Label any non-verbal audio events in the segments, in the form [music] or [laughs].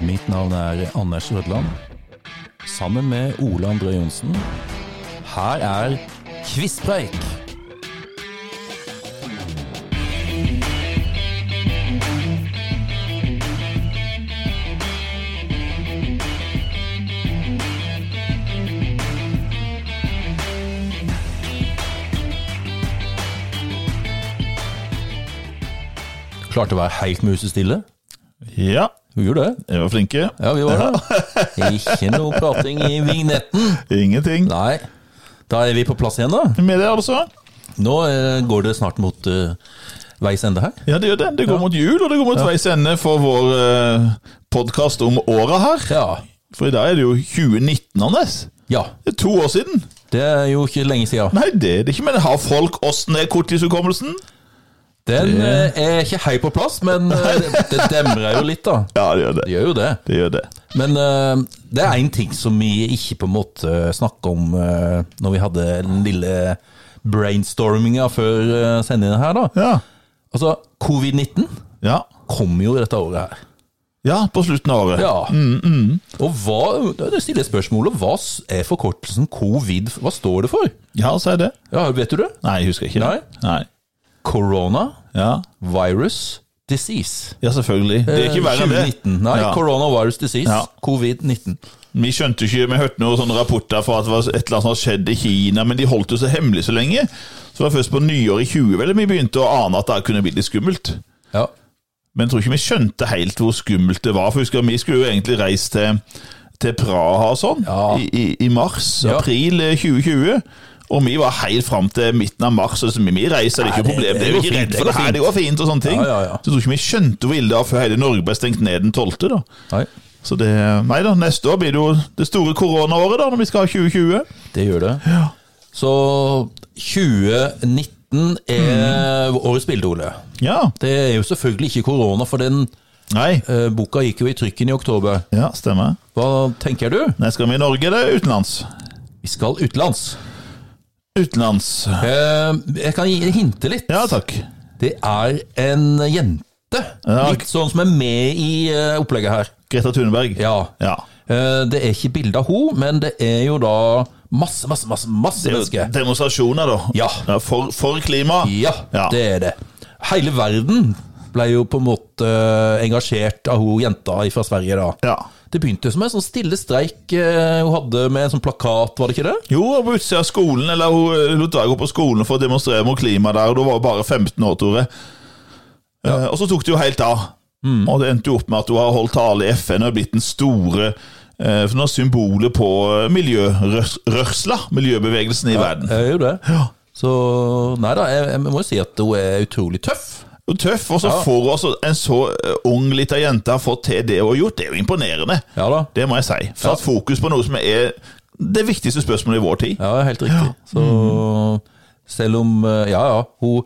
Mitt navn er Anders Rødland. Sammen med Ole André Johnsen. Her er Kvisspreik! Klarte å være helt musestille. Ja, Du gjorde det. vi var flinke. Ja, vi var det. Ikke noe prating i vignetten. Ingenting. Nei. Da er vi på plass igjen, da. Med det, altså. Nå eh, går det snart mot eh, veis ende her. Ja, det gjør det. Det går mot jul, og det går mot veis ende for vår eh, podkast om åra her. Ja. For i dag er det jo 2019, Anders. ja. Det er to år siden. Det er jo ikke lenge sia. Nei, det er det ikke, men har folk åssen er korttidshukommelsen? Den eh, er ikke helt på plass, men eh, det, det demrer jo litt, da. Ja, det gjør det. Det gjør jo det. Det gjør det. Men eh, det er én ting som vi ikke på en måte snakka om eh, når vi hadde den lille brainstorminga før eh, sendingen her, da. Ja. Altså, covid-19 Ja. kommer jo dette året her. ja på slutten av året. Ja. Og hva, det stiller jeg spørsmålet, hva s- er forkortelsen covid, hva står det for? Ja, så er det. Ja, vet du det? Nei, jeg husker ikke. Nei. Nei. Corona, Ja. virus, disease. ja, selvfølgelig. Det er ikke verre enn det. 2019. Nei, Ja. corona, virus, disease, Ja. covid-19 Vi skjønte ikke, vi hørte noen sånne rapporter fra at det var et eller annet som hadde skjedd i Kina, men de holdt det så hemmelig så lenge. Så det var først på nyåret i 20 vel, vi begynte å ane at det kunne bli litt skummelt. Ja, Men jeg tror ikke vi skjønte helt hvor skummelt det var, for husker, vi skulle jo egentlig reise til, til Praha og sånn Ja. i, i, i mars, Ja. april eh, 2020. Og vi var helt fram til midten av mars, og så vi reiser, det er Nei, ikke noe det- problem. det Det er går jo ikke fint, redd det for går det her, det går fint og sånne ting. Ja, ja, ja. Så jeg tror ikke vi skjønte hvor ille det var før hele Norge ble stengt ned den 12. da. nei, Så det, nei da, neste år blir det jo det store koronaåret, da, når vi skal ha 2020. det gjør det. Så 2019 er årets bilde, Ole. Ja. Det er jo selvfølgelig ikke korona, for den Nei. eh, boka gikk jo i trykken i oktober. Ja, stemmer. Hva tenker du? Nei, skal vi i Norge eller utenlands? Vi skal utenlands. Utenlands. Eh, jeg kan gi- hinte litt. Ja takk. Det er en jente. Ja. Litt sånn som er med i eh, opplegget her. Greta Thunberg. Ja. Ja. Eh, Det er ikke bilde av henne, men det er jo da masse, masse, masse masse Det er jo mennesker. demonstrasjoner, da. Ja. for, for klima. Ja, Ja. det er det. Hele verden ble jo på en måte eh, engasjert av hun jenta fra Sverige da. Ja. Det begynte jo som en sånn stille streik eh, hun hadde med en sånn plakat, var det ikke det? Jo, og på utsida av skolen, eller hun eh, lot være å gå på skolen for å demonstrere mot klimaet der, og da var hun bare 15 år, Tore. Eh, og så tok det jo helt av. Mm. Og det endte jo opp med at hun har holdt tale i FN og blitt den store eh, for noe symbolet på eh, miljørørsla, miljøbevegelsen i verden. Det er jo det. Så nei da, jeg, jeg må jo si at hun er utrolig tøff. Og tøff, og så Ja. får hun altså en så eh, ung lita jente har fått til det hun har gjort, det er jo imponerende. Ja da. Det må jeg si. Satt fokus på noe som er det viktigste spørsmålet i vår tid. Ja, helt riktig. Så selv om eh, Ja, ja. Hun,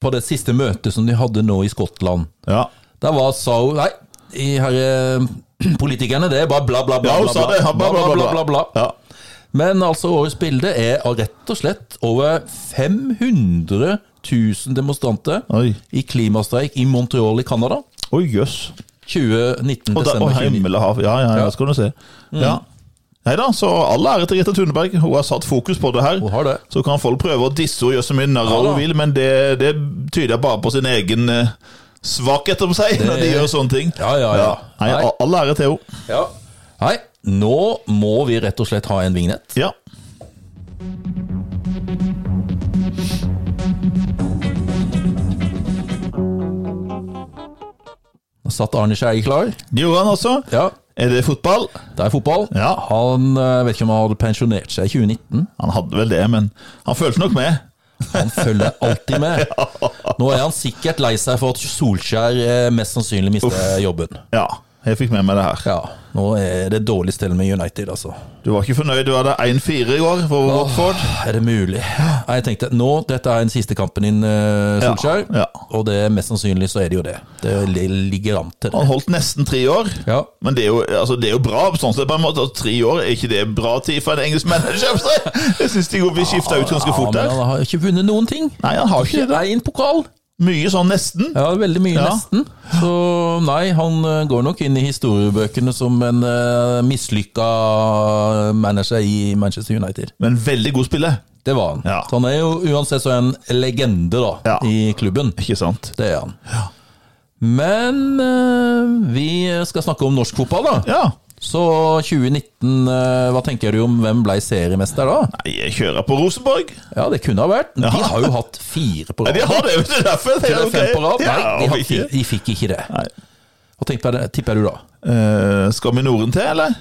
på det siste møtet som de hadde nå i Skottland, Ja, der var, sa hun Nei, de herre [clears throat] politikerne, det er bare bla, bla, bla. ja hun sa det. Ja, bla, bla, bla, bla, bla. Ja. Men altså, årets bilde er av rett og slett over 500 000 demonstranter Oi. i klimastreik i Montreal i Canada. Oi, jøss. 2019 Og, der- desember og 29. himmel og hav. Ja, ja, ja, Ja. Mm. skal du se. Ja. Nei da, så all ære til Rita Thunberg. Hun har satt fokus på det her. Hun har det. Så kan folk prøve å disse og gjøre så mye narr Ja av da. hun vil, men det, det tyder bare på sin egen eh, svakhet om seg når de gjør sånne ting. Ja, ja, ja. Nei, Nei. all- all ære til henne. Ja. Nei, nå må vi rett og slett ha en vignett. Ja. Satt Arne Skeie klar? Det gjorde han også. Ja. Er det fotball? Det er fotball. Ja. Han eh, vet ikke om han hadde pensjonert seg i 2019. Han hadde vel det, men han følte nok med. Han følger alltid [laughs] med. Nå er han sikkert lei seg for at Solskjær eh, mest sannsynlig mister jobben. Ja, jeg fikk med meg det her. Ja, nå er det dårlig stell med United, altså. Du var ikke fornøyd, du hadde 1-4 i går for Watford. Er det mulig? Nei, Jeg tenkte nå, dette er den siste kampen din, eh, Solskjær. Ja, ja. Og det mest sannsynlig så er det jo det. Det ligger an til det. Han holdt nesten tre år. Ja. Men det er, jo, altså, det er jo bra sånn sett på en måte. at Tre år er ikke det bra tid for en engelsk manager? [laughs] Jeg syns de går- blir skifta ut ganske fort ja, men der. han har ikke vunnet noen ting. Nei, han har ikke det. Ikke én pokal. Mye sånn nesten. Ja, veldig mye Ja. nesten. Så nei, han eh, går nok inn i historiebøkene som en uh, mislykka manager i Manchester United. Men veldig god spiller. Det var han. Ja. Så han er jo uansett så en legende da, Ja. i klubben. Ikke sant? Det er han. Men eh, vi skal snakke om norsk fotball, da. Ja. Så 2019, eh, hva tenker du om hvem ble seriemester da? Nei, jeg kjører på Rosenborg. Ja, det kunne ha vært. De har jo hatt fire på Nei, rad. de har det, vet du. Derfor jeg Eller tenker, fem på ok. rad. Nei, Ja, de, har hvorfor fire. ikke? de fikk ikke det. Nei. Hva tenker, tipper du da? Eh, skal vi Norden til, eller?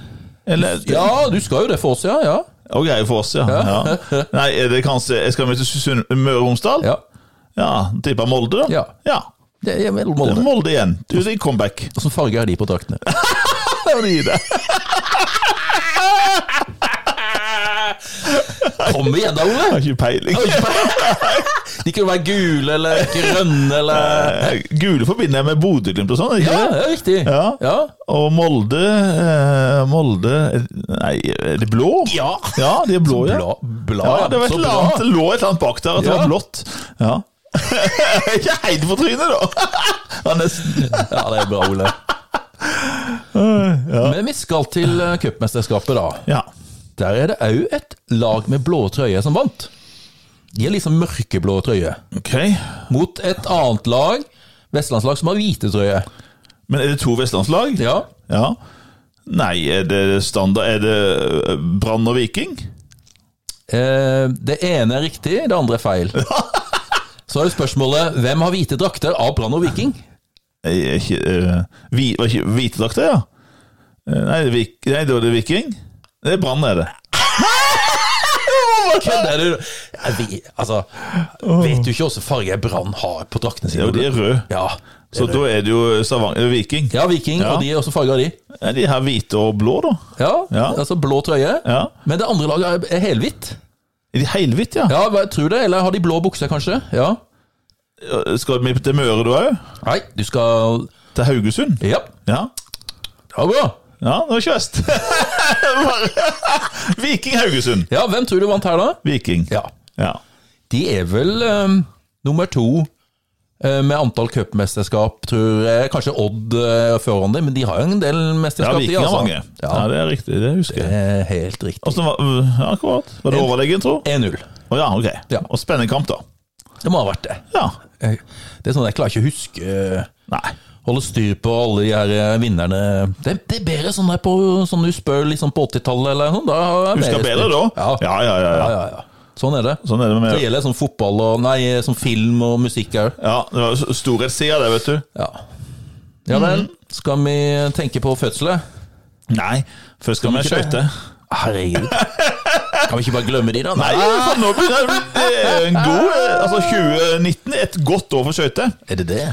eller Ja, du skal jo det for oss, ja. Ja. Ok, for oss, ja. ja. Nei, er det kanskje jeg Skal vi til Sunn- Møre og Romsdal? ja. ja Tipper Molde, da? Ja. Det er vel Det er Molde. Molde igjen. Du sier comeback. Hvilken farge har de på draktene? Det var de [laughs] i det. Kom igjen da, Ole! Har ikke peiling. De kunne være gule eller grønne eller Eh, Gule forbinder jeg med Bodø-Glimt og sånn, ikke Ja, det? det er riktig. Ja. Ja. Og Molde eh, Molde Nei, er det blå? Ja. Ja, de er blå, ja. Bla, bla, Ja, det, var et så eller bra. annet, det lå et eller annet bak der, at det Ja. var blått. Ja. [laughs] ikke helt på trynet, da! [laughs] Ja, nesten. Ja, det er bra, Ole. Men vi skal til eh, cupmesterskapet, da. Ja. Der er det òg et lag med blå trøye som vant. De er liksom mørkeblå trøye. Ok. Mot et annet lag, vestlandslag, som har hvite trøye. Men er det to vestlandslag? Ja, Ja. Nei, er det standard Er det eh, Brann og Viking? eh, Det ene er riktig, det andre er feil. Så er det spørsmålet hvem har hvite drakter av Brann og Viking? Nei, er ikke, eh, vi, var ikke Hvite drakter, ja? Eh, Nei, det er Vik- nei, da er det Viking. Det er Brann, er det. Kødder du? Ja, vi- Altså, vet du ikke hvilken farge Brann har på draktene Ja, sine? og de er røde. Ja, Så da er det jo Stavanger Viking. ja Viking, og de er også farge av de. Er de her hvite og blå, da? Ja, Ja. altså blå trøye. Ja. Men det andre laget er er helhvitt. Er de helhvitt, ja? Ja, hva- tror det, eller har de blå bukser, kanskje? Ja. Skal vi til Møre, du òg? Nei, du skal Til Haugesund? Ja, Ja. det var bra. Ja, det var ikke øst. [laughs] Viking Haugesund. Ja, Hvem tror du vant her, da? Viking. Ja, Ja. De er vel eh, nummer to eh, med antall cupmesterskap, tror jeg. Kanskje Odd eh, foran dem, men de har jo en del ja mesterskap, Viking de, har altså. mange. Altså, Ja. Ja, det er riktig. Det husker jeg. eh, Helt riktig. Hvordan var, ja, akkurat. Var det overlegen, tro? 1-0. Å ja, ok. Ja. Og spennende kamp, da. Det må ha vært det. Ja. Eh, Det er sånn Jeg klarer ikke å huske eh, Nei. Holde styr på alle de her eh, vinnerne. Det, det er bedre sånn der på sånn du spør liksom på 80-tallet eller sånn. Da har jeg Husker mer bedre da. styr. Ja. Ja, ja, ja. Ja, ja. ja, ja. Sånn er det. Sånn er det Det med gjelder sånn fotball og Nei, sånn film og musikk òg. Ja, det var jo storhetssida, det, vet du. Ja. ja vel. Skal vi tenke på fødselet? Nei, først skal vi ikke det? skøyte. Herregud. Kan vi ikke bare glemme de, da? Nei, for nå begynner det å bli en god eh, Altså, 2019 er et godt år for skøyter. Er det det?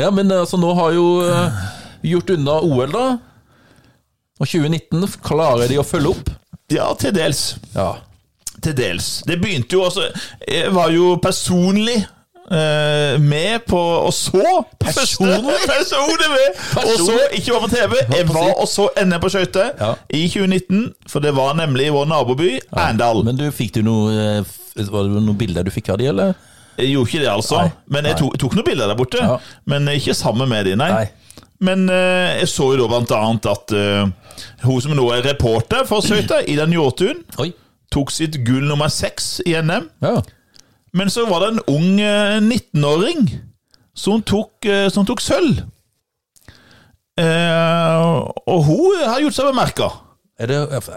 Ja, men altså, nå har jo eh, vi gjort unna OL, da. Og 2019 klarer de å følge opp. Ja, til dels. Ja. Til dels. Det begynte jo altså Jeg var jo personlig eh, med på og så på Personlig? første- [laughs] personlig med! Og så, Personlig? ikke var på TV, jeg var og så NM på skøyter Ja. i 2019. For det var nemlig i vår naboby, Arendal. Men du, fikk du noe eh, f- Var det noen bilder du fikk av de, eller? Jeg gjorde ikke det, altså. Nei, Men jeg tok, tok noen bilder der borte. Ja. Men ikke sammen med de, nei. Nei. Men eh, jeg så jo da blant annet at eh, hun som nå er reporter for skøyter, Ida Njåtun, Oi. tok sitt gull nummer seks i NM. Ja. Men så var det en ung eh, 19-åring som tok, eh, som tok sølv. Eh, og hun har gjort seg bemerka. Er det,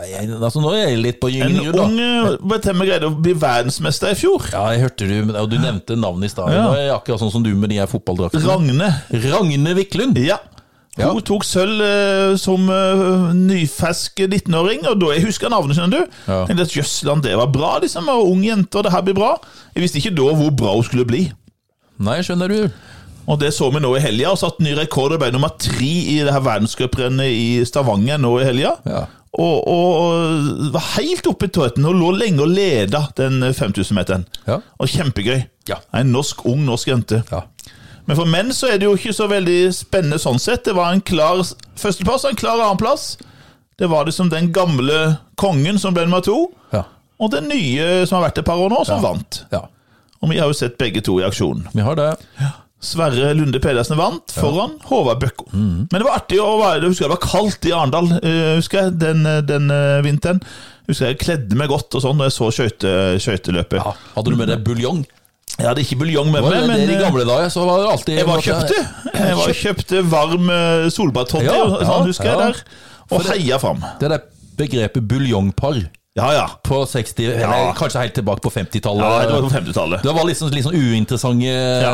jeg, altså, nå er jeg litt på En gyngende grunn, ung da. eh, Betemme greide å bli verdensmester i fjor. Ja, jeg hørte du, men- og du nevnte navnet i stad. Ja. Nå er jeg akkurat sånn som du med de her fotballdraktene. Ragne. Ragne Wiklund! Ja. Ja. Hun tok sølv eh, som eh, nyfersk 19-åring, og da jeg husker navnet, skjønner du. Ja. Jeg tenkte at Jøssland, det var bra, liksom. Og ung jente, og det her blir bra. Jeg visste ikke da hvor bra hun skulle bli. Nei, skjønner du. Og det så vi nå i helga, og satt ny rekord og ble nummer tre i det her verdenscuprennet i Stavanger nå i helga. Ja. Og, og, og var helt oppe i tøyten og lå lenge og leda den 5000-meteren. Ja. Og kjempegøy. Ja. En norsk, ung norsk jente. ja. Men for menn så er det jo ikke så veldig spennende sånn sett. Det var en klar førsteplass og en klar annenplass. Det var liksom den gamle kongen som ble nummer to, Ja. og den nye som har vært et par år nå, som vant. ja. Og vi har jo sett begge to i aksjon. Vi har det. Sverre Lunde Pedersen vant foran Håvard Bøkko. Mm. Men det var artig å være Jeg husker det var kaldt i Arendal eh, husker jeg, den, eh, den eh, vinteren. Husker jeg kledde meg godt og sånn når jeg så skøyte, skøyteløpet. Ja. Hadde du med deg buljong? Jeg hadde ikke buljong med Var meg, det men det i eh, gamle dager? Så var det alltid jeg var og kjøpte. Jeg var og kjøpte varm eh, solbærtoddy, Ja, og sånn ja, husker jeg ja. der. Og heia fram. Det der begrepet buljongpar Ja, ja. på 60, eller kanskje helt tilbake på 50-tallet. ja det var på 50-tallet. Det var liksom, liksom uinteressante ja.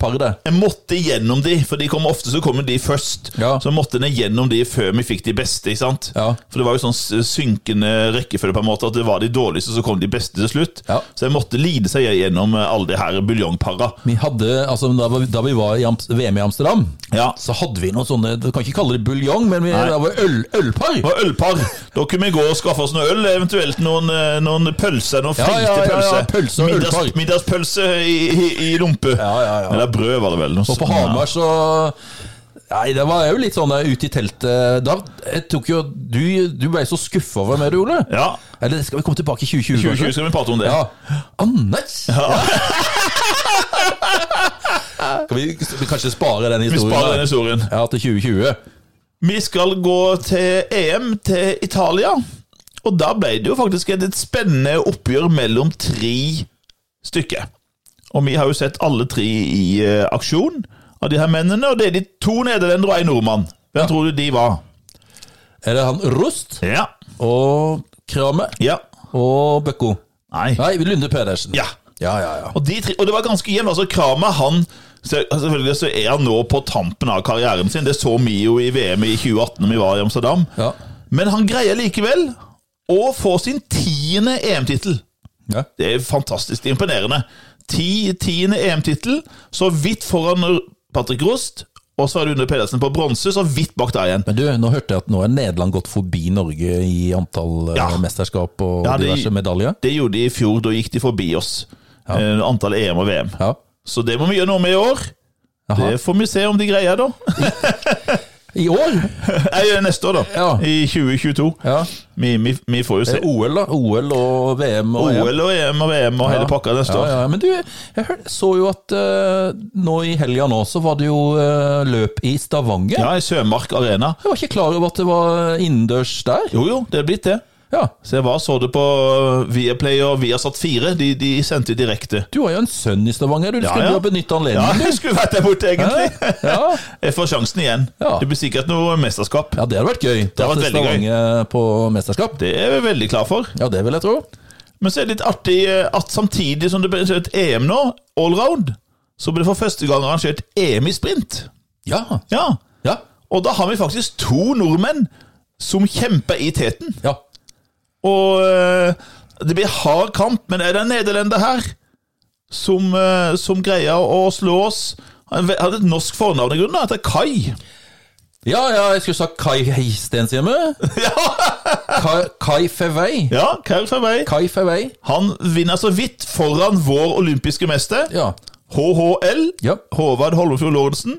par, det. Jeg måtte gjennom de, for de kom ofte så kommer de først. Ja. Så måtte jeg gjennom de før vi fikk de beste. ikke sant? Ja. For det var jo sånn s- synkende rekkefølge, på en måte, at det var de dårligste, så kom de beste til slutt. Ja. Så jeg måtte lide seg gjennom eh, alle de her buljongparra. Vi hadde, altså Da, var- da vi var i Ams- VM i Amsterdam, Ja. så hadde vi noen sånne Du kan ikke kalle det buljong, men vi, Nei. det var øl, ølpar. Og ølpar. Da kunne vi gå og skaffe oss noe øl, eventuelt noen, eh, noen pølser. Noen Ja, fengte ja, ja, ja, pølse pølser. og ølpar. Middags, middagspølse i, i, i lompe. Ja, ja, ja. Eller brød, var det vel. Og på Hamar så Nei, det var jo litt sånn der ute i teltet Da jeg tok jo Du, du ble så skuffa over meg, du, Ole. Ja. Eller skal vi komme tilbake i 2020? 2020 kanskje? skal vi prate om det. Ja. Anders! Skal vi, vi kanskje spare den Vi historien? sparer den da? historien. Ja, til 2020. Vi skal gå til EM til Italia. Og da ble det jo faktisk et, et spennende oppgjør mellom tre stykker. Og vi har jo sett alle tre i eh, aksjon av de her mennene. Og det er de to nederlendere og en nordmann. Hvem tror du de var? Er det han Rust Ja. og Krame Ja. og Bøkko? Nei. Nei, Lunde Pedersen. Ja. ja, ja. ja. Og, de tre, og det var ganske jevnt. Altså, Kramer, han så- altså, Selvfølgelig så er han nå på tampen av karrieren sin. Det så vi jo i VM i 2018 når vi var i Amsterdam. Ja. Men han greier likevel å få sin tiende EM-tittel. ja. Det er fantastisk imponerende. Ti, tiende EM-tittel, så vidt foran Patrick Rost. Og Sverre Lunde Pedersen på bronse, så vidt bak der igjen. Men du, nå hørte jeg at nå er Nederland gått forbi Norge i antall eh, Ja. mesterskap og Ja, det- diverse medaljer. Det gjorde de i fjor, da gikk de forbi oss. Eh, Antall EM og VM. Ja. Så det må vi gjøre noe med i år. Jaha. Det får vi se om de greier, da. I år? Nei, eh, neste år, da. Ja. I 2022. Ja. Vi, vi, vi får jo se. Det er OL, da. OL og VM og E EM. OL og EM og VM og hele pakka neste ja, år. ja, ja. Men du, jeg hør- så jo at eh, nå i helga nå, så var det jo eh, løp i Stavanger. Ja, i Sømark Arena. Jeg var ikke klar over at det var innendørs der. Jo, jo, det er blitt det. Ja, Så jeg var så det på øh, Viaplay og Viasat 4. De, de sendte direkte. Du har jo en sønn i Stavanger, du. Skulle ja. du ha benytta Ja, anledningen? jeg [laughs] skulle vært der borte, egentlig. [laughs] Ja. [laughs] Jeg får sjansen igjen. Ja. Det blir sikkert noe mesterskap. ja, det hadde vært gøy. hadde Til vært veldig gøy. Stavanger eh, på mesterskap. Det er jeg veldig klar for. Ja, det vil jeg tro. Men så er det litt artig eh, at samtidig som det blir et EM nå, allround, så blir det for første gang arrangert EM i sprint. Ja. Ja, Ja. Og da har vi faktisk to nordmenn som kjemper i teten. ja. Og eh, det blir hard kamp, men er det en nederlender her som, eh, som greier å slå oss? Han ve- hadde et norsk fornavn i grunnen, da, heter Kai. Ja, ja, jeg skulle sagt Kai Heistenshjemme. [laughs] Kai, Kai Fevei. Ja, Kai Favei. Kai Fevei. Han vinner så vidt foran vår olympiske mester, Ja. HHL, Ja. Håvard Holmefjord Lorentzen,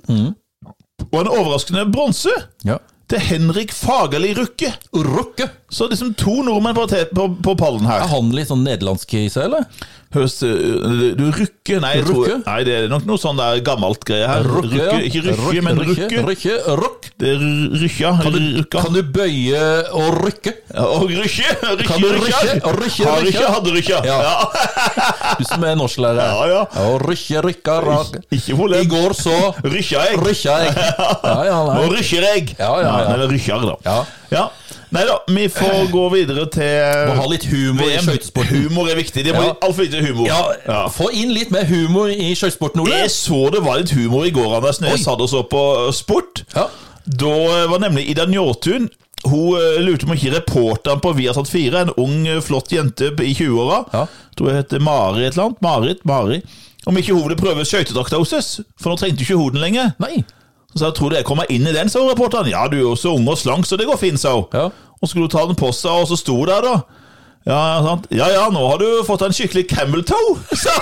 og en overraskende bronse ja. til Henrik Fagerli Rukke. Rukke. Så liksom to nordmenn på, te- på, på pallen her. Er han litt sånn nederlandsk i seg, eller? Høres eh, øh, Du rukke? Nei, jeg tror, Rukke? nei, det er nok noe sånn der gammelt greie her. Rukke, Ikke rykke, men rukke. Rykke, rukk. Det er rykkja. Rukka. Kan du bøye og rykke? Og rykke! Kan du rykke? Rykke, rykke! Rykke, Har rykke? rykke, hadde rykke. Ja. Ja, [laughs] Du som er norsklærer. ja. ja. Og rykke, rykke, rak. I Ikke problem. går så Rykka jeg. rykka [laughs] jeg. Ja, ja, Nå nei. rykker jeg. Ja, ja, ja. Nei, Eller rykker, da. Ja. Nei da, vi får gå videre til Må ha litt humor i VM. skøytesporten. Humor er viktig. Det må Ja. altfor lite humor. Ja, Ja. få inn litt mer humor i skøytesporten, Ole. Jeg så det var litt humor i går, Anders, når Oi. jeg satt og så på sport. Ja. Da eh, var nemlig Ida Njåtun Hun eh, lurte på om ikke reporteren på Viasat 4, en ung, eh, flott jente i 20-åra Ja. Tror jeg heter Mari et eller annet. Marit, Mari. Om ikke hun ville prøve skøytedrakta hos oss, for nå trengte hun ikke hoden lenger. Nei. Så jeg tror det jeg kommer inn i den, sa reporteren. Ja, du er jo så ung og slank, så det går fint, sa hun. Ja. Og skulle hun ta den på seg, og så sto hun der, da. Ja, sant? ja, ja, nå har du fått en skikkelig camel toe, [laughs] sa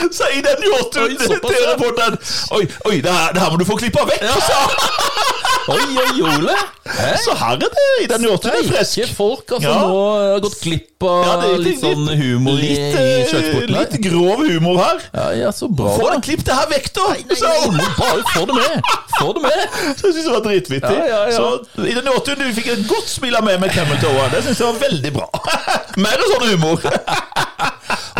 sa i den Oi, jåten såpass, til ja. reporteren. Oi, oi, det her, det her må du få klippa vekk, sa Oi, oi, Ole! Hæ? Så her er det i den hjorten er Sterke frisk. folk altså, Ja. nå har gått glipp av Ja, det er litt sånn humor i- i litt, eh, kjøttporten. her. Litt grov humor her. Ja, ja, så bra, Få da. deg klipp det her vekk, da! Så, Nei, men Bare få det med! Få det med! så jeg synes det var dritvittig. Ja, ja, ja. Så i den hjorten du fikk et godt smil av meg med Camel Toe. Det synes jeg var veldig bra. [laughs] Mer sånn [laughs] humor.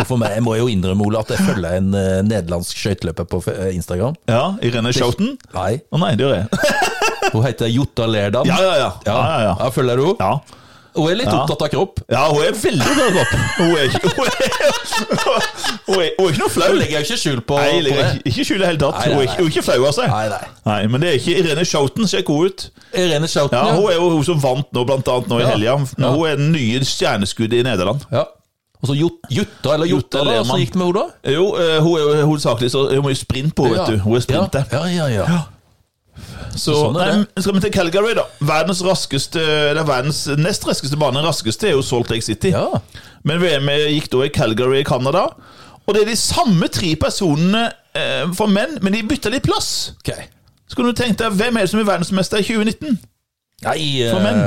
Og for meg jeg må jeg jo innrømme, Ole, at jeg følger en eh, nederlandsk skøyteløper på eh, Instagram. Ja, Irene Schouten. Nei, Å nei, det gjør jeg. hun heter Jutta Lerdam. [laughs] Ja, ja, ja. ja, ja, ja. Ja, følger du henne? ja. Hun er litt Ja. opptatt av kropp. Ja, hun er veldig glad i kropp. Hun er ikke Hun er, [laughs] hun er, hun er ikke noe flau. Hun legger jo ikke skjul på, Nei, på legger det. ikke- ikke skjul i det hele tatt. Nei, nei, Hun er ikke- hun er ikke flau av seg. Nei, nei. Nei, Men det er ikke Irene Schouten. Sjekk henne ut. Irene Schouten, Ja, ja. Hun er jo hun som vant nå, blant annet nå i Ja. helga. Ja. Hun er den nye stjerneskuddet i Nederland. ja. Og så Jut- Jutta, eller Jutta, Jutta da, så Lehmann. gikk det med henne da? Jo, eh, hun er jo hovedsakelig så Hun er jo sprint på, vet du. Hun er sprinter. Ja, ja, ja. ja. Så, Sånn er nei, skal vi til Calgary, da. Verdens raskeste Det er verdens nest raskeste bane. Den raskeste er jo Salt Lake City. Ja. Men VM gikk da i Calgary i Canada. Og det er de samme tre personene eh, for menn, men de bytta litt plass. Ok. Så kunne du tenkt deg, hvem er det som er verdensmester i 2019? Nei, For eh, menn.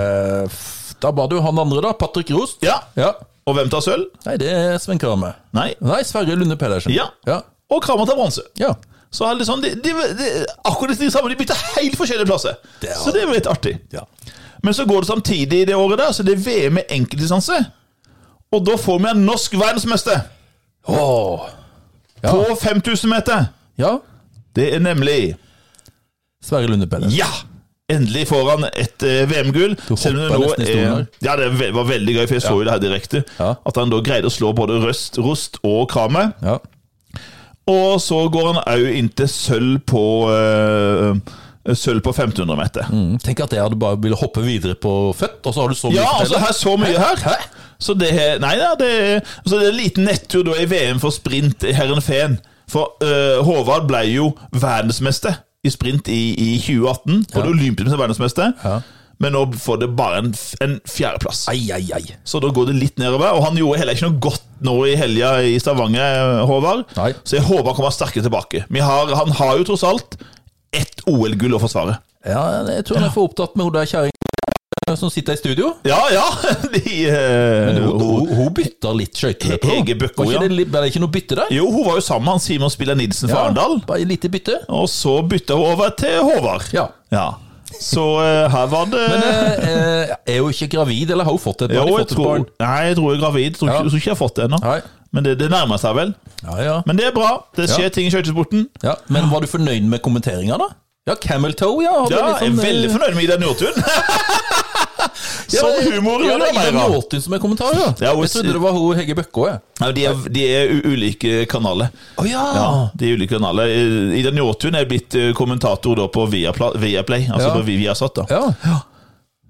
f- da var det jo han andre, da. Patrick Rost. Ja. Ja. Og hvem tar sølv? Nei, det er Sven Kramer. Nei. Nei, Sverre Lunde Pedersen. Ja. Ja. Og Kramer tar bronse. ja. Så er det sånn, de, de, de, akkurat de samme, de bytter helt forskjellige plasser. Det er- så det er jo litt artig. ja. Men så går det samtidig i det året der, så det er VM i enkeltdistanse. Og da får vi en norsk verdensmester Åh. Ja. på 5000 meter. ja. Det er nemlig Sverre Lunde Pedersen. Ja! Endelig får han et eh, VM-gull. Du Selv om det hoppa nå nesten i stolen er, her. ja, det ve- var veldig gøy, for jeg så jo det her direkte. Ja. At han da greide å slå både Røst, Rost og Kramer. Ja. Og så går han òg inn til sølv på eh, Sølv på 1500 meter. Mm. Tenk at jeg hadde bare ville hoppe videre på født, og så har du så mye Ja, å altså fortelle. her så mye her. Hæ? Så det er, nei, ja, det er, så det er en liten nettur da i VM for sprint i Herrenfeen. For eh, Håvard ble jo verdensmester i sprint i, i 2018. Både olympisk som verdensmester. Ja. Men nå får det bare en, f- en fjerdeplass. Ai, ai, ai. Så da går det litt nedover. Og han gjorde heller ikke noe godt nå i helga i Stavanger, eh, Håvard. Nei. Så jeg håper han kommer sterkere tilbake. Vi har, han har jo tross alt ett OL-gull å forsvare. Ja, jeg tror han er for opptatt med hun der kjerringa som sitter i studio. Ja, ja! [laughs] De, eh, Hun, hun, hun bytta litt skøyteløp. hun. Hege Bøkko, Var ikke ja. det litt- Var det ikke noe bytte der? Jo, hun var jo sammen med han Simon Spiller Nilsen fra Arendal. Bare et lite bytte. Og så bytta hun over til Håvard. Ja. Ja. Så eh, her var det Men eh, eh, er hun ikke gravid, eller har hun fått et barn? Jo, Har de jeg fått et tror, barn? nei, jeg tror jeg er gravid. Jeg tror, Ja. ikke- jeg tror ikke jeg har fått det ennå. Nei. Men det, det nærmer seg vel. Ja, ja. Men det er bra. Det skjer Ja. ting i skøytesporten. ja. Men var du fornøyd med kommenteringa, da? Ja, Camel Toe, ja. hadde Ja, litt jeg er sånn, eh, veldig fornøyd med Ida [laughs] Nordtun. [laughs] Sånn humor Ja, vil det jeg er mer Ida av. Nåtun som er kommentar, ja. Ja, hun- Jeg trodde det var hun Hegge Bøkko, jeg. Nei, De er, de er u- ulike kanaler. Å ja. Ja, de er ulike kanaler. Eh, Ida Njåtun er blitt eh, kommentator da på Viapla- Viaplay, Ja. altså på Viasat. da. ja!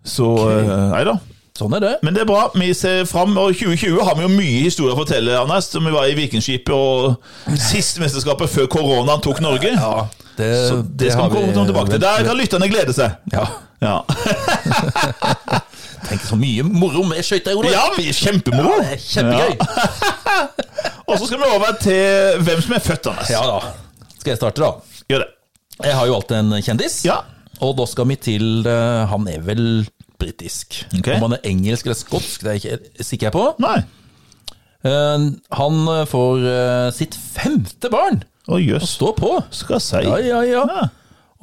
Så eh, nei da. Sånn er det. Men det er bra. Vi ser fram. Og i 2020 har vi jo mye historie å fortelle, Anders. Som vi var i Vikingskipet og sist mesterskapet før koronaen tok Norge. Eh, det, Så det skal har vi komme tilbake til. Der kan lytterne glede seg. Ja. Ja, [laughs] Tenk så mye moro med skøyter, Ole. ja vi- kjempemoro! Det er kjempegøy. Ja. Og så skal vi over til hvem som er født, Anders. da. Skal jeg starte, da? Gjør det. Jeg har jo alltid en kjendis. Ja. Og da skal vi til eh, Han er vel britisk. Ok. Om han er engelsk eller skotsk, det er jeg ikke sikker jeg på. Nei. Eh, han eh, får eh, sitt femte barn. Å jøss. Stå på. Skal jeg si. Ja, ja, ja. Ja.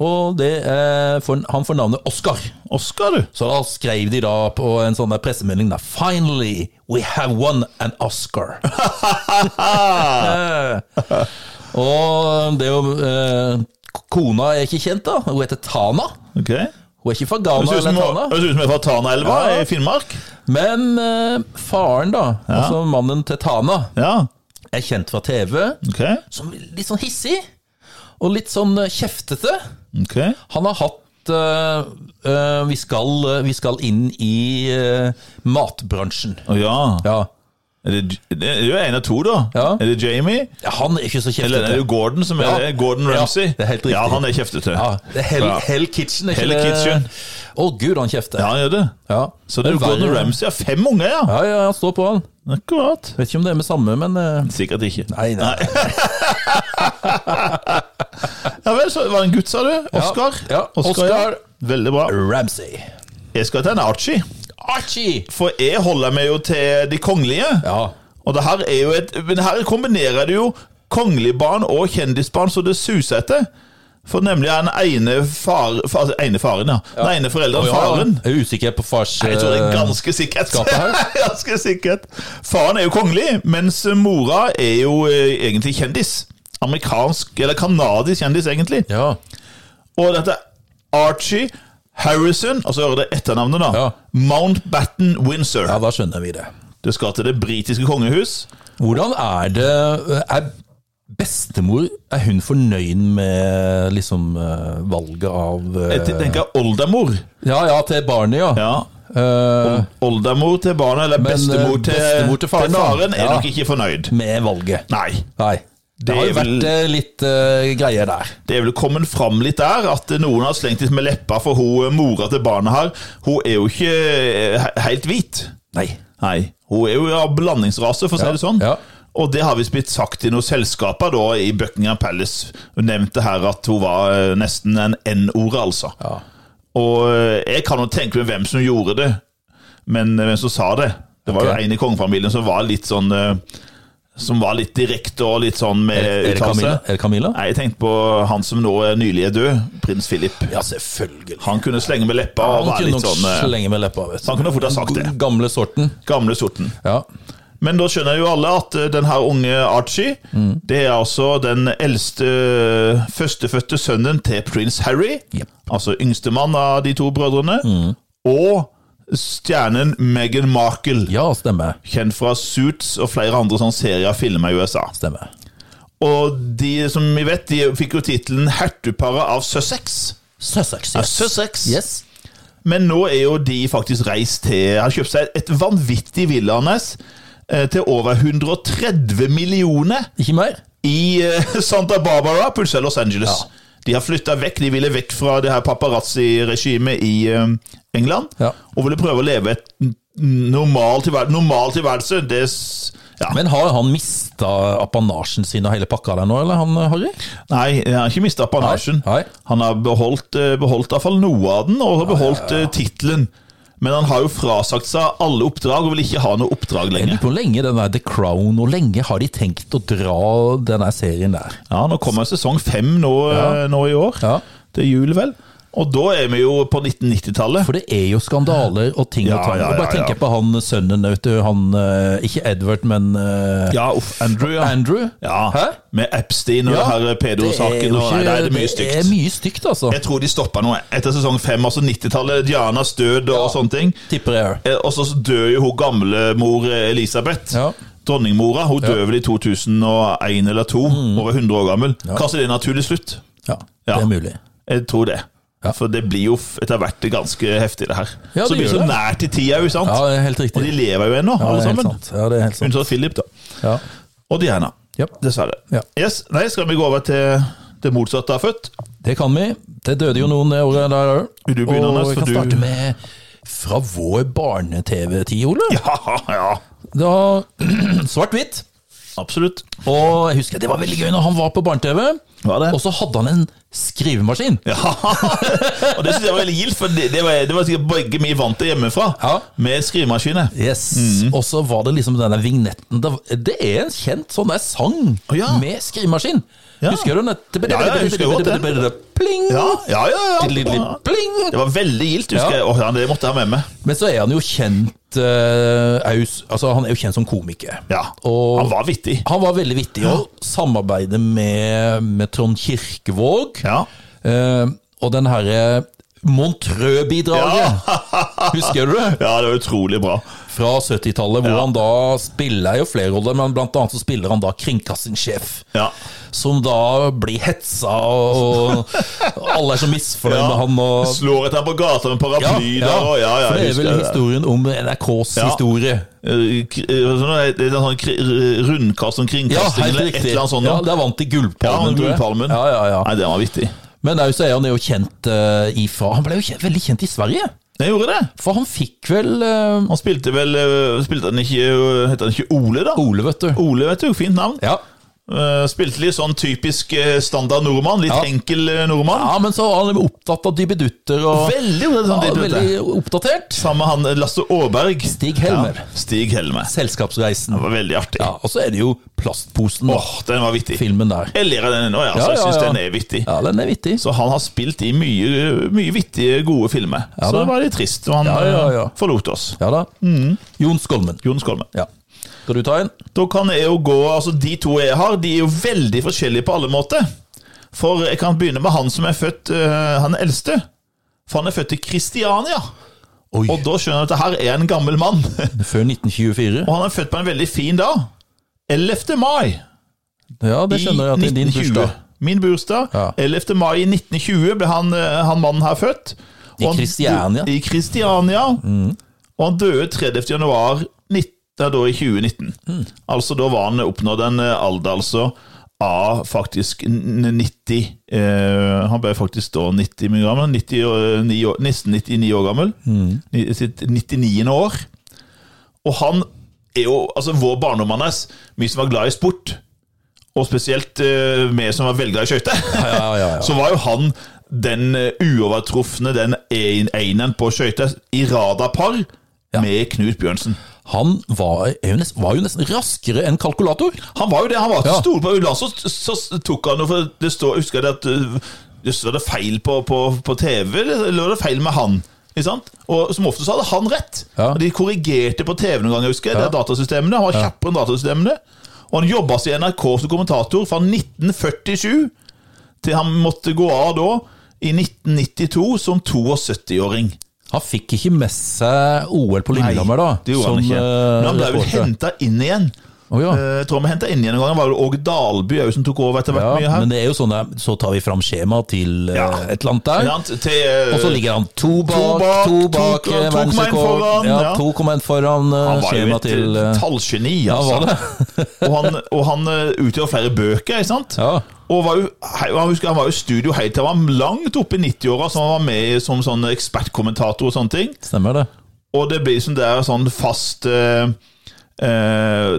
Og det er, for, han får navnet Oscar. Oscar, du. Så da skrev de da på en sånn der pressemelding da Finally, we have won an Oscar. [laughs] og det er jo eh, Kona er ikke kjent, da. Hun heter Tana. Ok. Hun er ikke fra Det Ghana ser ut som eller Tana. det ser ut som jeg er fra Tanaelva Ja. i Finnmark. Men eh, faren, da, altså mannen til Tana, Ja, er kjent fra TV ok. som litt sånn hissig. Og litt sånn eh, kjeftete. ok. Han har hatt eh, eh, vi, skal, vi skal inn i eh, matbransjen. Å ja. Ja. Er det, det er jo en av to, da. Ja. Er det Jamie? Ja, Han er ikke så Eller er kjeftete. det Gordon som er Ja. Gordon Ja, Ramsay? det er helt riktig. Ja, han er kjeftete. Ja, det er Hell, Ja. hell Kitchen. er ikke Hell det- Kitchen. Å gud, han kjefter. Ja, han gjør det. Ja. Så det er Men jo Gordon verre- Ramsay har fem unger, ja. Ja, ja, han står på, han. Akkurat. Vet ikke om det er med samme, men eh, Sikkert ikke. Nei, nei. Ja vel, så var det en gutt, sa du? Oskar? Ja, Oscar, Oscar, ja. Veldig bra. Ramsay. Jeg skal til en Archie. Archie! For jeg holder meg jo til de kongelige. Ja. Og det her er jo et Men her kombinerer du jo kongelig barn og kjendisbarn så det suser etter. For nemlig er den ene far... far altså, ene faren, ja. Den ene forelderen, faren. Jeg er usikker på fars eh, Jeg tror det er ganske sikkert. skapet [laughs] her. ganske sikkert. Faren er jo kongelig, mens mora er jo eh, egentlig kjendis. Amerikansk, eller kanadisk kjendis, egentlig. Ja. Og dette er Archie Harrison, altså hører det etternavnet, da. Ja. Mountbatten Windsor. ja, da skjønner vi det. Det skal til det britiske kongehus. Hvordan er det eh, Er bestemor Er hun fornøyd med liksom eh, valget av eh, Jeg tenker oldemor. Ja, ja, til barnet, ja. Ja. Eh, Oldemor til barnet, eller Men, eh, bestemor til, bestemor til faren, da. er Ja. nok ikke fornøyd. med valget. Nei. Nei. Det, Det har er jo vært vel- eh, litt eh, greier der. Det er vel kommet fram litt der at noen har slengt litt med leppa, for hun eh, mora til barnet her, hun er jo ikke eh, he- helt hvit. Nei. Nei. Hun er jo av blandingsrase, for å si det sånn. ja. Og det har visst blitt sagt i noen selskaper da, i Buckingham Palace. Hun nevnte her at hun var eh, nesten en N-ord, altså. Ja. Og eh, jeg kan jo tenke meg hvem som gjorde det, men eh, hvem som sa det. Det var Ok. jo en i kongefamilien som var litt sånn eh, Som var litt direkte og litt sånn med Er det Camilla? Er det Camilla? Nei, jeg tenkte på han som nå er nylig er død, prins Philip. Ja, selvfølgelig. Han kunne slenge med leppa og Han være kunne litt nok sånn eh, slenge med leppa, vet Han kunne fort ha sagt det. Den Gamle sorten. Gamle sorten. Ja. Men da skjønner jo alle at eh, den her unge Archie, Mm. det er altså den eldste eh, førstefødte sønnen til prins Harry. Jep. Mm. Altså yngstemann av de to brødrene. Og stjernen Meghan Markle, ja, stemmer. kjent fra Suits og flere andre sånne serier og filmer i USA. Stemmer. Og de som vi vet, de fikk jo tittelen 'Hertugparet av Sussex'. Sussex. Ja, Yes. Sussex. yes. Men nå er jo de faktisk reist til Har kjøpt seg et vanvittig villa Anders, eh, til over 130 millioner Ikke mer? i eh, [laughs] Santa Barbara, plutselig Los Angeles. Ja. De har flytta vekk. De ville vekk fra det her paparazzi-regimet i eh, England. Ja. Og ville prøve å leve et n- normal tilværelse. Normal tilværelse det s- ja. Men har han mista apanasjen sin og hele pakka der nå, eller han eh, Harry? Nei, han har ikke mista apanasjen. Nei, nei. Han har beholdt, eh, beholdt iallfall noe av den, og har beholdt eh, tittelen. Men han har jo frasagt seg alle oppdrag, og vil ikke ha noe oppdrag Jeg lenger. lurer på hvor lenge den der The Crown Hvor lenge har de tenkt å dra den der serien der? Ja, nå kommer sesong fem nå, eh, nå i år. Ja. Det er jul, vel. Og da er vi jo på 1990-tallet. For det er jo skandaler og ting Ja, og tang. ja, og bare ja, ja. tenker på han eh, sønnen, vet du. Han eh, Ikke Edward, men eh, Ja, uff, Andrew, ja. Andrew. ja. Hæ? Med Epstein og Ja. det her Det er pedo-saken. jo og- Nei, det er det mye Det er stygt. mye stygt, altså. Jeg tror de stoppa nå jeg. etter sesong fem, altså 90-tallet. Dianas død og sånne ting. Tipper jeg. Eh, Og så dør jo hun gamlemor Elisabeth. Ja. Dronningmora. Hun dør vel i 2001 eller 2002. Mm. Over 100 år gammel. Kanskje det er naturlig slutt? Ja, Ja. det er mulig. Jeg tror det. Ja. For det blir jo f- etter hvert ganske heftig, det her. Ja, det så det blir gjør så det. nært i tida òg, sant? Ja, det er helt Og de riktig. lever jo ennå, Ja, alle det er helt sammen. sant. Ja, det er helt sant. Unntatt Philip, da. Ja. Og Diana. Ja. Dessverre. Ja. Yes, Nei, skal vi gå over til det motsatte av født? [laughs] Det kan vi. Det døde jo noen det året der òg. Vil du begynne, Anders, Og vi kan for du- starte med fra vår barne-TV-tid, Ole. Ja, ja. Da [clears throat] Svart-hvitt. Absolutt. Og jeg husker det var veldig gøy når han var på barne-TV. Var det? Og så hadde han en skrivemaskin. Ja, [laughs] og det synes jeg var veldig gildt, for det, det, var, det var sikkert begge vi vant til hjemmefra. Ja. Med skrivemaskiner. Yes. Mhm. Og så var det liksom den der vignetten Det- Det er en kjent sånn der sang Å, ja. med skrivemaskin. Ja. Husker du den? Ja, ja, jeg husker godt den. Pling! Ja, ja, ja. ja. Tidlig- Pling! Det var veldig gildt, husker Ja. jeg. Åh, ja, det måtte jeg ha med meg. Men så er han jo kjent eh, aus, altså Han er jo kjent som komiker. Ja. Og Han var vittig. han var veldig vittig å samarbeide med, med Trond Kirkevåg. Ja. Eh, og den herre Montreux-bidraget, husker du [laughs] det? Ja, det var utrolig bra. Fra 70-tallet, hvor han da spiller jo flere roller, men blant annet så spiller han da kringkastingssjef. Ja. Som da blir hetsa, og, og alle er så misfornøyd Ja. med han. Og, Slår etter ham på gata med paraply der, og ja, ja. For det jeg er husker vel historien om NRKs Ja. historie. Eh, k- eh, sånn, eh, Det er en sånn kri- eh, rundkast om Ja, kringkasting helt eller et riktig. eller annet sånt. ja, noe. der vant de Ja, Gullpalmen. han tror jeg. Gullpalmen. Ja, ja, ja. Nei, den var vittig. Men Aus Eian er jo kjent eh, ifra Han ble jo kjent, veldig kjent i Sverige. Den gjorde det. For han fikk vel eh, Han spilte vel eh, Spilte han ikke eh, Heter han ikke Ole, da? Ole, vet du. Ole, vet du. Fint navn. Ja. Eh, Spilte litt sånn typisk eh, standard nordmann. Litt Ja. enkel eh, nordmann. Ja, men så var han opptatt av dibbedutter og Veldig jo, det er ja, sånn type, vet du. veldig oppdatert. Sammen med han eh, Lasse Aaberg. Stig Helmer. Ja, Stig Helmer. Selskapsreisen. Det var veldig artig. Ja, og så er det jo Plastposen, Åh, da. Den var vittig. filmen der. Jeg ler av den ennå, ja, så Ja, jeg ja, syns ja. den er vittig. Ja, den er vittig. Så han har spilt i mye, mye vittige, gode filmer. så da. det var litt trist når han Ja, ja, eh, ja. forlot oss. Ja da. Mm. Jon Skolmen. Jon Skolme. Ja. Skal du ta en? Da kan jeg jo gå Altså, de to jeg har, de er jo veldig forskjellige på alle måter. For jeg kan begynne med han som er født eh, Han eldste. For han er født i Kristiania. Oi. Og da skjønner jeg at det her er en gammel mann. [laughs] Før 1924? Og han er født på en veldig fin dag. 11. mai. Ja, det i skjønner jeg at det er din 1920. bursdag. Min bursdag. Ja. 11. mai i 1920 ble han, eh, han mannen her født. I Og han- Kristiania. Mm. I Kristiania. Og han døde 30. januar 19, det er da i 2019. Mm. Altså da var han oppnådd en eh, alder altså av faktisk n- 90 eh, Han ble faktisk da 90 mye gammel. 90, år- eh, ni år- nesten 99 år gammel. Mm. Ni- Sitt 99. år. Og han er jo altså vår barndom hans. Vi som var glad i sport, og spesielt eh, vi som var veldig glad i skøyter, [laughs] Ja, ja, ja. så var jo han den eh, uovertrufne, den en- eneren på skøyter i radarpar med Knut Bjørnsen. Han var, er jo nesten, var jo nesten raskere enn kalkulator. Han var jo det, han var til Ja. stol på Uland, så, så tok han noe for det står, husker jeg det at øh, Jøss, var det feil på, på, på TV, eller var det feil med han? Ikke sant? Og som ofte så hadde han rett. Ja. De korrigerte på TV noen ganger, husker jeg. Det er datasystemene. Han var kjappere enn datasystemene. Og han jobba i NRK som kommentator fra 1947 til han måtte gå av da, i 1992, som 72-åring. Han fikk ikke med seg OL på Lillehammer, da. eh, det gjorde han ikke. Men han ble vel henta inn igjen. Å, ja. Eh, Jeg tror vi henta inn igjen en gang. Det var det Åge Dalby òg som tok over etter hvert. mye Ja, her. men det er jo sånn der, så tar vi fram skjemaet til eh, Ja. et eller annet der. Ikke sant? Til, eh, Og så ligger han to To bak, bak, to to- bak, to- eh, to kom en verdensrekord. foran, Ja, ja. to kom en foran eh, han var jo skjemaet et til eh, eh, tallgeni, Ja, var altså. det? [laughs] og han, og han eh, utgjør flere bøker, ikke sant? Ja. Og var jo, hei- jeg husker, han var jo i studio helt til han var langt oppe i 90-åra, så han var med som sånn ekspertkommentator og sånne ting. Stemmer det. Og det blir som det er sånn fast eh, eh,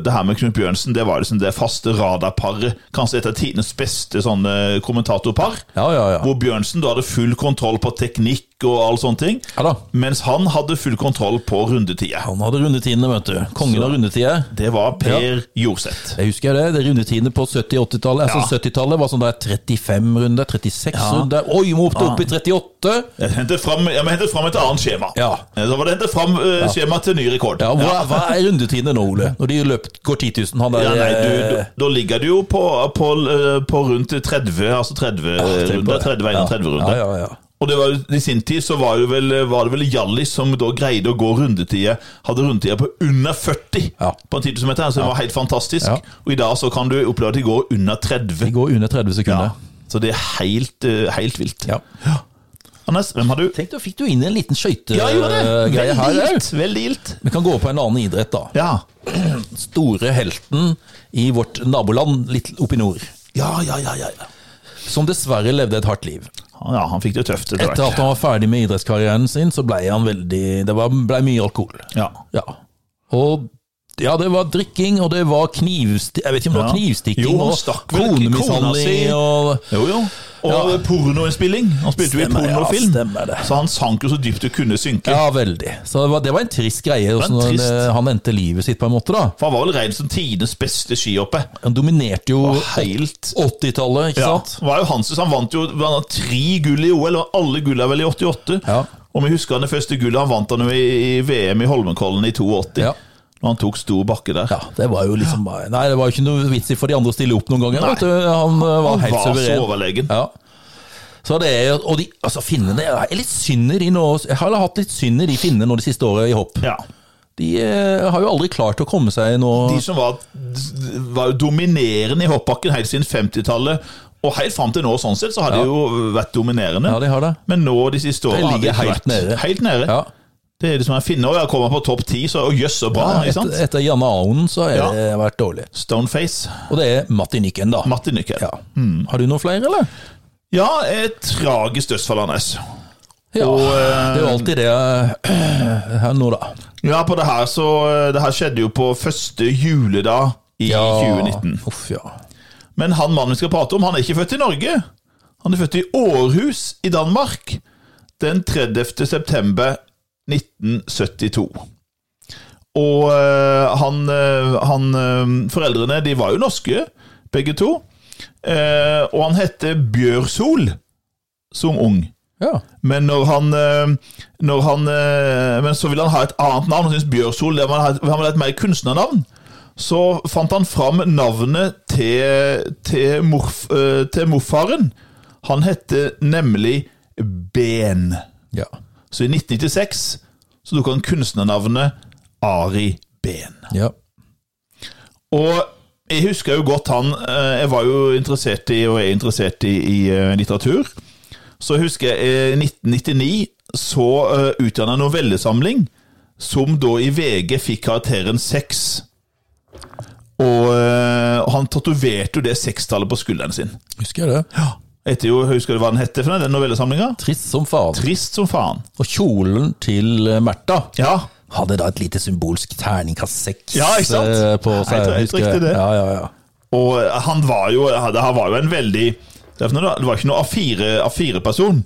Det her med Knut Bjørnsen, det var liksom det faste radarparet. Kanskje et av tidenes beste sånne kommentatorpar. Ja, ja, ja. Hvor Bjørnsen da hadde full kontroll på teknikk og all sånne ting. Ja da. Mens han hadde full kontroll på rundetida. Han hadde rundetidene, vet du. Kongen Så- av rundetider. Det var Per Jorseth. Jeg husker det, det er rundetidene på 70-80-tallet. Altså Ja. 70-tallet var sånn der 35 runder, 36 runder Oi, må opp, opp i 38! Jeg hentet fram, jeg må hente fram et annet skjema. Ja. Eh, Da var det hentet fram eh, skjema til ny rekord. Ja, hva, hva er rundetidene nå, Ole? Når de løp, går 10 000, han der Ja, nei, du, eh, da- da ligger du jo på, på, eh, på rundt 30, altså 30 Ah, tenk på runder. det. 30, Ja. 31 runder. Ja, ja, ja. Og det var, jo- I sin tid så var, det vel, var det vel Hjallis som da greide å gå rundetida Hadde rundetida på under 40 Ja. på en 10 000 meter, så det var helt fantastisk. Ja. Og i dag så kan du oppleve at de går under 30. De går under 30 Ja. sekunder. Så det er helt, eh, helt vilt. Ja. Anders, hvem har du? Tenk, da fikk du inn en liten Ja, jeg gjorde det! skøytegreie Veldig Eh, her. ja. gildt. Veldig gildt. Vi kan gå på en annen idrett, da. Ja. Store helten i vårt naboland litt oppe i nord, Ja, ja, ja, ja. ja. som dessverre levde et hardt liv. Ja, han fikk det tøft etter Etter at hvert. han var ferdig med idrettskarrieren sin, så ble han veldig Det var, ble mye alkohol. Ja. Ja. Og ja, det var drikking, og det var knivstikking Jeg vet ikke om det var Ja. knivstikking Jo, han og stakk vel kona si. konemishandling og Jo, jo. Og pornoinnspilling. Han spilte jo i Stemmer, ja, pornofilm, stemmer det. så han sank jo så dypt det kunne synke. Ja, veldig. Så det var, det var en trist greie. var hvordan trist. det- han endte livet sitt, på en måte. da For han var vel regnet som tidenes beste skihoppe. Han dominerte jo Helt 80-tallet, ikke Ja, sant? det var jo hans, han vant jo han hadde tre gull i OL, og alle gullene er vel i 88. Ja. Og vi husker han det første gullet, han vant han jo i, i VM i Holmenkollen i 82. Ja. Når han tok stor bakke der. Ja, det var jo liksom bare- Nei, det var jo ikke noe vits i for de andre å stille opp noen ganger. Vet du. Han eh, var han helt var så suveren. overlegen. Ja. Så det er, og de, altså finnene Jeg er litt synd i de nå Jeg har hatt litt synd i de finnene nå de siste årene i hopp. Ja. De eh, har jo aldri klart å komme seg nå De som var, var jo dominerende i hoppbakken helt siden 50-tallet, og helt fram til nå, sånn sett, så har de jo vært dominerende. Ja, de har det. Men nå de siste årene De har de ligger ikke helt vært- nede. Helt nede. Ja. Det er det som er finne. Og jeg kommer på topp ti, så og jøss, så bra. Ah, ikke Etter, sant? etter Janne Aunen så har Ja. det vært dårlig. Stoneface. Og det er Matti Nykken, da. Martin Nyckel. ja. Hmm. Har du noen flere, eller? Ja, et tragisk dødsfall, Anders. Ja, Og, eh, det er jo alltid det eh, [clears throat] her nå, da. Ja, på det her så Det her skjedde jo på første juledag i 2019. Uff, ja. Men han mannen vi skal prate om, han er ikke født i Norge. Han er født i Århus i Danmark den 30. september 1972. Og eh, han, eh, han eh, Foreldrene de var jo norske, begge to. Eh, og han heter Bjørsol som ung. Ja. Men når han, eh, når han eh, Men så ville han ha et annet navn. Han syntes Bjørsol det var- Han ville ha et mer kunstnernavn. Så fant han fram navnet til, til, morf, eh, til morfaren. Han hette nemlig Ben. ja. Så i 1996 så tok han kunstnernavnet Ari Ben. ja. Og jeg husker jo godt han eh, Jeg var jo interessert i, og er interessert i, i eh, litteratur. Så husker jeg i 1999 så uh, utdanna novellesamling, som da i VG fikk karakteren 6. Og eh, han tatoverte jo det sekstallet på skulderen sin. Husker jeg det. Etter jo, Husker du hva den het, for noe, den novellesamlinga? Trist som faen. Trist som faen. Og kjolen til eh, Märtha Ja, hadde da et lite symbolsk terningkast seks Ja, ikke sant? eh, på Nei, seg. det er helt husker jeg. riktig det. Ja, ja, ja. Og han var jo Det her var jo en veldig Det var ikke noe A4 A4-person.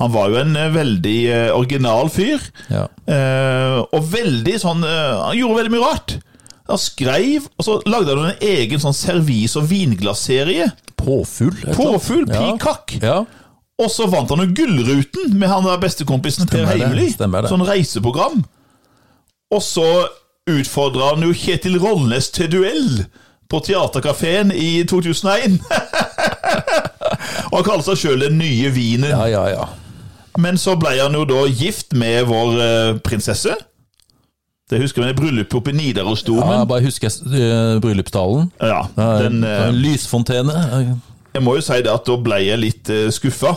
Han var jo en eh, veldig eh, original fyr. Ja. Eh, og veldig sånn eh, Han gjorde veldig mye rart. Han skreiv, og så lagde han en egen sånn servis- og vinglasserie. Påfugl. et eller annet. Påfugl, Sånn, Ja. pikakk. Ja. Og så vant han jo Gullruten med han der bestekompisen Per Stemmer det, Heimly. stemmer det. Sånn reiseprogram. Og så utfordra han jo Kjetil Rollnes til duell på Theatercaféen i 2001. [laughs] og han kaller seg sjøl Den nye vinen. ja, ja, ja. Men så ble han jo da gift med vår eh, prinsesse. Det husker vi, det bryllupet oppe i ja Nidarosdomen. jeg bare husker uh, bryllupstalen. Ja, Ja, den, eh, en lysfontene. eh, jeg må jo si det at da ble jeg litt uh, skuffa.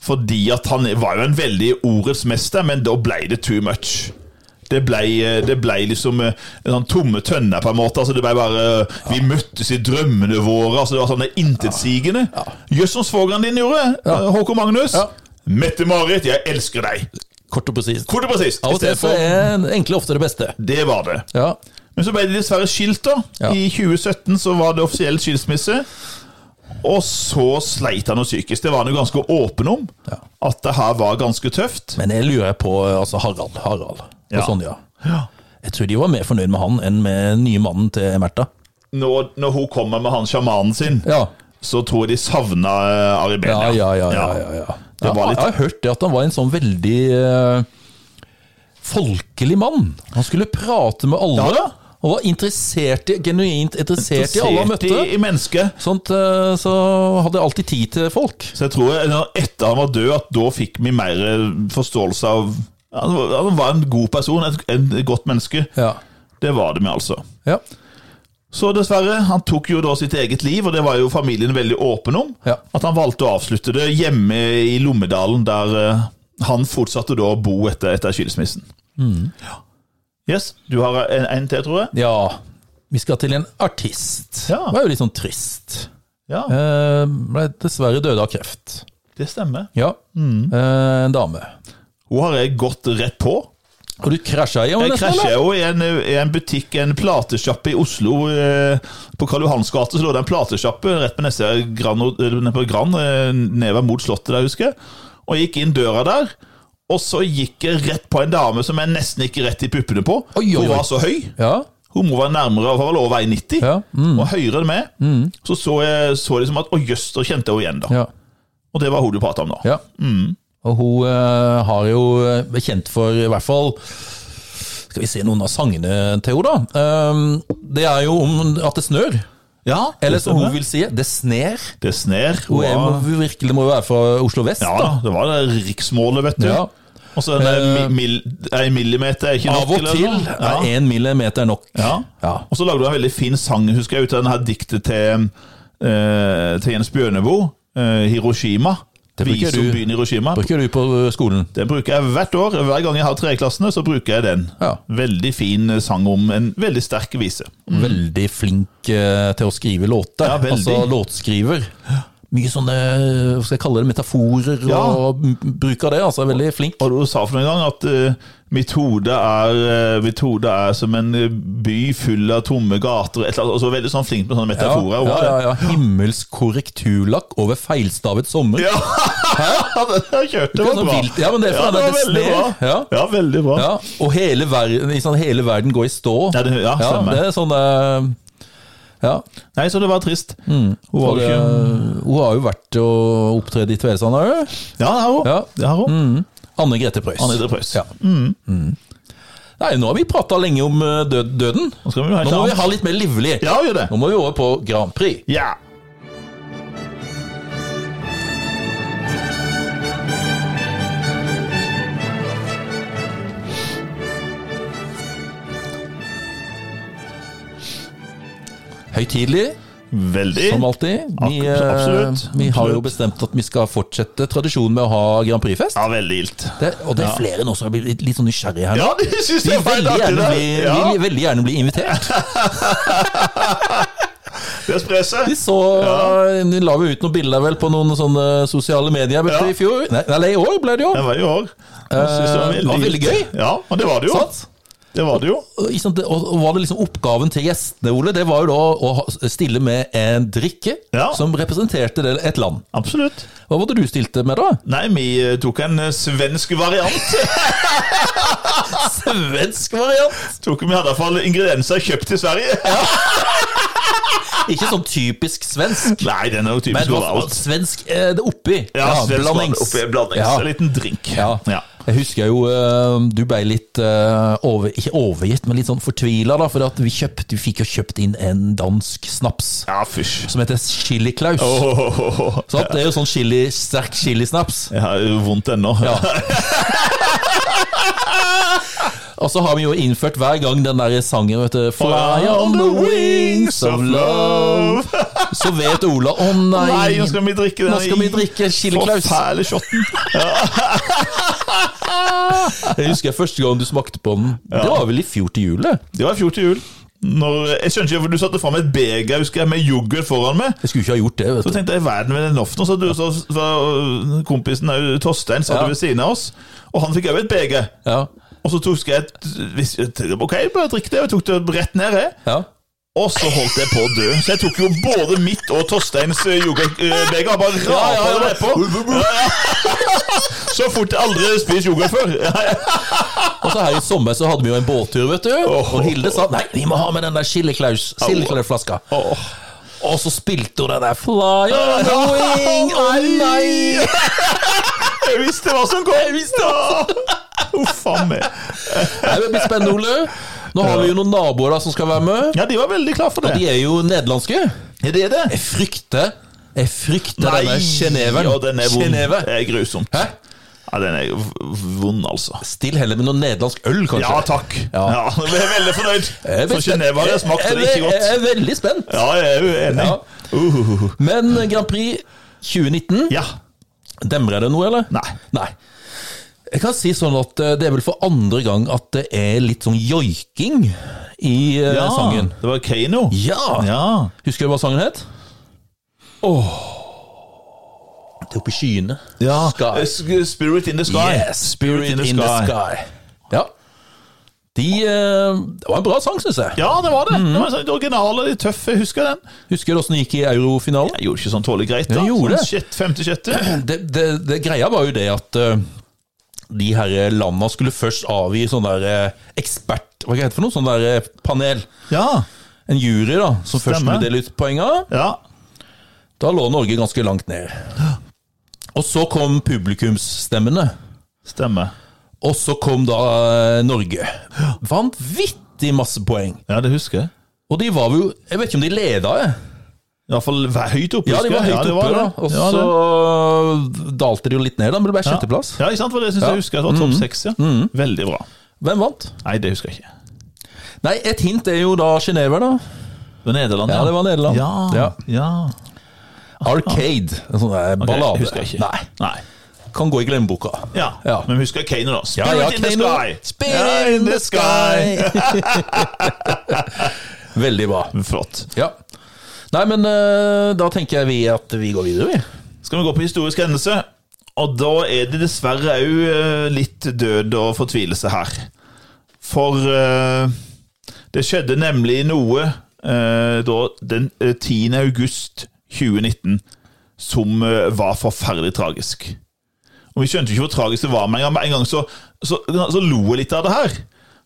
Fordi at han var jo en veldig ordets mester, men da ble det too much. Det ble, eh, det ble liksom eh, en sånn tomme tønner, på en måte. Altså, det ble bare eh, Vi møttes i drømmene våre. Altså, det var sånn intetsigende. Jøss, som svogeren din gjorde, eh, Håkon Magnus. Ja. Mette-Marit, jeg elsker deg. Kort og presist. Kort og presist. Av og til så Istedenfor- er egentlig ofte det beste. Det var det. Ja. Men så ble det dessverre skilt, da. Ja. I 2017 så var det offisiell skilsmisse. Og så sleit han noe psykisk. Det var han jo ganske åpen om. Ja. At det her var ganske tøft. Men jeg lurer på altså Harald, Harald Ja. og Sonja. Ja. Jeg tror de var mer fornøyd med han enn med den nye mannen til Märtha. Når, når hun kommer med han sjamanen sin, Ja. så tror jeg de savna eh, Ari Behn. Ja, ja, ja. ja, ja, ja. Det var litt- Jeg har hørt det at han var en sånn veldig eh, folkelig mann. Han skulle prate med alle. Ja, da. Og var interessert i, genuint interessert i Så alle han sett møtte. I, i mennesket. Sånt, eh, så hadde jeg alltid tid til folk. Så jeg tror jeg, når- etter han var død, at da fikk vi mer eh, forståelse av Han var- han var en god person, et, et godt menneske. Ja. Det var det vi, altså. Ja. Så dessverre, han tok jo da sitt eget liv, og det var jo familien veldig åpen om. Ja. At han valgte å avslutte det hjemme i Lommedalen, der eh, han fortsatte da å bo etter, etter skilsmissen. Ja. Yes, du har en, en til, tror jeg? ja. Vi skal til en artist. Ja. Det var jo litt sånn trist. Ja, Eh, ble dessverre døde av kreft. det stemmer. Ja. Mm. Eh, en dame. Hun har jeg gått rett på. Og du krasja i henne Jeg nesten, krasja eller? jo i en, i en butikk, en platesjappe i Oslo. eh, På Karl Johans gate så lå det en platesjappe rett ved neste Grand, eller nede på Grand, eh, nedover mot Slottet der, husker jeg. Og jeg gikk inn døra der, og så gikk jeg rett på en dame som jeg nesten gikk rett i puppene på. Oi, oi, Hun oi. var så høy. Ja. Hun må være nærmere hun var vel over 1,90 Ja, mm. og høyere enn meg. Så så jeg så liksom at Å jøss, da kjente jeg henne igjen, da. Ja. Og det var hun du prata om nå. ja. Mm. Og hun eh, har jo eh, vært kjent for i hvert fall Skal vi se noen av sangene til henne, da. Ehm, det er jo om at det snør. Ja, Eller som hun det vil si, det sner. Det sner. Hun er, var- må, virkelig må jo være fra Oslo vest, Ja da. da, det var det riksmålet, vet du. Ja. Eh, Og så en mil, en millimeter er ikke nok. Av og eller til noe. er Ja. én millimeter nok. Ja. Ja. Og så lagde du en veldig fin sang, husker jeg, ut av denne diktet til, eh, til Jens Bjørneboe. eh, Hiroshima. Det bruker Vis om du. byen Hiroshima. Bruker du på skolen? Den bruker jeg hvert år. Hver gang jeg har treklassene, så bruker jeg den. Ja. Veldig fin eh, sang om en veldig sterk vise. Veldig flink eh, til å skrive låter. Mm. Ja, veldig. altså låtskriver. mye sånne eh, hva skal jeg kalle det, metaforer Ja. og m- bruk av det. altså er Veldig flink. Og du sa for en gang at eh, mitt, hode er, eh, mitt hode er som en eh, by full av tomme gater. Et eller annet, altså veldig sånn flink med Ja, sånne metaforer. ja, ja, ja. Himmelsk korrekturlakk over feilstavet sommer. [laughs] Ja, den har jeg kjørt. Det Ikke var sånn bra. vilt- ja, men det er fra ja, det denne var veldig Disney. bra. Ja. Ja. veldig bra. Ja, og hele verden, liksom, hele verden går i stå. Ja, det- ja, stemmer. det er sånn eh, Ja. Nei, så det var trist. Hun Og var Mm. det, ikke hun har jo vært og opptredd i Tvedestrand, har hun? Ja, det har hun. Ja. Mm. Det har hun. Anne Grete Preus. Anne Grete Preus. Ja. Mm. Nei, nå har vi prata lenge om eh, død, døden. Nå skal vi ha Nå et må vi annet. ha litt mer livlig. Ja, gjør det. Nå må vi over på Grand Prix. Ja. Høytidelig, Veldig. som alltid. Vi, Ak- eh, absolutt. vi har jo Absolutt. bestemt at vi skal fortsette tradisjonen med å ha Grand Prix-fest. Ja, veldig ilt. Det, og det er flere nå som har blitt litt- litt sånn nysgjerrige her. nå. Ja, de syns Vi det er vil feil veldig artig, gjerne det. bli, Ja, vil veldig gjerne bli [laughs] invitert. det sprer seg. Vi så, Nå la vi ut noen bilder vel på noen sånne sosiale medier vet Ja. du, i fjor. Nei, eller i år ble det jo. Det var i år. Jeg synes Eh, det var veldig ilt. gøy. Ja, og det var det jo. Sant? Det var det jo. Og, ikke sant, det- og og var det liksom Oppgaven til gjestene Ole, det var jo da å ha- stille med en drikke Ja. som representerte det- et land. Absolutt. Hva var det du stilte med, [laughs] da? Nei, vi eh, tok en eh, svensk variant. [laughs] Svensk variant! Tok Vi hadde iallfall ingredienser kjøpt i Sverige. Ikke sånn typisk svensk, Nei, den er men jo typisk hva- hva- variant. svensk eh, det oppi. Ja, svensk blandings. variant oppi en blandings. Ja. En liten drink. Ja. Ja. Jeg husker jo eh, du ble litt eh, over, ikke overgitt, men litt sånn fortvila, da, for at vi, kjøpte, vi fikk jo kjøpt inn en dansk snaps Ja, fysj. som heter Chili Klaus. Åh, Sant? Det er jo sånn chili, sterk chilisnaps. Jeg har jo vondt ennå. Ja. Og så har vi jo innført hver gang den der sangen vet du, Fly on the wings of love. Så vet Ola Å Nei, nå nei, skal vi drikke den nå skal vi drikke Chili Klaus. Forfæle shotten. Jeg husker første gang du smakte på den. Det var vel i fjor til jul? det. Det var i fjor til jul. Når, jeg skjønner ikke hvorfor du satte fram et beger husker jeg, med yoghurt foran meg. Jeg skulle ikke ha gjort det. vet Så du tenkte jeg, verden med den loften. Og så hadde du så, så, kompisen eh, Torstein satt Ja. ved siden av oss, og han fikk òg et beger. ja. Og så tok jeg et hvis- Ok, bare drikk det. Og jeg tok det rett ned, jeg. Ja. Og så holdt jeg på å dø. Så jeg tok jo både mitt og Torsteins eh, yoghurtbeger og bare Ja, ja, rapet ja. det nedpå. Ja, ja. [laughs] Så fort jeg aldri har spist yoghurt før. Ja, ja. Og så her i sommer så hadde vi jo en båttur, vet du. Og Hilde sa nei, vi må ha med den der Chili Claus- Chili Claus-flaska. Åh. Og så spilte hun den der Fly on the wing! Å nei! Jeg visste hva som kom! Jeg visste Uff a meg. Nei, Det blir spennende, Ole. Nå har vi jo noen naboer da som skal være med. Ja, de var veldig klare for det. De er jo nederlandske. Er det det? Jeg frykter Jeg frykter denne Ja, Geneveren. den er vond. Geneve. Det er grusomt. Hæ? Ja, den er v- vond, altså. Still heller med noe nederlandsk øl, kanskje. Ja, takk. Ja. Ja. [laughs] jeg er veldig fornøyd. Jeg er For veldig- Genève har jeg smakt, og det er jeg- ikke Jeg godt. er veldig spent. Ja, jeg er Uh, jo enig. Ja. Uhuhu. Men Grand Prix 2019 Ja. Demrer det noe, eller? Nei. Nei. Jeg kan si sånn at eh, det er vel for andre gang at det er litt sånn joiking i eh, sangen. Det var Kano. Ja. Ja. Husker du hva sangen het? Åh Det er oppe i skyene. Ja. Sky. Eh, sk- Spirit in the sky. Yes, Spirit in, the sky. Ja. De, eh, det var en bra sang, syns jeg. Ja, det var Mm. det. Det var sånn original og litt tøff. Jeg husker den. Husker du åssen det gikk i eurofinalen? Jeg gjorde ikke sånn tålelig greit. da. Jeg gjorde det. Sånn sjette, femte, sjette. [clears throat] det, det, det greia var jo det at eh, de her landa skulle først avgi sånn der eh, ekspert... Hva heter det for noe? Sånn der eh, panel. Ja. En jury, da, som først Stemmer. skulle dele ut poenga. Ja. Da lå Norge ganske langt ned. Og så kom publikumsstemmene. Stemmer. Og så kom da eh, Norge. Vanvittig masse poeng. Ja, det husker jeg. Og de var jo Jeg vet ikke om de leda, jeg. Iallfall høyt oppe. Ja, de husker var jeg. høyt det oppe, da. det. Og Ja, det. så dalte de jo litt ned, da, men det ble sjetteplass. Ja, ikke sant? For det syns jeg husker. Det var topp Mm. seks, ja. Veldig bra. Hvem vant? Nei, det husker jeg ikke. Nei, et hint er jo da Genéve, da. Det var Nederland, Ja, det var Nederland. Ja, Ja. ja. Arcade. En sånn der Ah. Ok, ballade. Husker jeg ikke. Nei, Kan gå i glemmeboka. Ja. Ja. men vi husker Kane, da. Spirit in the Kano. sky! Spirit in the sky! [laughs] Veldig bra. Flott. Ja. Nei, men eh, da tenker jeg vi at vi går videre, vi. Skal vi gå på historisk hendelse? Og da er det dessverre òg litt død og fortvilelse her. For eh, det skjedde nemlig noe eh, da den eh, 10. august 2019 som eh, var forferdelig tragisk. Og vi skjønte jo ikke hvor tragisk det var, men en gang, en gang så, så, så lo jeg litt av det her.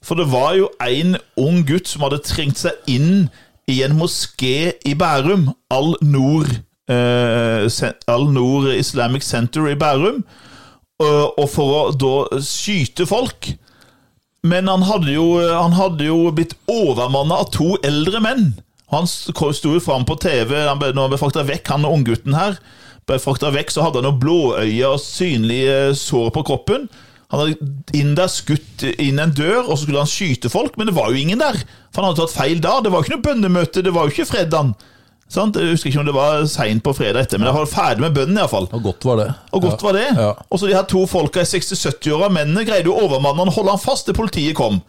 For det var jo en ung gutt som hadde trengt seg inn i en moské i Bærum, Al Noor, eh, sen- Al Noor Islamic Center i Bærum, Eh, og, og for å da skyte folk. Men han hadde jo, eh, han hadde jo blitt overmanna av to eldre menn. Han sto jo fram på TV han ble, når han ble frakta vekk, han unggutten her. Ble frakta vekk, så hadde han noen blåøyne og synlige sår på kroppen. Han hadde inn der skutt inn en dør, og så skulle han skyte folk, men det var jo ingen der. For han hadde tatt feil da. Det var jo ikke noe bønnemøte, det var jo ikke fredag. Sant? Jeg husker ikke om det var seint på fredag etter, men jeg var ferdig med bønnen iallfall. Og godt var det. Og godt var det. Ja. Og så de her to folka i 60-70-åra, mennene, greide jo å overmanne han og holde han fast til politiet kom.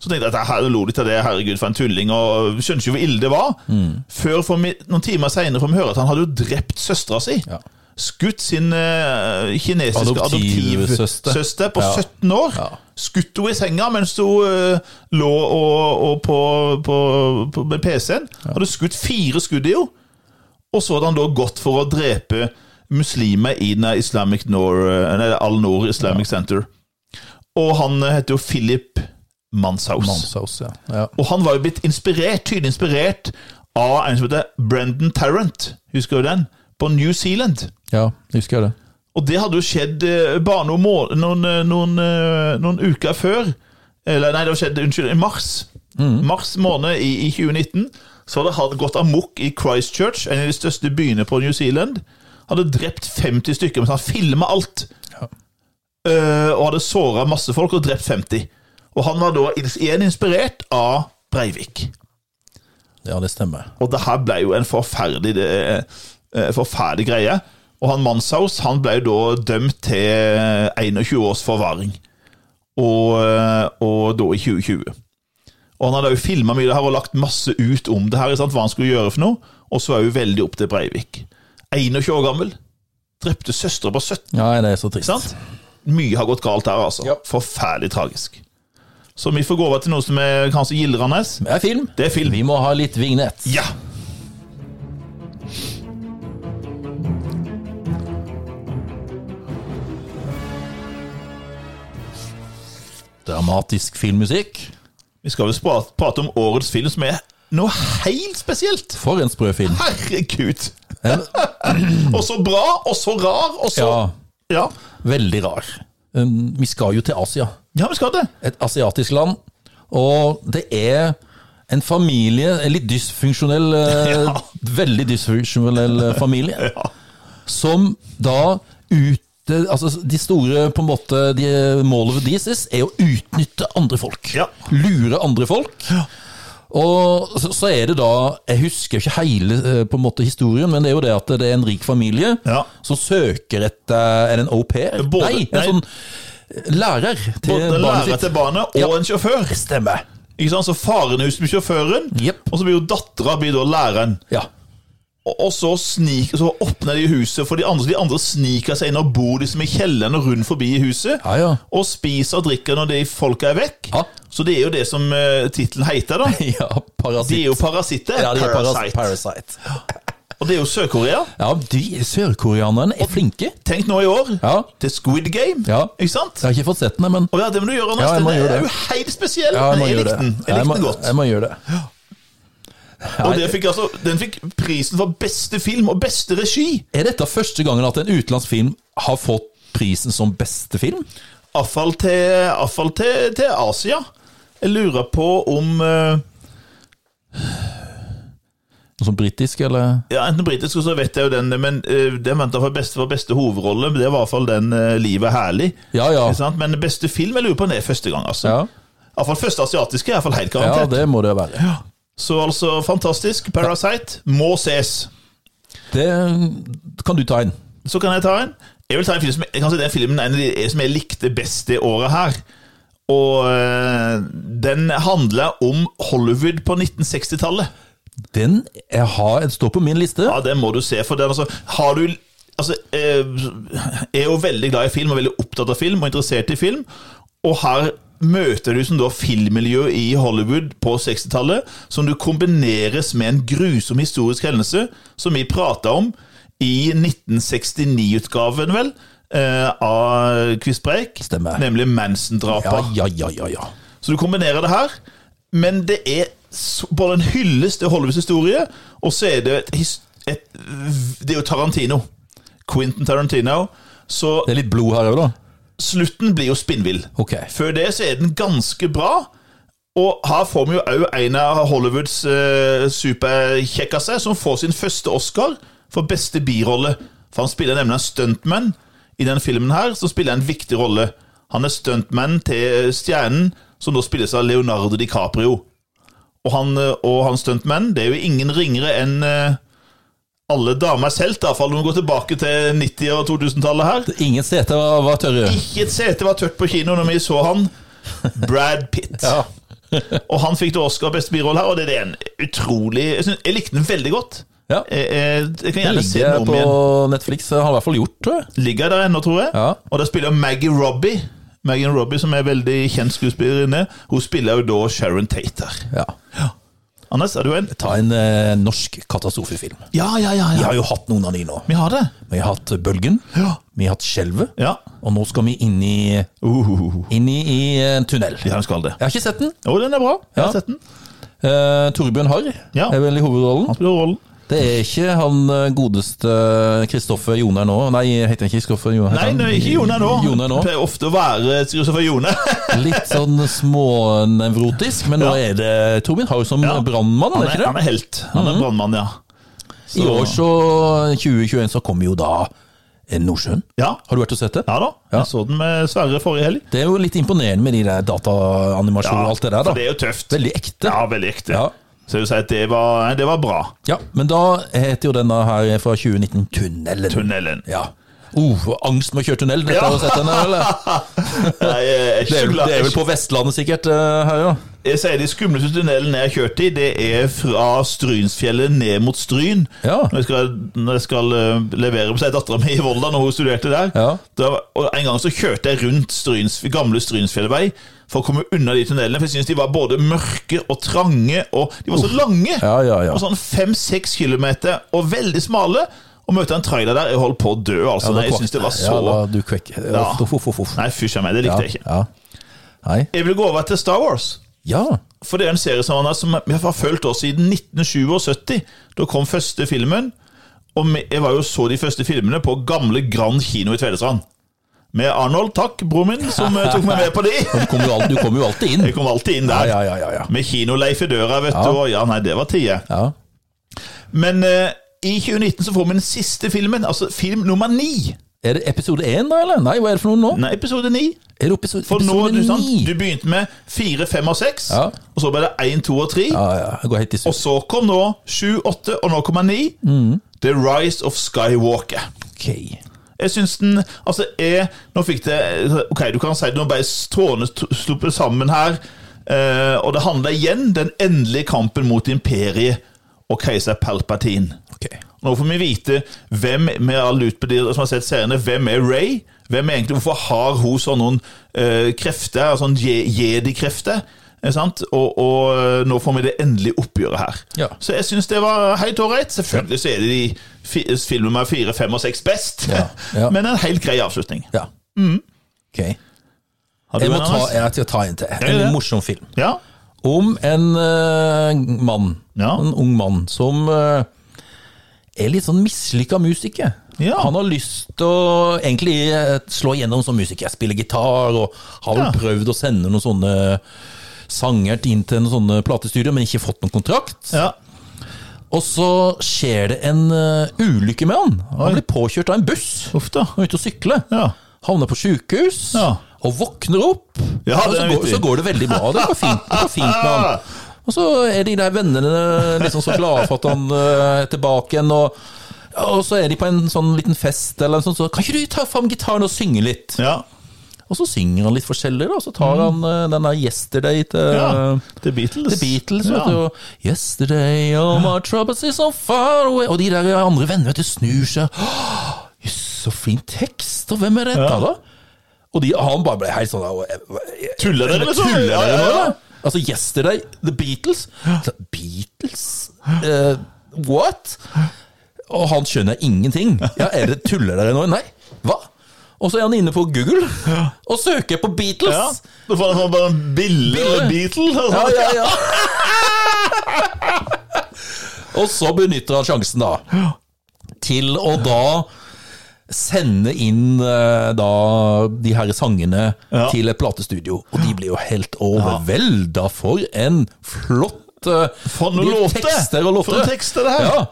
Så tenkte jeg at her lo de til det, herregud, for en tulling, og skjønte ikke hvor ille det var. Mm. Før for mi- noen timer seinere får vi høre at han hadde jo drept søstera si. Ja. Skutt sin eh, kinesiske Adoptivsøster. adoptivsøster på Ja. 17 år. Ja. Skutt henne i senga mens hun eh, lå og, og på, på, på, med PC-en. Hadde skutt fire skudd i henne. Og så hadde han da gått for å drepe muslimer i den her Islamic Nor, eh, nei, Al Noor Islamic Center. Og han eh, heter jo Philip Manshaus. Manshaus, ja. ja. Og han var jo blitt inspirert, tydelig inspirert av en som heter Brendan Tarrant. Husker du den? På New Zealand. Ja, husker jeg det. Og det hadde jo skjedd eh, bare noen, må noen, eh, noen, eh, noen uker før. Eller nei, det skjedde unnskyld, i mars. Mars måned i, i 2019 så hadde han gått amok i Christchurch, en av de største byene på New Zealand. Hadde drept 50 stykker mens han filma alt. Ja. Eh, og hadde såra masse folk og drept 50. Og han var da ins- igjen inspirert av Breivik. Ja, det stemmer. Og det her ble jo en forferdelig, det, eh, forferdelig greie. Og han Manshaus han ble jo da dømt til 21 års forvaring. Og, eh, og da i 2020. Og han hadde jo filma mye av det her og lagt masse ut om det her, ikke sant? hva han skulle gjøre for noe. Og så er hun veldig opp til Breivik. 21 år gammel. Drepte søstera på 17. Nei, det er så trist. Sant? Mye har gått galt her, altså. Ja. Forferdelig tragisk. Så vi får gå over til noe som er kanskje gildrende. Det er film. Det er film. Vi må ha litt vignett. Ja. Dramatisk filmmusikk. Vi skal vel spra- prate om årets film, som er noe helt spesielt. For en sprø film. Herregud! [clears throat] og så bra, og så rar, og så Ja, Ja, veldig rar. Um, Vi skal jo til Asia. ja vi skal det. Et asiatisk land. Og det er en familie, en litt [laughs] dysfunksjonell, eh, Ja. veldig dysfunksjonell eh, familie. [laughs] Ja. som da ut, altså De store på en måte de, Målet for deres er å utnytte andre folk. Ja. Lure andre folk. Og så, så er det da Jeg husker jo ikke hele eh, på en måte historien, men det er jo det at det er en rik familie Ja. som søker etter Er det en au pair? Både- nei, en nei. sånn lærer til Både barnet lærer sitt. til barnet og Ja. en sjåfør. Stemmer. Ikke sant? Så faren er ute med sjåføren, Jepp. og så blir jo dattera blir da læreren. Ja. Og, og så, snik, så åpner de huset, for de andre, de andre sniker seg inn og bor liksom i kjelleren og rundt forbi i huset. Ja, [laughs] ja. Og spiser og drikker når de folka er vekk. Ja. Så det er jo det som uh, tittelen [laughs] heter, da. ja De parasitt. er jo parasitter. Ja, de er parasitt. Parasite. parasite. Og det er jo Sør-Korea. Ja, de sørkoreanerne er flinke. Tenk nå i år. Ja. Det er Squid Game. Ja. Ikke sant? Jeg har ikke fått sett den, men Og ja, det må du gjøre, Anders. Ja, jeg må Den gjøre er det. jo helt spesiell. Ja, jeg må men jeg gjøre likte det. den. Jeg Ja, likte må, den godt. Jeg må gjøre det. Og den fikk, altså, den fikk prisen for beste film og beste regi. Er dette første gangen at en utenlandsk film har fått prisen som beste film? Iallfall til, i hvert fall til, til Asia. Jeg lurer på om eh, Noe sånn britisk, eller? ja, Enten britisk, og så vet jeg jo den, men eh, den venta for beste, for beste hovedrolle. men Det var i hvert fall den eh, 'Livet er herlig'. Ja, ja. Ikke sant? Men beste film jeg lurer på om det er første gang. altså. Ja, Iallfall første asiatiske. i hvert fall helt ja garantert. det må det være. Så altså, fantastisk. Parasite må ses. Det kan du ta inn. Så kan jeg ta en. Jeg vil ta en film som, kanskje den filmen er en av de som jeg likte best det året her. eh, Og øh, den handler om Hollywood på 1960-tallet. Den jeg har, står på min liste. Ja, det må du se. For den, altså, har du Altså, eh, jeg er jo veldig glad i film, og veldig opptatt av film, og interessert i film. Og her møter du som da filmmiljøet i Hollywood på 60-tallet, som du kombineres med en grusom historisk hendelse, som vi prata om i 1969-utgaven, vel, eh, av Quizpreik. Stemmer. Nemlig Manson-drapet. Ja, ja, ja, ja, ja. Så du kombinerer det her, men det er så- både en hyllest til Hollywoods historie, og så er det et, his- et Det er jo Tarantino. Quentin Tarantino. Så Det er litt blod her òg, da. slutten blir jo spinnvill. Ok. Før det så er den ganske bra. Og her får vi jo òg en av Hollywoods eh, superkjekkaser som får sin første Oscar for beste birolle. For han spiller nemlig en stuntman i den filmen her, som spiller en viktig rolle. Han er stuntman til stjernen, som da spilles av Leonardo DiCaprio. Og han, eh, og han stuntman, det er jo ingen ringere enn eh, alle damers helt, iallfall når vi går tilbake til 90- og 2000-tallet her. Ingen seter var, var tørre. Ikke et sete var tørt på kino når vi så han. Brad Pitt. Ja. Og han fikk da Oscar beste birolle her, og det er en utrolig Jeg, synes, jeg likte den veldig godt. Ja. Jeg, jeg, jeg kan Den gjerne se ligger den om på igjen. Netflix. Den har i hvert fall gjort det. Ligger der ennå, tror jeg. Ja. Og der spiller Maggie Robbie. Maggie Robbie, som er veldig kjent skuespillerinne, hun spiller jo da Sharon Tate her. Ja. Anders, er du en? Ta en eh, norsk katastrofefilm. Ja, ja, ja. Vi ja. har jo hatt noen av de nå. Vi har det. Vi har hatt Bølgen, Ja. vi har hatt Skjelvet, Ja. og nå skal vi inn i, Uh, inn i, i en tunnel. ja, den skal det. Jeg har ikke sett den. Å, den er bra. Jeg Ja. har sett den. Eh, Torbjørn Harr Ja. er vel i hovedrollen. Han spiller rollen. Det er ikke han eh, godeste Kristoffer Joner nå. Nei, heter han ikke Kristoffer Joner? Nei, heter han? nei, ikke Jone nå. Joner nå. Det pleier ofte å være Kristoffer Jone. [laughs] Litt sånn smånevrotisk, men nå Ja. er det Torbjørn Harr som Ja. brannmann, Han er det er, ikke han det? er helt. Han er brannmann, ja. I år så, 2021, så kommer jo da eh, Nordsjøen. Ja, Har du vært og sett det? ja da. Jeg så den med Sverre forrige helg. Det er jo litt imponerende med de der dataanimasjoner og alt det der, For det da. er jo tøft. Veldig ekte. Ja, veldig ekte. Ja. Så jeg vil si at det var, det var bra. Ja, men da heter jo denne her fra 2019 Tunnelen. Tunnelen. Ja. Uh, angst med å kjøre tunnel, dette Ja. har du sett henne, [laughs] eller? Nei, jeg er Det ikke er, så vel- glad. det er vel på Vestlandet sikkert eh, her, ja. Jeg sier de skumleste tunnelene jeg har kjørt i, det er fra Strynsfjellet ned mot Stryn. Ja. Når jeg skal, når jeg skal eh, levere på seg dattera mi i Volda, når hun studerte der. Ja. Da, og en gang så kjørte jeg rundt Stryns, gamle Strynsfjellvei for å komme unna de tunnelene, for jeg syntes de var både mørke og trange, og de var så lange. Ja, ja, ja. Og sånn fem-seks kilometer, og veldig smale. Og møte en trailer der. Jeg holdt på å dø, altså. Nei, jeg syns det var så Ja, da, du kvekk. Ja. Ja. Uff, uff, uff, uff. Nei, fysj a meg, det likte jeg ikke. Ja. Nei. Jeg vil gå over til Star Wars. Ja. For det er en serie som, Anders, som vi har fulgt oss siden 1977. Da kom første filmen. Og vi- jeg var jo så de første filmene på gamle Grand kino i Tvedestrand. Med Arnold, takk, bror min, som eh, tok meg med på de. Du kommer jo, al- du kommer jo alltid inn. Jeg kom alltid inn Ja, der. ja, ja, ja, ja. Med Kino-Leif i døra, vet du. Og ja, nei, det var tider. Ja. Men eh, i 2019 så får vi den siste filmen, altså film nummer ni. Er det episode 1 da, eller? Nei, hva er det for noe nå? Nei, episode ni. Er det episode, For nå, episode du, sant, 9? du begynte med fire, fem og seks. Ja. Og så ble det én, to og tre. Ja, ja, jeg går helt i Og sus. så kom nå 7, 8 og nå kommer 9. The Rise of Skywalker. Ok. Jeg syns den Altså, jeg Nå fikk det Ok, du kan si det, nå ble trådene t- sluppet sammen her. Eh, og det handla igjen den endelige kampen mot imperiet og keiser Palpatine. Ok. Nå får vi vite hvem med all ut på de som har sett seriene, hvem er Ray? Hvem er egentlig, Hvorfor har hun sånne uh, krefter, sånn je- jedi-krefter? eh, Sant? Og, og eh, nå får vi det endelige oppgjøret her. Ja. Så jeg syns det var helt ålreit. Selvfølgelig så er det de fi, filmer med fire, fem og seks best, Ja, ja. [laughs] men en helt grei avslutning. Ja. Ok. Har du Jeg må en, ta, Anders? jeg skal ta en til. gjør En det. morsom film. Ja. Om en eh, mann, Ja. en ung mann, som eh, er litt sånn mislykka musiker. Ja. Han har lyst til å egentlig eh, slå igjennom som musiker. Spille gitar, og har vel Ja. prøvd å sende noen sånne sanger inn til noen sånne platestudioer, men ikke fått noen kontrakt. ja. Og så skjer det en eh, ulykke med han. Han blir påkjørt av en buss. Uff da. Han er ute og sykler. Ja. Havner på sjukehus Ja. og våkner opp. Ja, og det så er går, viktig. så går det veldig bra. Det går fint, det går fint med [laughs] han. Og så er de der vennene liksom så glade for at han eh, er tilbake igjen. Og, og så er de på en sånn liten fest, eller noe sånt, så kan ikke du ta fram gitaren og synge litt? ja. Og så synger han litt forskjellig, da. Så tar han eh, denne 'Yesterday' til Mm. Ja, eh, The Beatles. The Beatles, ja. vet du. og 'Yesterday, all my troubles is so far away'. Og de der andre vennene vet du, snur seg. Åh, Jøss, så fin tekst! Og hvem er dette, da? Og de, han bare ble helt sånn der, Tuller dere, liksom? Tuller dere Ja, ja, nå, ja. da? Altså, 'Yesterday', The Beatles. Så, Beatles? Eh, what? Og han skjønner ingenting. Ja, er det Tuller dere nå? Nei. Hva? Og så er han inne på Google og søker på Beatles! Ja. Da får han bare en billig Billig. Beatle. og Ja, sånn. ja, ja. [laughs] og så benytter han sjansen, da, til å da sende inn eh, da de her sangene Ja. til et platestudio. Og de blir jo helt overvelda for en flott eh, For noen de låter! tekster og låter. For noen tekster, det her! Ja.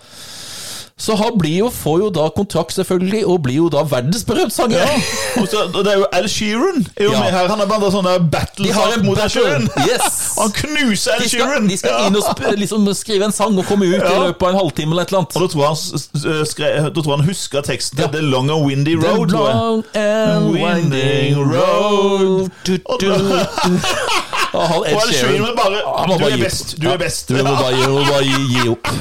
Så han blir jo, får jo da kontrakt, selvfølgelig, og blir jo da verdensberømt sanger. Ja. Og så, og det er jo Al Sheeran er jo Ja. med her. Han har blant sånn der battle De har en mot Al battle. Sheeran. Yes. [laughs] Han knuser Al De skal, Sheeran! de skal inn og sp liksom skrive en sang og komme ut i Ja. løpet av en halvtime eller et eller annet. Og da tror jeg han, s- s- skrev, da tror jeg han husker teksten til Ja. The Long and Windy The Road. tror jeg. long and winding road du, du, du. [laughs] Og han Ed Og Al Sheeran Sheeran bare han må Du bare er gi opp. best, du Ja, er best. Du må bare, du må bare gi, gi [laughs] opp.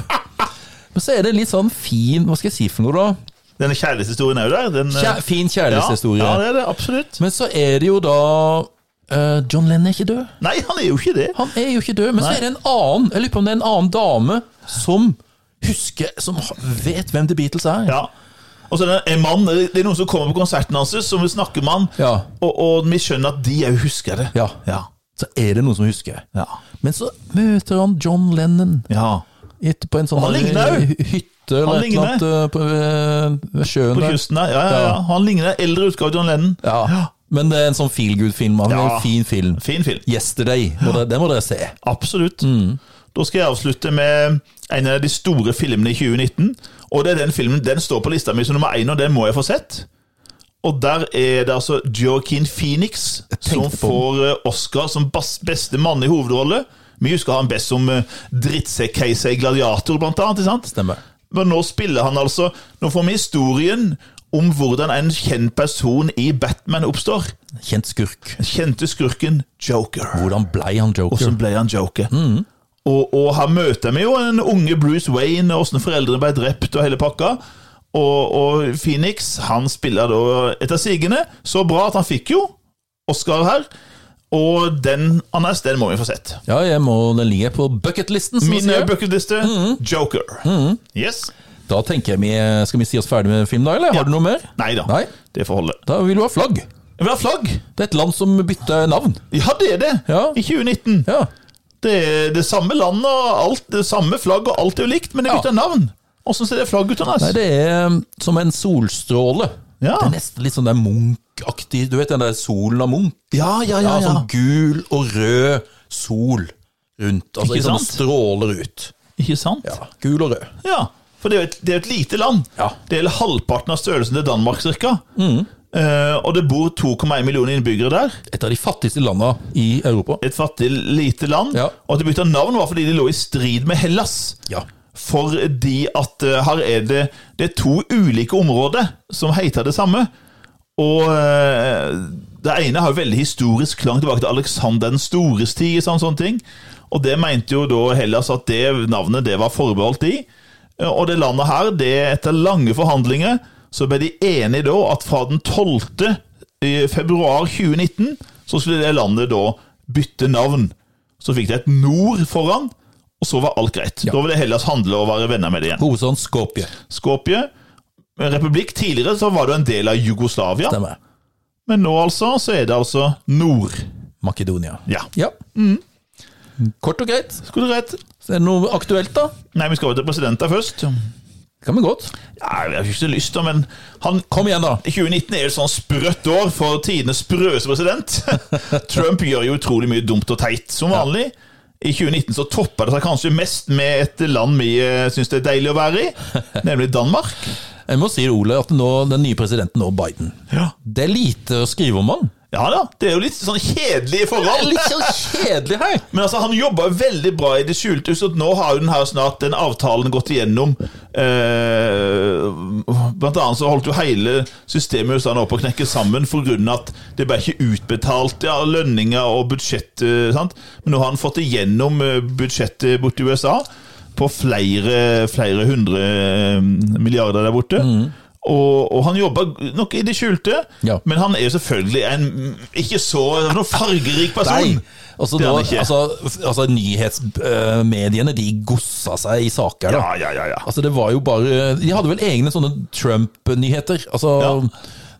Men så er det litt sånn fin Hva skal jeg si for noe, da? Denne kjærlighetshistorien er jo der. Den, eh, Kjær, fin kjærlighetshistorie. Ja, ja, det er det, absolutt. Men så er det jo da eh, John Lennon er ikke død. Nei, han er jo ikke det. Han er jo ikke død, men så Nei. er det en annen Jeg lurer på om det er en annen dame som husker Som vet hvem The Beatles er. Ja. Og så er det en mann, det er noen som kommer på konserten hans, som vil snakke med han, Ja. og, og vi skjønner at de òg husker det. Ja. Ja. Så er det noen som husker. Ja. Men så møter han John Lennon ja. etter på en sånn Han her ligner jo. hy- hytte Han eller et eller annet eh, på eh, ved sjøen På der. kysten der. Ja, ja, ja. Ja. Han ligner en eldre utgave av John Lennon. Ja. Men det er en sånn feel good-film. Han er Ja. En fin film. Fin film. 'Yesterday'. Må dere, det må dere se. Absolutt. Mm. Da skal jeg avslutte med en av de store filmene i 2019. Og det er den filmen, den står på lista mi som nummer én, og den må jeg få sett. Og der er det altså Joaquin Phoenix som tenkte på får eh, Oscar som bas- beste mann i hovedrolle. Vi husker han best som eh, drittsekk-keiser i Gladiator, blant annet. Ikke sant? Stemmer. Men nå spiller han altså Nå får vi historien om hvordan en kjent person i Batman oppstår. Kjent skurk. Den kjente skurken Joker. Hvordan blei han Og så joker? Mm. ble han joker. Og, og her møter vi jo en unge Bruce Wayne, og hvordan foreldrene ble drept og hele pakka. Og, og Phoenix han spiller da etter sigende så bra at han fikk jo Oscar her. Og den, Anders, den må vi få sett. Ja, jeg må, den ligger på bucketlisten. som man Min eh, sier. Mm. bucketliste Joker. Yes. Da tenker jeg vi eh, Skal vi si oss ferdig med film, da? Eller har du noe mer? Nei da, Nei. det får holde. Da vil du ha flagg. Jeg vil ha flagg! Det er et land som bytter navn. Ja, det er det! Ja. I 2019. Ja. Det er det samme landet og alt, det samme flagg og alt er jo likt, men det Ja. bytter navn. Åssen ser det flagget ut, Anders? Nei, det er um, som en solstråle. Ja. Det er nesten litt sånn der Munch-aktig. Du vet den der solen av Munch? Ja, ja, Ja, ja. ja. Sånn gul og rød sol rundt. Altså Ikke Ikke sånn sant? stråler ut. Ikke sant? Ja. Ja, Gul og rød. For det er jo et, det er jo et lite land. Ja. Mm. Det gjelder halvparten av størrelsen til Danmark, cirka. Eh, og det bor 2,1 millioner innbyggere der. Et av de fattigste landa i Europa. Et fattig, lite land. Ja. Og at de bytta navn, var fordi de lå i strid med Hellas. Ja. Fordi at eh, her er det Det er to ulike områder som heter det samme. Og eh, det ene har jo veldig historisk klang tilbake til Aleksander den stores tid. Sånn, sånne ting. Og det mente jo da Hellas at det navnet det var forbeholdt de. Eh, Og det landet her, det etter lange forhandlinger, så ble de enige da at fra den 12. i februar 2019 så skulle det landet da bytte navn. Så fikk det et nord foran, og så var alt greit. Da ville Hellas handle og være venner med det igjen. Hovedstaden Skopje. Skopje, republikk, tidligere så var det en del av Jugoslavia. Stemmer. Men nå altså, så er det altså nord. Makedonia. Ja, Ja. Mm. Kort og greit. skulle du rett. Så er det noe aktuelt, da? Nei, vi skal over til presidenter først. Ja, Kan vi godt. jeg har ikke så lyst til, men han Kom igjen, da. 2019 er jo et sånn sprøtt år for tidenes sprøeste [laughs] president. Trump gjør jo utrolig mye dumt og teit, som vanlig. I 2019 så topper det seg kanskje mest med et land vi syns det er deilig å være i, nemlig [laughs] Danmark. Jeg må si Ole, at nå, den nye presidenten nå, Biden Det er lite å skrive om han. Ja da, det er jo litt sånn kjedelige Det er forhold. litt sånn kjedelig her. Men altså, han jobba veldig bra i det skjulte, så nå har jo den her snart den avtalen gått igjennom. Eh, blant annet så holdt jo hele systemet i USA nå på å knekke sammen pga. at det ble ikke utbetalt ja, lønninger og budsjett. eh, sant? Men nå har han fått igjennom eh, budsjettet borte i USA på flere, flere hundre eh, milliarder der borte. Og, og han jobba nok i det skjulte, Mm. Ja. men han er jo selvfølgelig en ikke så noen fargerik person. Nei. Altså, Det er nå, han ikke. altså, f- altså Nyhetsmediene de gossa seg i saker. Da. Ja, ja, ja, ja. Altså, det var jo bare De hadde vel egne sånne Trump-nyheter. Altså,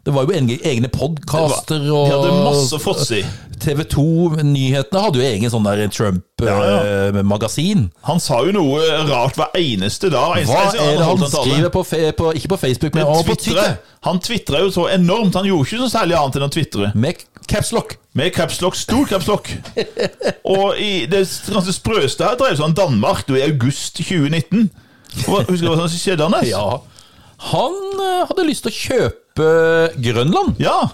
Det var jo en- egne podkaster De hadde og masse fråtser. TV 2-nyhetene hadde jo egen sånn der eh, Ja, ja. Trump-magasin. Han sa jo noe rart hver eneste dag. Hver Hva eneste- er det han holdt en tale. skriver på, fe- på Ikke på Facebook, men Han på Twitter? twitterer. Han twitterer jo så enormt. Han gjorde ikke så særlig annet enn å twitre. Med capslock. Med capslock, stor capslock. Og i det ganske sprøeste her drev seg om Danmark det var i august 2019. Og Husker du hva som skjedde, Anders? Ja. Han eh, hadde lyst til å kjøpe Grønland. ja.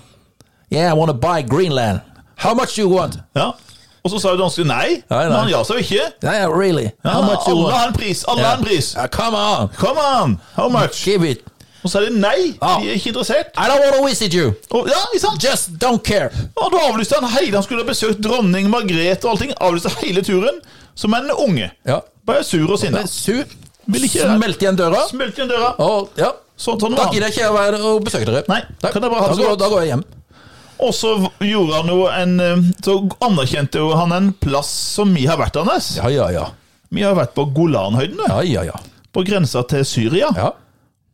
Yeah, I wanna buy Greenland. How much you want? ja. Og så sa jo danskene nei, nei. men han ja sa jo ikke. Yeah, really? Ja, How much you alle want? har en pris! Alle har en pris! Ah, come on, oh, Come on! How much? give it. Og så er det nei. Ja. De er ikke interessert. I don't want to visit you. Og, ja, ikke sant? Just don't care. Og da avlyste han hele, han skulle ha besøkt dronning Margrethe og allting, avlyste hele turen, som en unge. Ja. Bare sur og sinna. Men Su, Vil ikke det. smelt igjen døra. Smelt igjen døra. Og ja, Sånn, sånn da var han. gidder jeg ikke å være og besøke dere. Nei, Nei, kan jeg bare ha da, det så går, godt. da går jeg hjem. Og så gjorde han jo en eh, Så anerkjente jo han en plass som vi har vært, Anders. Ja, ja, ja. Vi har vært på Golanhøydene, Ja, ja, ja. på grensa til Syria. ja.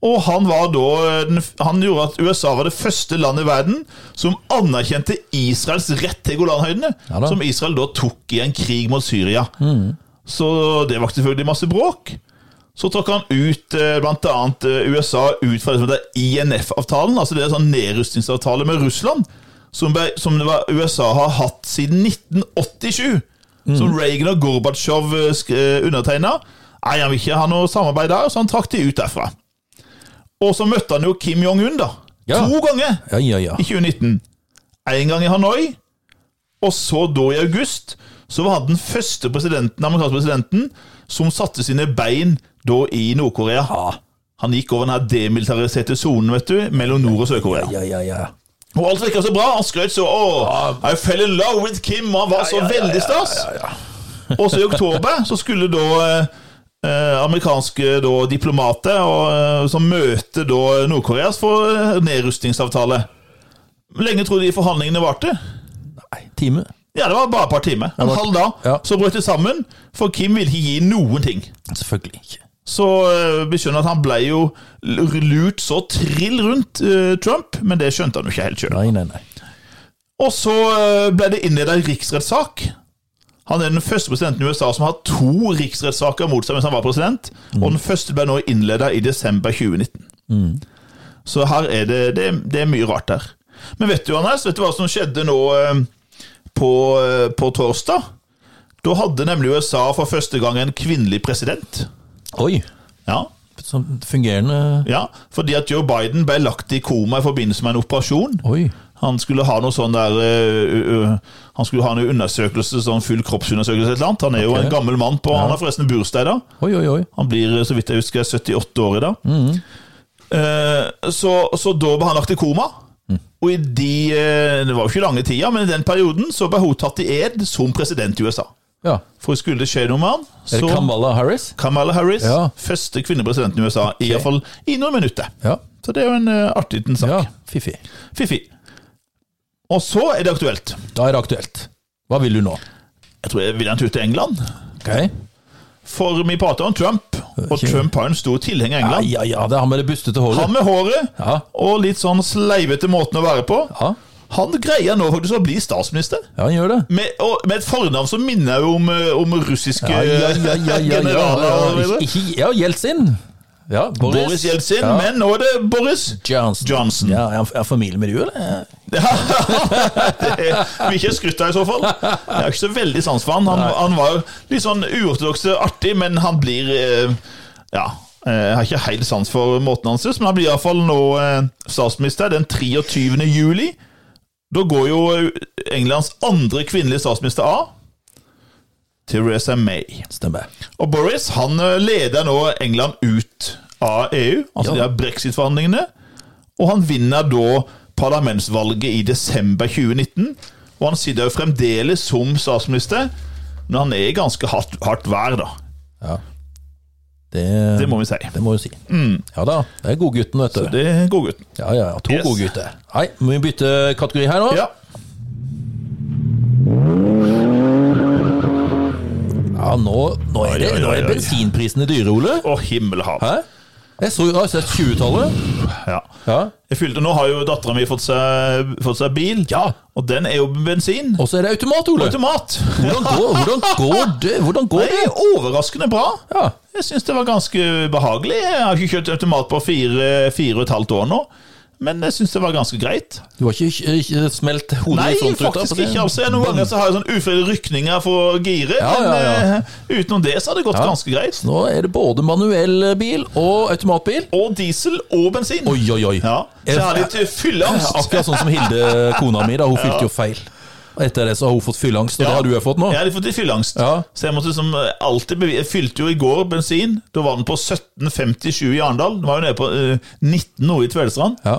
Og han var da eh, den- Han gjorde at USA var det første landet i verden som anerkjente Israels rett til Golanhøydene. Ja da. Mm. som Israel da tok i en krig mot Syria. Så det vakte selvfølgelig masse bråk. Så trakk han ut eh, blant annet eh, USA ut fra det som heter INF-avtalen, altså det er en sånn nedrustningsavtale med Russland, som, ble, som det var, USA har hatt siden 1987. Mm. Som Reagan og Gorbatsjov eh, undertegna. Nei, han vil ikke ha noe samarbeid der, så han trakk de ut derfra. Og så møtte han jo Kim Jong-un, da. Ja. To ganger Ja, ja, ja. i 2019. En gang i Hanoi, og så da i august, så var han den første presidenten, amerikanske presidenten som satte sine bein da i Nord-Korea. Han gikk over den her demilitariserte sonen vet du, mellom Nord- og Sør-Korea. Ja, ja, ja. Og alt virka altså så bra. Han skrøt så Åh, I fell in love with Kim. Han var så veldig stas. Og så i oktober så skulle da eh, eh, amerikanske da, diplomater og, eh, som møter da Nord-Koreas for eh, nedrustningsavtale. Hvor lenge tror du de forhandlingene varte? Nei, time. Ja, det var bare et par timer. En var- halv dag. Ja. Så brøt det sammen, for Kim ville ikke gi noen ting. Selvfølgelig ikke. Så eh, vi skjønner at han ble jo lurt så trill rundt eh, Trump, men det skjønte han jo ikke helt sjøl. Nei, nei, nei. Og så eh, ble det innleda en riksrettssak. Han er den første presidenten i USA som har to riksrettssaker mot seg mens han var president. Og den første ble nå innleda i desember 2019. Så her er det, det, det er mye rart der. Men vet du, Anders, vet du hva som skjedde nå eh, på, eh, på torsdag? Da hadde nemlig USA for første gang en kvinnelig president. Oi, Ja, sånn fungerende ja, Fordi at Joe Biden ble lagt i koma i forbindelse med en operasjon. Oi. Han skulle ha noe sånn der ø, ø, ø, Han skulle ha en undersøkelse, sånn full kroppsundersøkelse eller noe. Han er jo Ok. en gammel mann på Han har forresten bursdag i dag. Oi, oi, oi. Han blir, eh, så vidt jeg husker, 78 år i dag. Mm. Eh, så, så da ble han lagt i koma. Mm. Og i de eh, Det var jo ikke lange tida, men i den perioden så ble hun tatt i ed som president i USA. Ja. For skulle det skje noe med han, Er så det Kamala Harris? Kamala Harris, Ja. første kvinnepresidenten i USA, i hvert fall i noen minutter. Ja. Så det er jo en eh, artig liten sak. ja. Fiffig. Fiffi. Og så er det aktuelt. Da er det aktuelt. Hva vil du nå? Jeg tror jeg vil ha en tur til England. Ok. For vi prater om Trump, og Ok. Trump har en stor tilhenger i Ja, England. ja, ja, det er han med det bustete håret. Han med håret Ja. og litt sånn sleivete måten å være på. Ja. Han greier nå faktisk å bli statsminister. ja, han gjør det. Med, og, med et fornavn som minner jo om, eh, om russiske Ja, eh, ja, ja, ja, ja, ja, generaler. ja. og så videre. Ikke- ikke- ja Jeltsin. Ja, Boris, Boris Jeltsin, Ja. men nå er det Boris Johnson. Johnson. Ja, er han- er han familie med du, eller? [laughs] Det er mye skrytt av i så fall. Jeg har ikke så veldig sans for han. Han, han var jo litt sånn uortodoks artig, men han blir eh, Ja. eh, Jeg har ikke helt sans for måten hans, men han blir iallfall nå eh, statsminister den 23. juli. Da går jo Englands andre kvinnelige statsminister av. Theresa May. Stemmer. Og Boris han eh, leder nå England ut av EU, altså Ja. de her brexit-forhandlingene. Og han vinner da parlamentsvalget i desember 2019. Og han sitter jo fremdeles som statsminister, men han er i ganske hardt, hardt vær, da. Ja. Det, Det må vi si. det må vi si. Ja da. Det er godgutten, vet du. Det er godgutten. Ja, ja, ja. To Yes. gode gutter. Nei, må vi bytte kategori her nå? Ja. Ja, nå, nå er, det, Oi, oi, nå oi, er oi. bensinprisene dyre, Ole. Og himmelhav. Hæ? Jeg, så, jeg har sett 20-tallet. Ja. Ja. Jeg fylte, Nå har jo dattera mi fått, seg- fått seg bil, Ja. og den er jo bensin. Og så er det automat, Ole. Automat. Hvordan går, [laughs] hvordan går det? Hvordan går Det det? er overraskende bra. Ja. Jeg syns det var ganske behagelig. Jeg har ikke kjørt automat på fire, fire og et halvt år nå, men jeg syns det var ganske greit. Du har ikke, ikke, ikke smelt hodet Nei, i frontruta? faktisk på det? ikke. altså. Noen ganger så har jeg sånn ufrivillige rykninger for giret, Ja, men ja, ja. eh, utenom det så har det gått ganske greit. Nå er det både manuell bil og automatbil. Og diesel og bensin. Oi, oi, oi. Ja, så jeg har litt fylleangst. Akkurat sånn som Hilde, kona mi, da. Hun fylte jo feil. Og etter det så har hun fått fylleangst, og det har du jo fått nå. Jeg har litt fått litt fylleangst. Ja. Så jeg måtte liksom alltid bevi- Jeg fylte jo i går bensin. Da var den på 17,57 i Arendal. Den var jo nede på eh, 19 nå i Tvedestrand. Ja.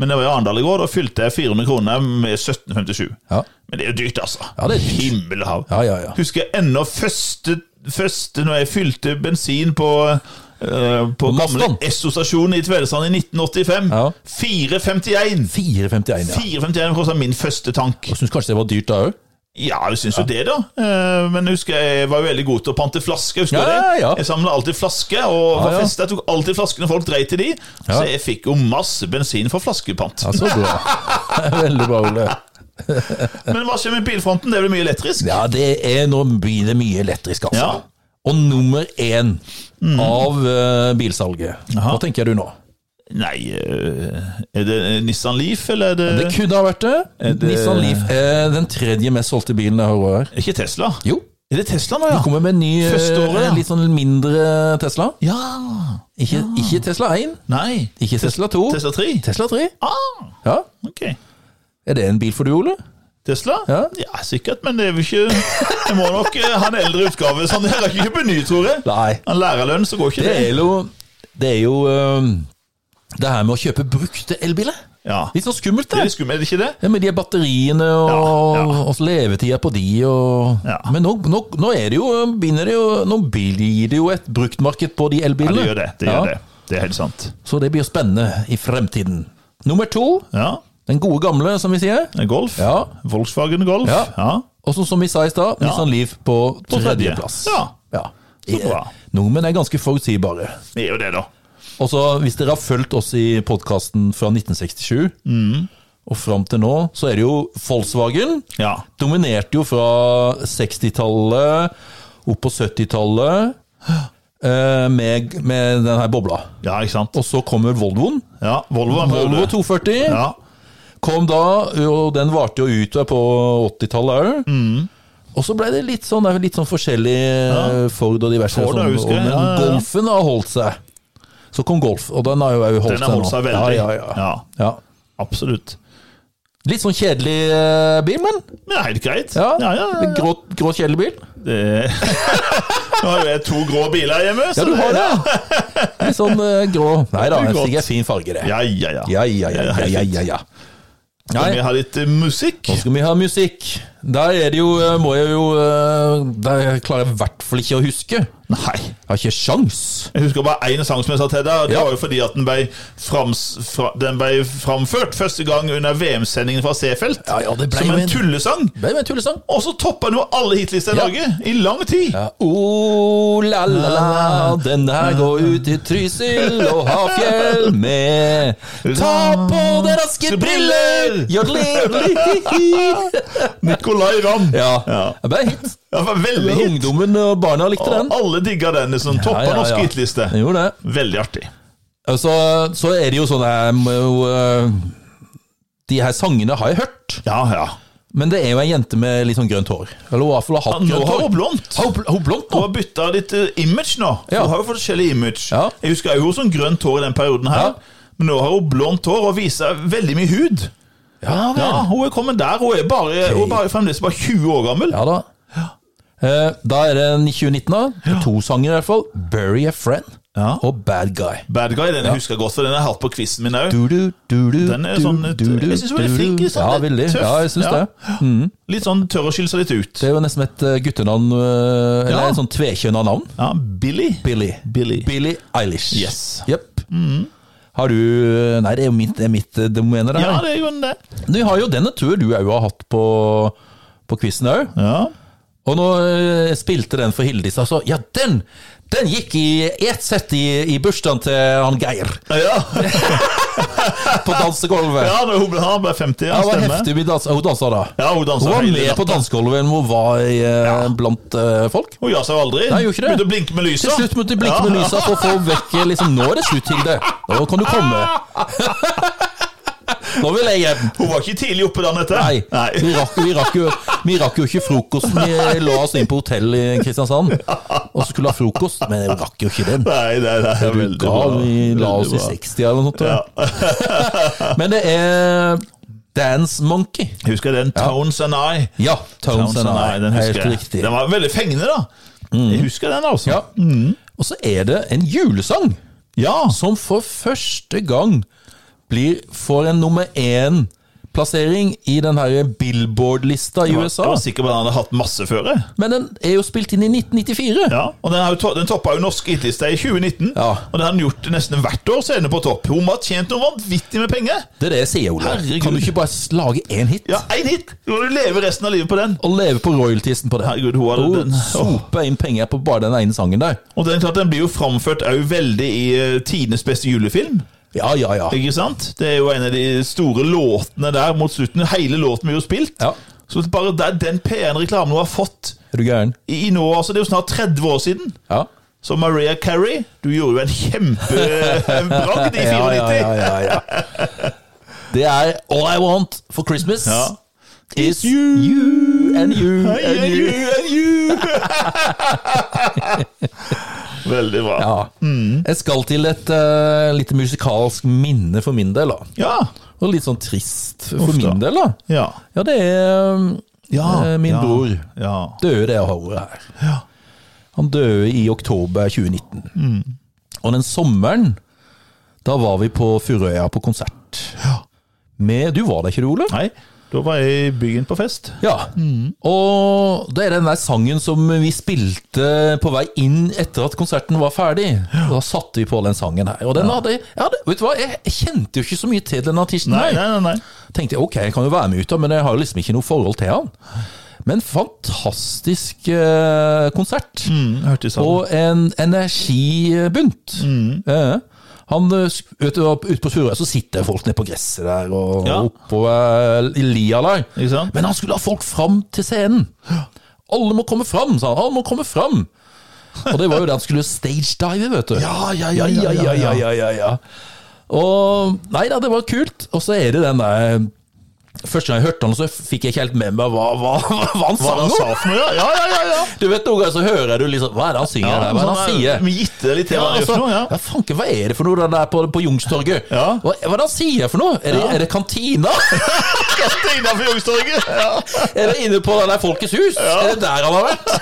Men det var i Arendal i går. Da fylte jeg 400 kroner med 17,57. Ja. Men det er jo dyrt, altså. Ja, det er dyrt. Himmelhav. Ja, ja, ja. Husker jeg ennå første, første når jeg fylte bensin på eh, på gamle Mastodon. Esso-stasjonen i Tvedestrand i 1985. Ja. 4,51! 4,51, ja. 4,51 kosta min første tank. Jeg syns kanskje det var dyrt da òg. Ja, jeg syns jo det, da. Eh, Men jeg husker jeg var jo veldig god til å pante flasker. husker du Ja, det? ja. Jeg samla alltid flasker, og Ja, var ja. festet. jeg tok alltid flaskene folk dreit i de. Så Ja. jeg fikk jo masse bensin for flaskepant. Ja, så bra. [laughs] Veldig bra, Ole. Men hva skjer med bilfronten? Det blir mye elektrisk. Ja, det er, nå blir det mye elektrisk, altså. Ja. Mm. Og nummer én av eh, bilsalget. Hva tenker du nå? Nei, eh, er det eh, Nissan Leaf, eller er det, Det kunne ha vært Eh, det. det- Nissan Leaf er den tredje mest solgte bilen jeg hører her. Ikke Tesla? Jo. Er det Tesla nå, ja? Kommer med en ny, eh, Første året, ja. litt sånn mindre Tesla. Ja. Ikke, ikke Tesla 1, Nei. ikke Tesla 2. Tesla 3? Tesla 3. Ah, Ja. ok. Er det en bil for du, Ole? Tesla? Ja. sikkert, men det er jo ikke Jeg må nok eh, ha en eldre utgave, så han er ikke på ny, tror jeg. Nei. Han lærerlønn, så går ikke Det det. er jo Det er jo eh, det her med å kjøpe brukte elbiler. Ja. Litt sånn skummelt, Det er det. litt skummelt, er det ikke det? Ja, Med de batteriene og, Ja, ja. og så levetida på de og Ja. Men nå, nå, nå er det jo begynner det jo Nå blir det jo et bruktmarked på de Ja, elbilene. det gjør det. Det, Ja, gjør det. det er helt sant. Så det blir spennende i fremtiden. Nummer to, Ja. den gode gamle, som vi sier. Golf. Ja. Volkswagen Golf. Ja. Ja. Og så, som vi sa i stad, Nissan Leaf på, på tredje. tredjeplass. Ja. Ja. Eh, Så bra. Nordmenn er ganske forutsigbare. Det er jo det, da. Og så Hvis dere har fulgt oss i podkasten fra 1967 og fram til nå, så er det jo Volkswagen. Mm. Ja. Dominerte jo fra 60-tallet opp på 70-tallet eh, med, med denne bobla. Ja, ikke sant. Og så kommer Volvoen. Ja, Volvo er en Volvo prøve. 240 Ja. kom da, og den varte jo ut på 80-tallet òg. Mm. Og så ble det litt sånn, det er litt sånn forskjellig eh, Ford og diverse. Ford, sånn, jeg husker og- det, men ja, ja, ja. Golfen har holdt seg. Så kom Golf, og den har jo også holdt Den har holdt seg seg nå. veldig. Ja, ja, ja. Ja, Ja. Absolutt. Litt sånn kjedelig eh, bil, men. Men det er helt greit. Ja, ja, ja, ja. Grå, grå kjedelig bil. Det... [laughs] Nå har jo jeg to grå biler hjemme. Ja, så du har det! [laughs] ja. Litt sånn eh, grå Nei da, Det er jeg godt. stiger fin farge, det. Ja, ja, ja. Ja, ja, ja, ja, ja, ja, ja. Skal vi ha litt eh, musikk? Nå skal vi ha musikk. Der er det jo, eh, må jeg jo eh, Der klarer jeg i hvert fall ikke å huske. Nei. Jeg har ikke sjans. Jeg husker bare én sang som jeg sa til deg, og det Ja. var jo fordi at den ble, frams, fra, den ble framført første gang under VM-sendingen fra Seefeld. Ja, ja, det ble som jo en en- tullesang. Ble med en tullesang. Og så toppa den jo alle hitlister i Ja. Norge i lang tid. Ja, oh, la, la, la, den her går ut til Trysil og Hafjell med Ta på deg raske briller! Jodli, jodli, hi, hi. Nicolay Ramm. Ja. Ja. Det ble en hit. Det var veldig hit. Ungdommen og barna likte Og den. alle digga den. Liksom, toppa ja, norsk ja. hitliste. Den gjorde det. Veldig artig. Så, så er det jo sånn jeg må jo, eh, De her sangene har jeg hørt. Ja, ja. Men det er jo ei jente med litt sånn grønt hår. Eller hun har i hvert fall hatt Nå grønt har hår. hun blondt. Har hun bl- har hun blondt nå? Hun har bytta litt eh, image nå. Ja. Hun har jo forskjellig image. Ja. Jeg sånn husker jo hun som grønt hår i den perioden her. Ja. Men nå har hun blondt hår og viser veldig mye hud. Ja vel. Ja, hun er kommet der. Hun er, bare, hun er bare, fremdeles bare 20 år gammel. Ja da. Eh, Da er det 2019, da. Det er To sanger i hvert fall. 'Bury a Friend' Ja. og 'Bad Guy'. Bad Guy, den jeg husker godt, for den har jeg hatt på quizen min òg. Du-du, du-du, Den er sånn litt- du-du, jeg synes hun er du-du. flink, litt sånn Ja, litt veldig. tøff. Ja, jeg syns Ja. det. Litt sånn tør å skille seg litt ut. Det er jo nesten et eh, guttenavn, eh, eller Ja. en sånn tvekjønna navn. Ja, Billy. Billy. Billy. Billie Eilish. Yes. Jepp. Har du Nei, det er jo mitt, det er mitt eh, domener, det Ja, her. det er jo en det. Du har jo den en tur du òg har hatt på, på quizen òg. Ja. Og når jeg spilte den for Hildis, altså Ja, den! Den gikk i ett sett i, i bursdagen til han Geir Ja, på dansegulvet. [laughs] ja når hun ble, han ble 50, ja, det var stemmer. heftig. Vi dansa, hun dansa da. Ja, Hun hun danser var hele med på natta. dansegulvet men hun var i, eh, blant eh, folk. Hun gjør seg jo aldri. Nei, gjorde ikke det. Begynte å blinke med lyset. Til slutt måtte de blinke med lysa for å få vekk eh, liksom, Nå er det slutt, Hilde. Nå kan du [laughs] komme. Nå vil jeg hjem. Hun var ikke tidlig oppe da, Nette. Nei, Vi, rakk, vi, rakk jo, vi rakk jo ikke frokosten. Vi lå oss inn på hotell i Kristiansand og skulle ha frokost, men vi rakk jo ikke den. Nei, det, det er veldig Ga, bra. vi la oss Veldig i bra. 60 eller noe sånt. tror jeg. [laughs] Men det er Dance Monkey. Jeg Husker den Towns and I. Ja, Tones Towns and I. den Helt husker jeg. riktig. Mm. Den var veldig fengende, da. Jeg husker den, altså. Ja. Og så er det en julesang Ja. som for første gang blir, får en nummer én-plassering i den her Billboard-lista i Jeg USA. var sikker på at han hadde hatt masse før. jeg. Men den er jo spilt inn i 1994. Ja, og Den, har jo to den toppa jo norsk hitliste i 2019, Ja. og det har den gjort nesten hvert år. Så er den på topp. Hun må ha tjent noe vanvittig med penger! Det er det jeg sier, Ole. Herregud. Kan du ikke bare lage én hit? Ja, én hit! Nå må du leve resten av livet på den. Og leve på royaltiesen på det. Herregud, hun hadde Og den. Åh. sope inn penger på bare den ene sangen der. Og den, klart, den blir jo framført òg veldig i eh, tidenes beste julefilm. Ja, ja, ja. Ikke sant? Det er jo en av de store låtene der mot slutten. Hele låten blir jo spilt. Ja. Så bare der, den PR-reklamen hun har fått Er du gæren? i, i nå, altså, det er jo snart 30 år siden. Ja. Så Maria Carey, du gjorde jo en [laughs] kjempebragd i 94. Ja, ja, ja, ja, ja. [laughs] Det er All I Want for Christmas Ja. is you, and you and you. Veldig bra. Ja. Mm. Jeg skal til et eh, lite musikalsk minne for min del. da. Ja. Og litt sånn trist for Uff da. min del. da. ja. Ja, det er eh, eh, min ja, bror. Ja. døde det året her. Han døde i oktober 2019. Mm. Og den sommeren, da var vi på Furøya på konsert. Med, du var der ikke, du, Ole? Nei, da var jeg i byen på fest. Ja. Og det er den der sangen som vi spilte på vei inn etter at konserten var ferdig. Da satte vi på den sangen her. Og den hadde, jeg hadde, vet du hva, jeg kjente jo ikke så mye til den artisten Nei, her. nei, nei. nei. tenkte jeg ok, jeg kan jo være med ut da, men jeg har jo liksom ikke noe forhold til han. Men fantastisk eh, konsert, Mm, hørte sammen. og en energibunt. Mm. Eh, han, eh, sk- vet du, ute på Surøya så sitter folk nede på gresset der, og Ja. oppå eh, i lia der. Ikke sant? Men han skulle ha folk fram til scenen. Alle må komme fram, sa han. Alle må komme fram. Og det var jo det han skulle stage-dive, vet du. [laughs] Ja, ja, ja, ja, ja, ja. ja, ja, ja. Og Nei da, det var kult. Og så er det den der eh, Første gang jeg hørte han, så fikk jeg ikke helt med meg hva, hva, [laughs] hva han Hva sang var det han om. sa for noe? Ja, ja, ja! ja, ja. Du vet noen ganger så hører du liksom Hva er det han synger der? Hva er det han sier? Vi gitte sånn det litt til Ja, hva han gjør altså, for noe, ja. ja, fanken, hva er det for noe det der på, på Youngstorget? Ja. Hva, hva er det han sier for noe? Er det, Ja. er det kantina? [laughs] Kaste innenfor Youngstorget! Ja. Er det inne på det der Folkets hus? Er det der han har vært?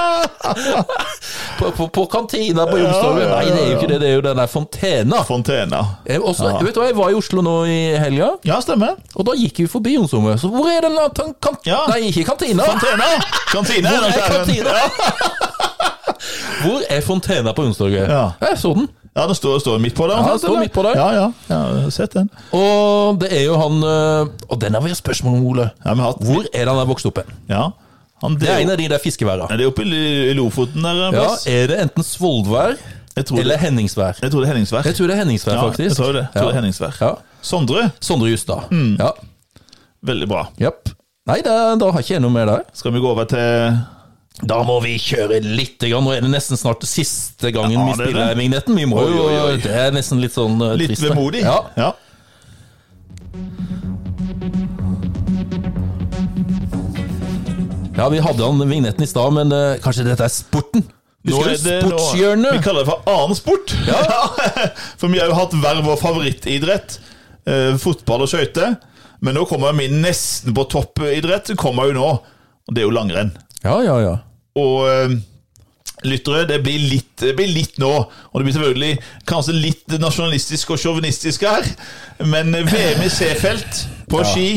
[laughs] på, på, på kantina på Youngstorget? Ja, ja, ja, Nei, det er jo ikke det. Det er jo den der fontena. Fontena. Eh, Også, Vet du hva, Jeg var i Oslo nå i helga, Ja, stemmer. og da gikk vi forbi Youngstorget. Så hvor er den da? Tan- kan, Ja. Nei, ikke kantina. Fontena! Kantine. Hvor er den skjermen. kantina? [laughs] Hvor er fontena på Youngstorget? Ja. Jeg så den. Ja, den står, står midt på der. den sant, står eller? midt på der. Ja, ja. ja, jeg har sett den. Og det er jo han eh, Og den har vi et spørsmål om, Ole. Ja, vi har hatt... Hvor er det han er vokst opp hen? Ja. Han, Det det, er er en av de der fiskeværa. Nei, det er oppe i L- i Lofoten der en Ja, plass. er det enten Svolvær Jeg tror eller det, Henningsvær? jeg tror det er Henningsvær. Jeg tror det er Henningsvær, Ja, faktisk. jeg tror det. Jeg tror det er Ja. Henningsvær. Ja. Sondre, Sondre Justad. Ja. veldig bra. Japp. Nei, da, da har ikke jeg noe mer der. Skal vi gå over til Da må vi kjøre litt. Grann. Nå er det nesten snart siste gangen Ja, vi det er spiller det. vignetten. Vi må Oi, jo, oi, oi. Det er nesten litt sånn eh, litt trist. da. vemodig? Ja. ja. ja, vi hadde han vignetten i stad, men eh, kanskje dette er sporten? Nå Husker er du det- nå- Vi sportshjørnet? [laughs] kaller det for annen sport. For vi har jo hatt hver vår favorittidrett. eh, fotball og skøyter. Men nå kommer min nesten på toppidrett. Kommer jo nå. Og det er jo langrenn. Ja, ja, ja. Og eh, lyttere, det blir, litt, det blir litt nå. Og det blir selvfølgelig kanskje litt nasjonalistisk og sjåvinistisk her. Men VM i C-felt på ski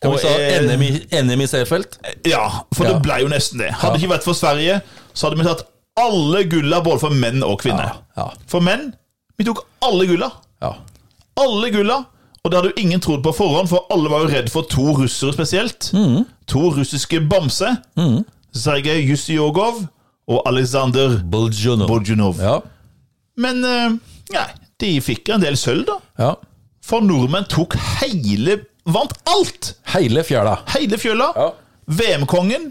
Kan vi og, sa eh, NM i, NM i C-felt? Ja, for Ja. det ble jo nesten det. Hadde Ja. det ikke vært for Sverige, så hadde vi tatt alle gulla både for menn og kvinner. Ja, ja. For menn vi tok alle gulla. Ja. Alle gulla. Og det hadde jo ingen trodd på forhånd, for alle var jo redd for to russere spesielt. Mm. To russiske bamse. Mm. Sergej Jusjogov og Aleksandr Boljonov. Bodjunov. Ja. Men eh, nei, de fikk en del sølv, da. ja. For nordmenn tok hele Vant alt! Hele fjæla. Hele fjøla. Ja. VM-kongen.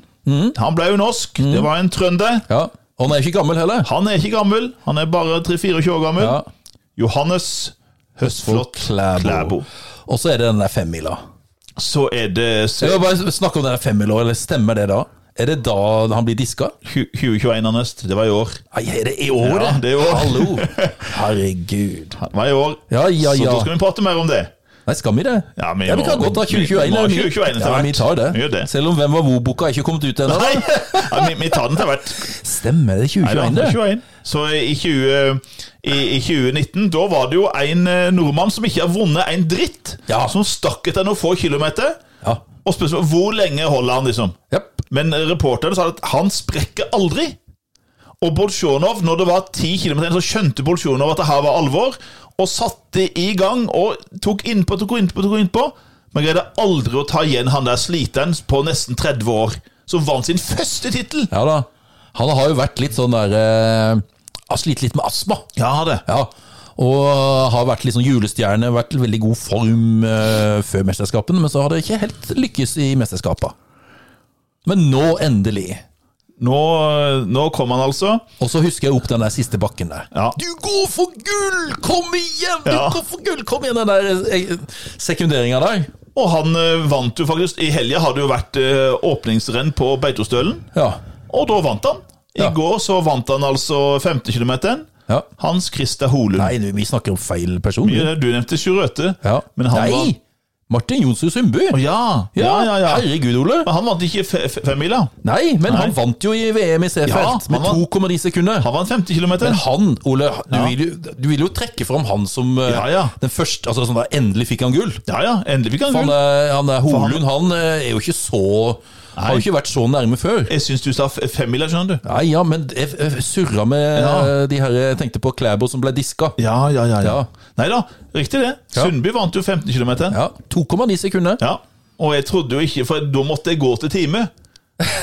Han ble jo norsk. Det var en trønder. Ja. Og han er ikke gammel heller. Han er ikke gammel. Han er bare 3-24 år gammel. Ja. Johannes For Høstflot Klæbo. Klæbo. Og så er det den der femmila. Så er det Jeg så- vil bare snakke om den der femmila, eller stemmer det da? Er det da han blir diska? Tju- 2021 hans. Det var i år. Nei, er det i året? Ja, det er i år. Hallo! [laughs] Herregud. Det var i år. Ja, ja, Så ja. da skal vi prate mer om det. Nei, skal vi det? Ja, men vi vi må- kan godt ta vi- vi 2021. må ha eller mye. 2021 etter ja, hvert. vi tar det. Vi gjør det. Selv om Hvem var hvor-boka er ikke kommet ut ennå. Nei, ja, vi, vi tar den til hvert. Stemmer det Nei, det var 2021, det? 2021. Så i, 20, i, i 2019, da var det jo en eh, nordmann som ikke har vunnet en dritt, Ja. som stakk etter noen få kilometer. Ja. Og spørsmålet hvor lenge holder han, liksom. Japp. Men reporteren sa at han sprekker aldri. Og Bolsjunov, når det var 10 km igjen, så skjønte Bolsjunov at det her var alvor, og satte i gang og tok innpå, tok innpå, tok innpå. Men greide aldri å ta igjen han der sliteren på nesten 30 år, som vant sin første tittel. Ja da. Han har jo vært litt sånn der eh, Har slitt litt med astma. Ja, det. Ja. Og har vært litt sånn julestjerne, vært i veldig god form eh, før mesterskapene, men så har det ikke helt lykkes i mesterskapene. Men nå, endelig. Nå, nå kom han altså. Og så husker jeg opp den der siste bakken der. Ja. Du går for gull! Kom igjen! Du Ja. går for gull! Kom igjen, den der eh, sekunderingen der. Og han eh, vant jo faktisk. I helga har det jo vært eh, åpningsrenn på Beitostølen. Ja. Og da vant han. I Ja. går så vant han altså 50 km. Ja. Hans Christer Holund. Nei, nå, vi snakker om feil person. Ja, Du nevnte Sjurøte. Ja. Men han Nei! var Martin Jonsrud Sundby. Å ja. Ja, ja, ja. Herregud, Ole. Men han vant ikke fe- fe- femmila. Nei, men han vant jo i VM i C-felt Ja, han med vant. 2,9 sekunder. Han vant 50 km. Men han, Ole, du, vil jo, du vil jo trekke fram han som eh, Ja, ja. den første altså, sånn der, Endelig fikk han gull. Ja, ja. Endelig fikk han Han, gull. eh, han der Holund, han eh, er jo ikke så Har jo ikke vært så nærme før. Jeg syns du sa fe- femmila, skjønner du. Nei, ja, men jeg jeg surra med Ja. eh, de her Jeg tenkte på Klæbo som ble diska. Ja, ja, ja. ja. Ja. Nei da, riktig det. Ja. Sundby vant jo 15 km. Ja. Ja, 2,9 sekunder. Og jeg trodde jo ikke, for da måtte jeg gå til time.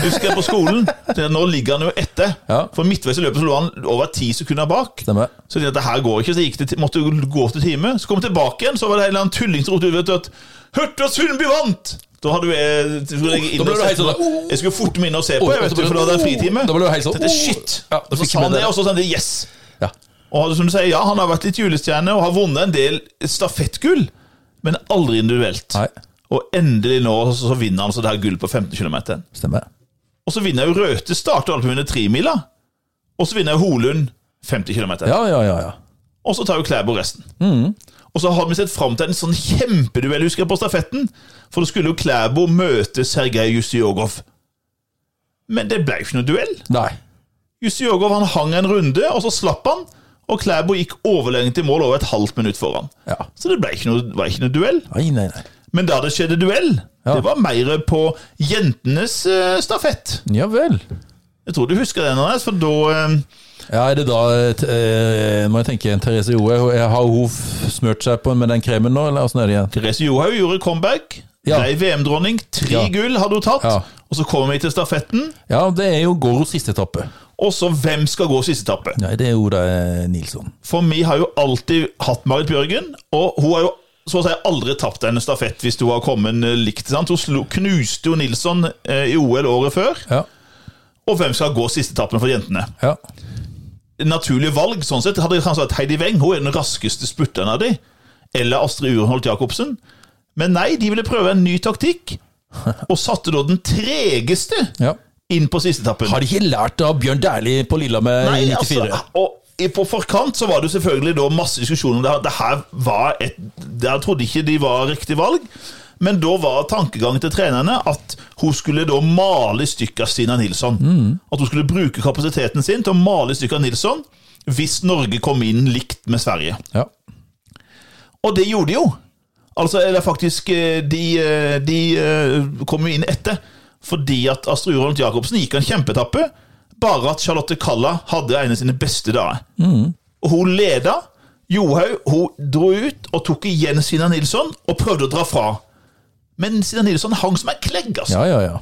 Husker jeg på [laughs] skolen. Det- Nå ligger han jo etter. Ja. For midtveis i løpet så lå han over 10 sekunder bak. Stemmer. Så det, det her går ikke, så jeg gikk det, til- måtte jo gå til time. Så kom jeg tilbake igjen, så var det en eller annen tulling som ropte ut vet du, at Hørte at Sundby vant! Da hadde jo jeg, så skulle jeg, Da ble inn og du se helt sånn, på- «Oh!» jeg skulle forte meg inn og se på, Oi, jeg vet og så du, ble for da du- hadde jeg fritime. Da ble du helt sånn, Tenkte, «Oh!» shit! Ja, da så fikk sa vi han med det, det. og så sa han det, yes! Ja. Og som du sier, ja, han har vært litt julestjerne og har vunnet en del stafettgull, men aldri individuelt. Nei. Og endelig nå så, så vinner han så det her gull på 15 km. Stemmer. Og så vinner jo Røthe starter alt på under 3 mila. Og så vinner jo Holund 50 km. Ja, ja, ja. ja. Og så tar jo Klæbo resten. Og så har vi sett fram til en sånn kjempeduell husker jeg, på stafetten. For da skulle jo Klæbo møte Sergej Jusjogov. Men det ble jo ikke noe duell. Nei. Jusjogov han hang en runde, og så slapp han. Og Klæbo gikk overlegent i mål over et halvt minutt foran. Ja. Så det ble ikke noe, var ikke noe duell. Nei, nei, nei. Men da det skjedde duell, Ja. det var mer på jentenes eh, stafett. Ja vel. Jeg tror du husker den, Anders, for da eh, Ja, er det da eh, t- eh, Må jeg tenke Therese Joe, hun- har hun f- smørt seg på med den kremen nå, eller åssen er det igjen? Therese Johaug gjorde comeback. Ja. Ble VM-dronning. Tre Ja. gull hadde hun tatt. Ja. Og så kommer vi til stafetten. Ja, det er jo Goros siste etappe. Og så hvem skal gå siste etappe? Nei, det er jo da eh, Nilsson. For vi har jo alltid hatt Marit Bjørgen, og hun har jo så å si aldri tapt en stafett hvis hun har kommet eh, likt. Sant? Hun slo, knuste jo Nilsson eh, i OL året før. Ja. Og hvem skal gå siste etappen for jentene? ja. Naturlig valg, sånn sett. Hadde jeg kanskje vært Heidi Weng, hun er den raskeste sputteren av de. Eller Astrid Urenholt Jacobsen. Men nei, de ville prøve en ny [laughs] taktikk, og satte da den tregeste ja. inn på siste etappen. Har de ikke lært av Bjørn Dæhlie på Lillehammer i Nei, 94? altså, og i- på forkant så var det jo selvfølgelig da masse diskusjoner om det her. Det her var et, der trodde ikke de var riktig valg. Men da var tankegangen til trenerne at hun skulle da male i stykker Stina Nilsson. At hun skulle bruke kapasiteten sin til å male i stykker Nilsson hvis Norge kom inn likt med Sverige. Ja. Og det gjorde de jo. Altså, eller faktisk eh, De, eh, de eh, kom jo inn etter. Fordi at Astrid Urolt Jacobsen gikk en kjempetappe. Bare at Charlotte Kalla hadde en av sine beste dager. Og hun leda. Johaug hun dro ut og tok igjen Sina Nilsson og prøvde å dra fra. Men Sina Nilsson hang som ei klegg. altså. ja, ja, ja.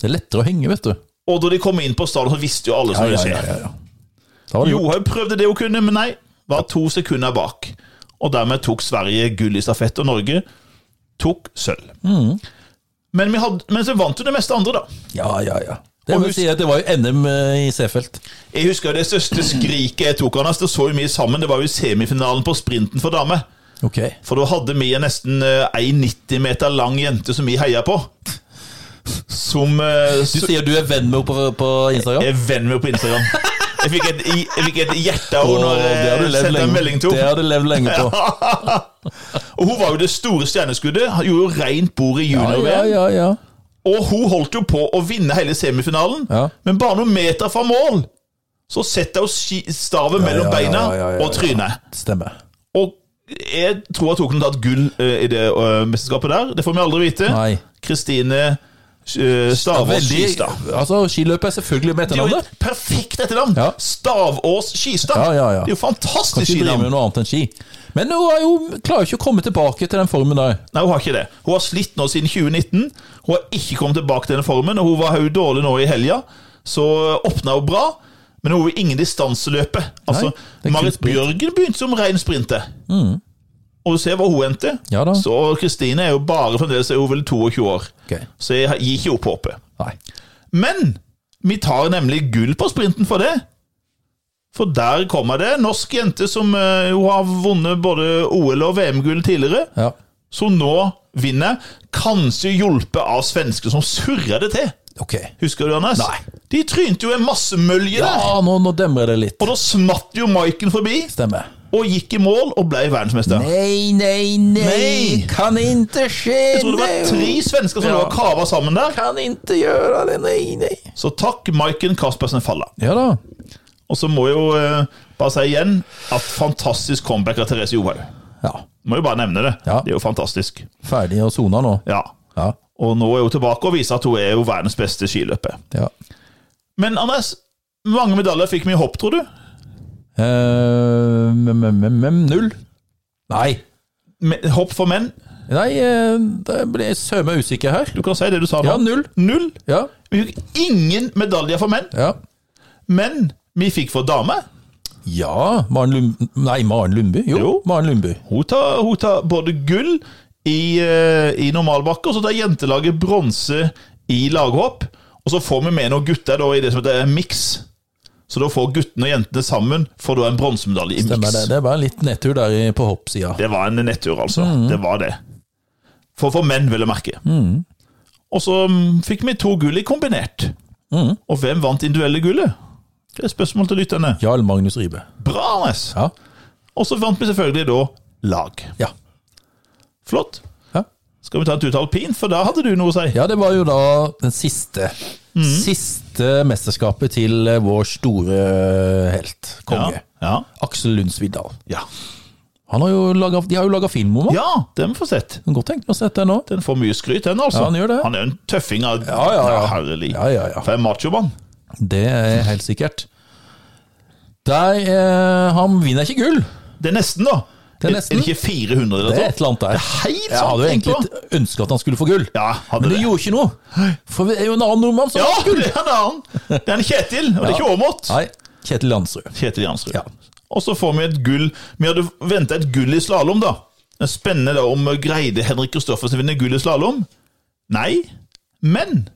Det er lettere å henge, vet du. Og da de kom inn på stadion, så visste jo alle som ville se. Da var det gjort. Johaug prøvde det hun kunne, men nei. Var to sekunder bak. Og dermed tok Sverige gull i stafett, og Norge tok sølv. Men, vi hadde, men så vant hun det meste andre, da. Ja, ja, ja. Det, Og må jeg husk- si at det var jo NM i Seefeld. Jeg husker det største skriket jeg tok av henne. Det så jo mye sammen. Det var jo i semifinalen på sprinten for damer. Ok. For da hadde vi en nesten eh, 1,90 meter lang jente som vi heia på. Som eh, Du s- sier du er venn med henne på, på Instagram? Jeg er venn med henne på Instagram. Jeg fikk et, jeg fikk et hjerte av henne Åh, når det har du jeg levd sendte en lenge, melding til det henne. har du levd lenge på. [laughs] Og hun var jo det store stjerneskuddet. Han Gjorde jo rent bord i Ja, junior-VM. ja, ja, ja. Og hun holdt jo på å vinne hele semifinalen, Ja. men bare noen meter fra mål så setter hun ski- staven mellom ja, beina ja, ja, ja, ja. og trynet. Stemmer. Og jeg tror at hun kunne tatt gull eh, i det eh, mesterskapet der. Det får vi aldri vite. Nei. Kristine eh, Stavås Veldig, Skistad. altså, skiløpet er selvfølgelig med Det er jo etternavnet. et perfekt etternavn! Ja. Stavås Skistad. Ja, ja, ja. Det er jo Kan fantastisk ikke drive skinavn. med noe annet enn ski. Men hun er jo, klarer jo ikke å komme tilbake til den formen der. Nei, hun har ikke det. Hun har slitt nå siden 2019. Hun har ikke kommet tilbake til denne formen, og hun var jo dårlig nå i helga. Så åpna hun bra, men hun har jo ingen distanseløpe. Altså, det er kun Marit sprint. Bjørgen begynte som ren sprinter. Og du ser hvor hun endte. Ja da. Så Kristine er jo bare fremdeles er hun vel 22 år. Ok. Så jeg gir ikke opp håpet. Nei. Men vi tar nemlig gull på sprinten for det. For der kommer det. Norsk jente som eh, hun har vunnet både OL- og VM-gull tidligere Ja. som nå vinner, kanskje hjulpet av svensker som surrer det til. Ok. Husker du, Anders? Nei. De trynte jo en masse mølje Ja, der. nå, nå demrer det litt. Og da smatt jo Maiken forbi, Stemmer. og gikk i mål og ble verdensmester. Nei, nei, nei, Nei. kan ikke skje Jeg tror det var tre svensker som Ja. lå og kava sammen der. Kan ikke gjøre det, nei, nei. Så takk Maiken Caspersen Falla. Ja da. Og så må jeg jo eh, bare si igjen at fantastisk comeback av Therese Johaug. Ja, Må jo bare nevne det. Ja. Det er jo fantastisk. ferdig å sone nå. Ja. Ja, Og nå er hun tilbake og viser at hun er jo verdens beste skiløper. ja. Men Anders, hvor mange medaljer fikk vi i hopp, tror du? Eh, mm, mm, mm, mm, null. Nei. Me- Hopp for menn? Nei, eh, da ble jeg sømme usikker her. Du kan si det du sa nå. Ja, null. Null. Ja, Vi fikk ingen medaljer for menn, ja. men vi fikk for damer. Ja, Maren Lundby Nei, Maren Lundby. Jo, Jo. Maren Lundby. Hun tar, hun tar både gull i, eh, i normalbakke, og så tar jentelaget bronse i laghopp. Og så får vi med noen gutter da, i det som heter miks. Så da får guttene og jentene sammen får da en bronsemedalje i Stemmer det. miks. Det var en litt nedtur der i- på hoppsida. Det var en nettur, altså. Mm. Det var det. For, for menn, vil jeg merke. Og så mm, fikk vi to gull i kombinert. Mm. Og hvem vant individuelle gullet? Det er et spørsmål til lytterne. Jarl Magnus Ribe. Bra, Anders! Ja. Og så vant vi selvfølgelig da lag. Ja. Flott. ja. Skal vi ta en tur til alpin, for da hadde du noe å si. Ja, det var jo da den siste Mhm. Siste mesterskapet til eh, vår store eh, helt, konge. Ja. Aksel Lund Sviddal. Ja. Han har jo laget, de har jo laga film om ham. ja, den får vi sett. Godt tenkt meg å sette den nå. Den får mye skryt, den, altså. Ja, han gjør det. er jo en tøffing av Ja, ja, ja. herlig. Ja, ja, ja. For en machomann. Det er helt sikkert. Der, eh, han vinner ikke gull. Det er nesten, da. Det er nesten. ikke 400 eller Det er noe? et eller annet der. helt sånn Jeg hadde jo sant tenkt egentlig ønska at han skulle få gull, Ja, hadde men det det. gjorde ikke noe. For det er jo en annen nordmann som Ja, har gull. det er en annen. Det er en Kjetil, og det er ikke Aamodt. Nei, Kjetil Landsrud. Kjetil Jansrud. Ja. Og så får vi et gull. Vi hadde venta et gull i slalåm, da. Det er spennende da om greide Henrik Kristoffersen vinner gull i slalåm. Nei, men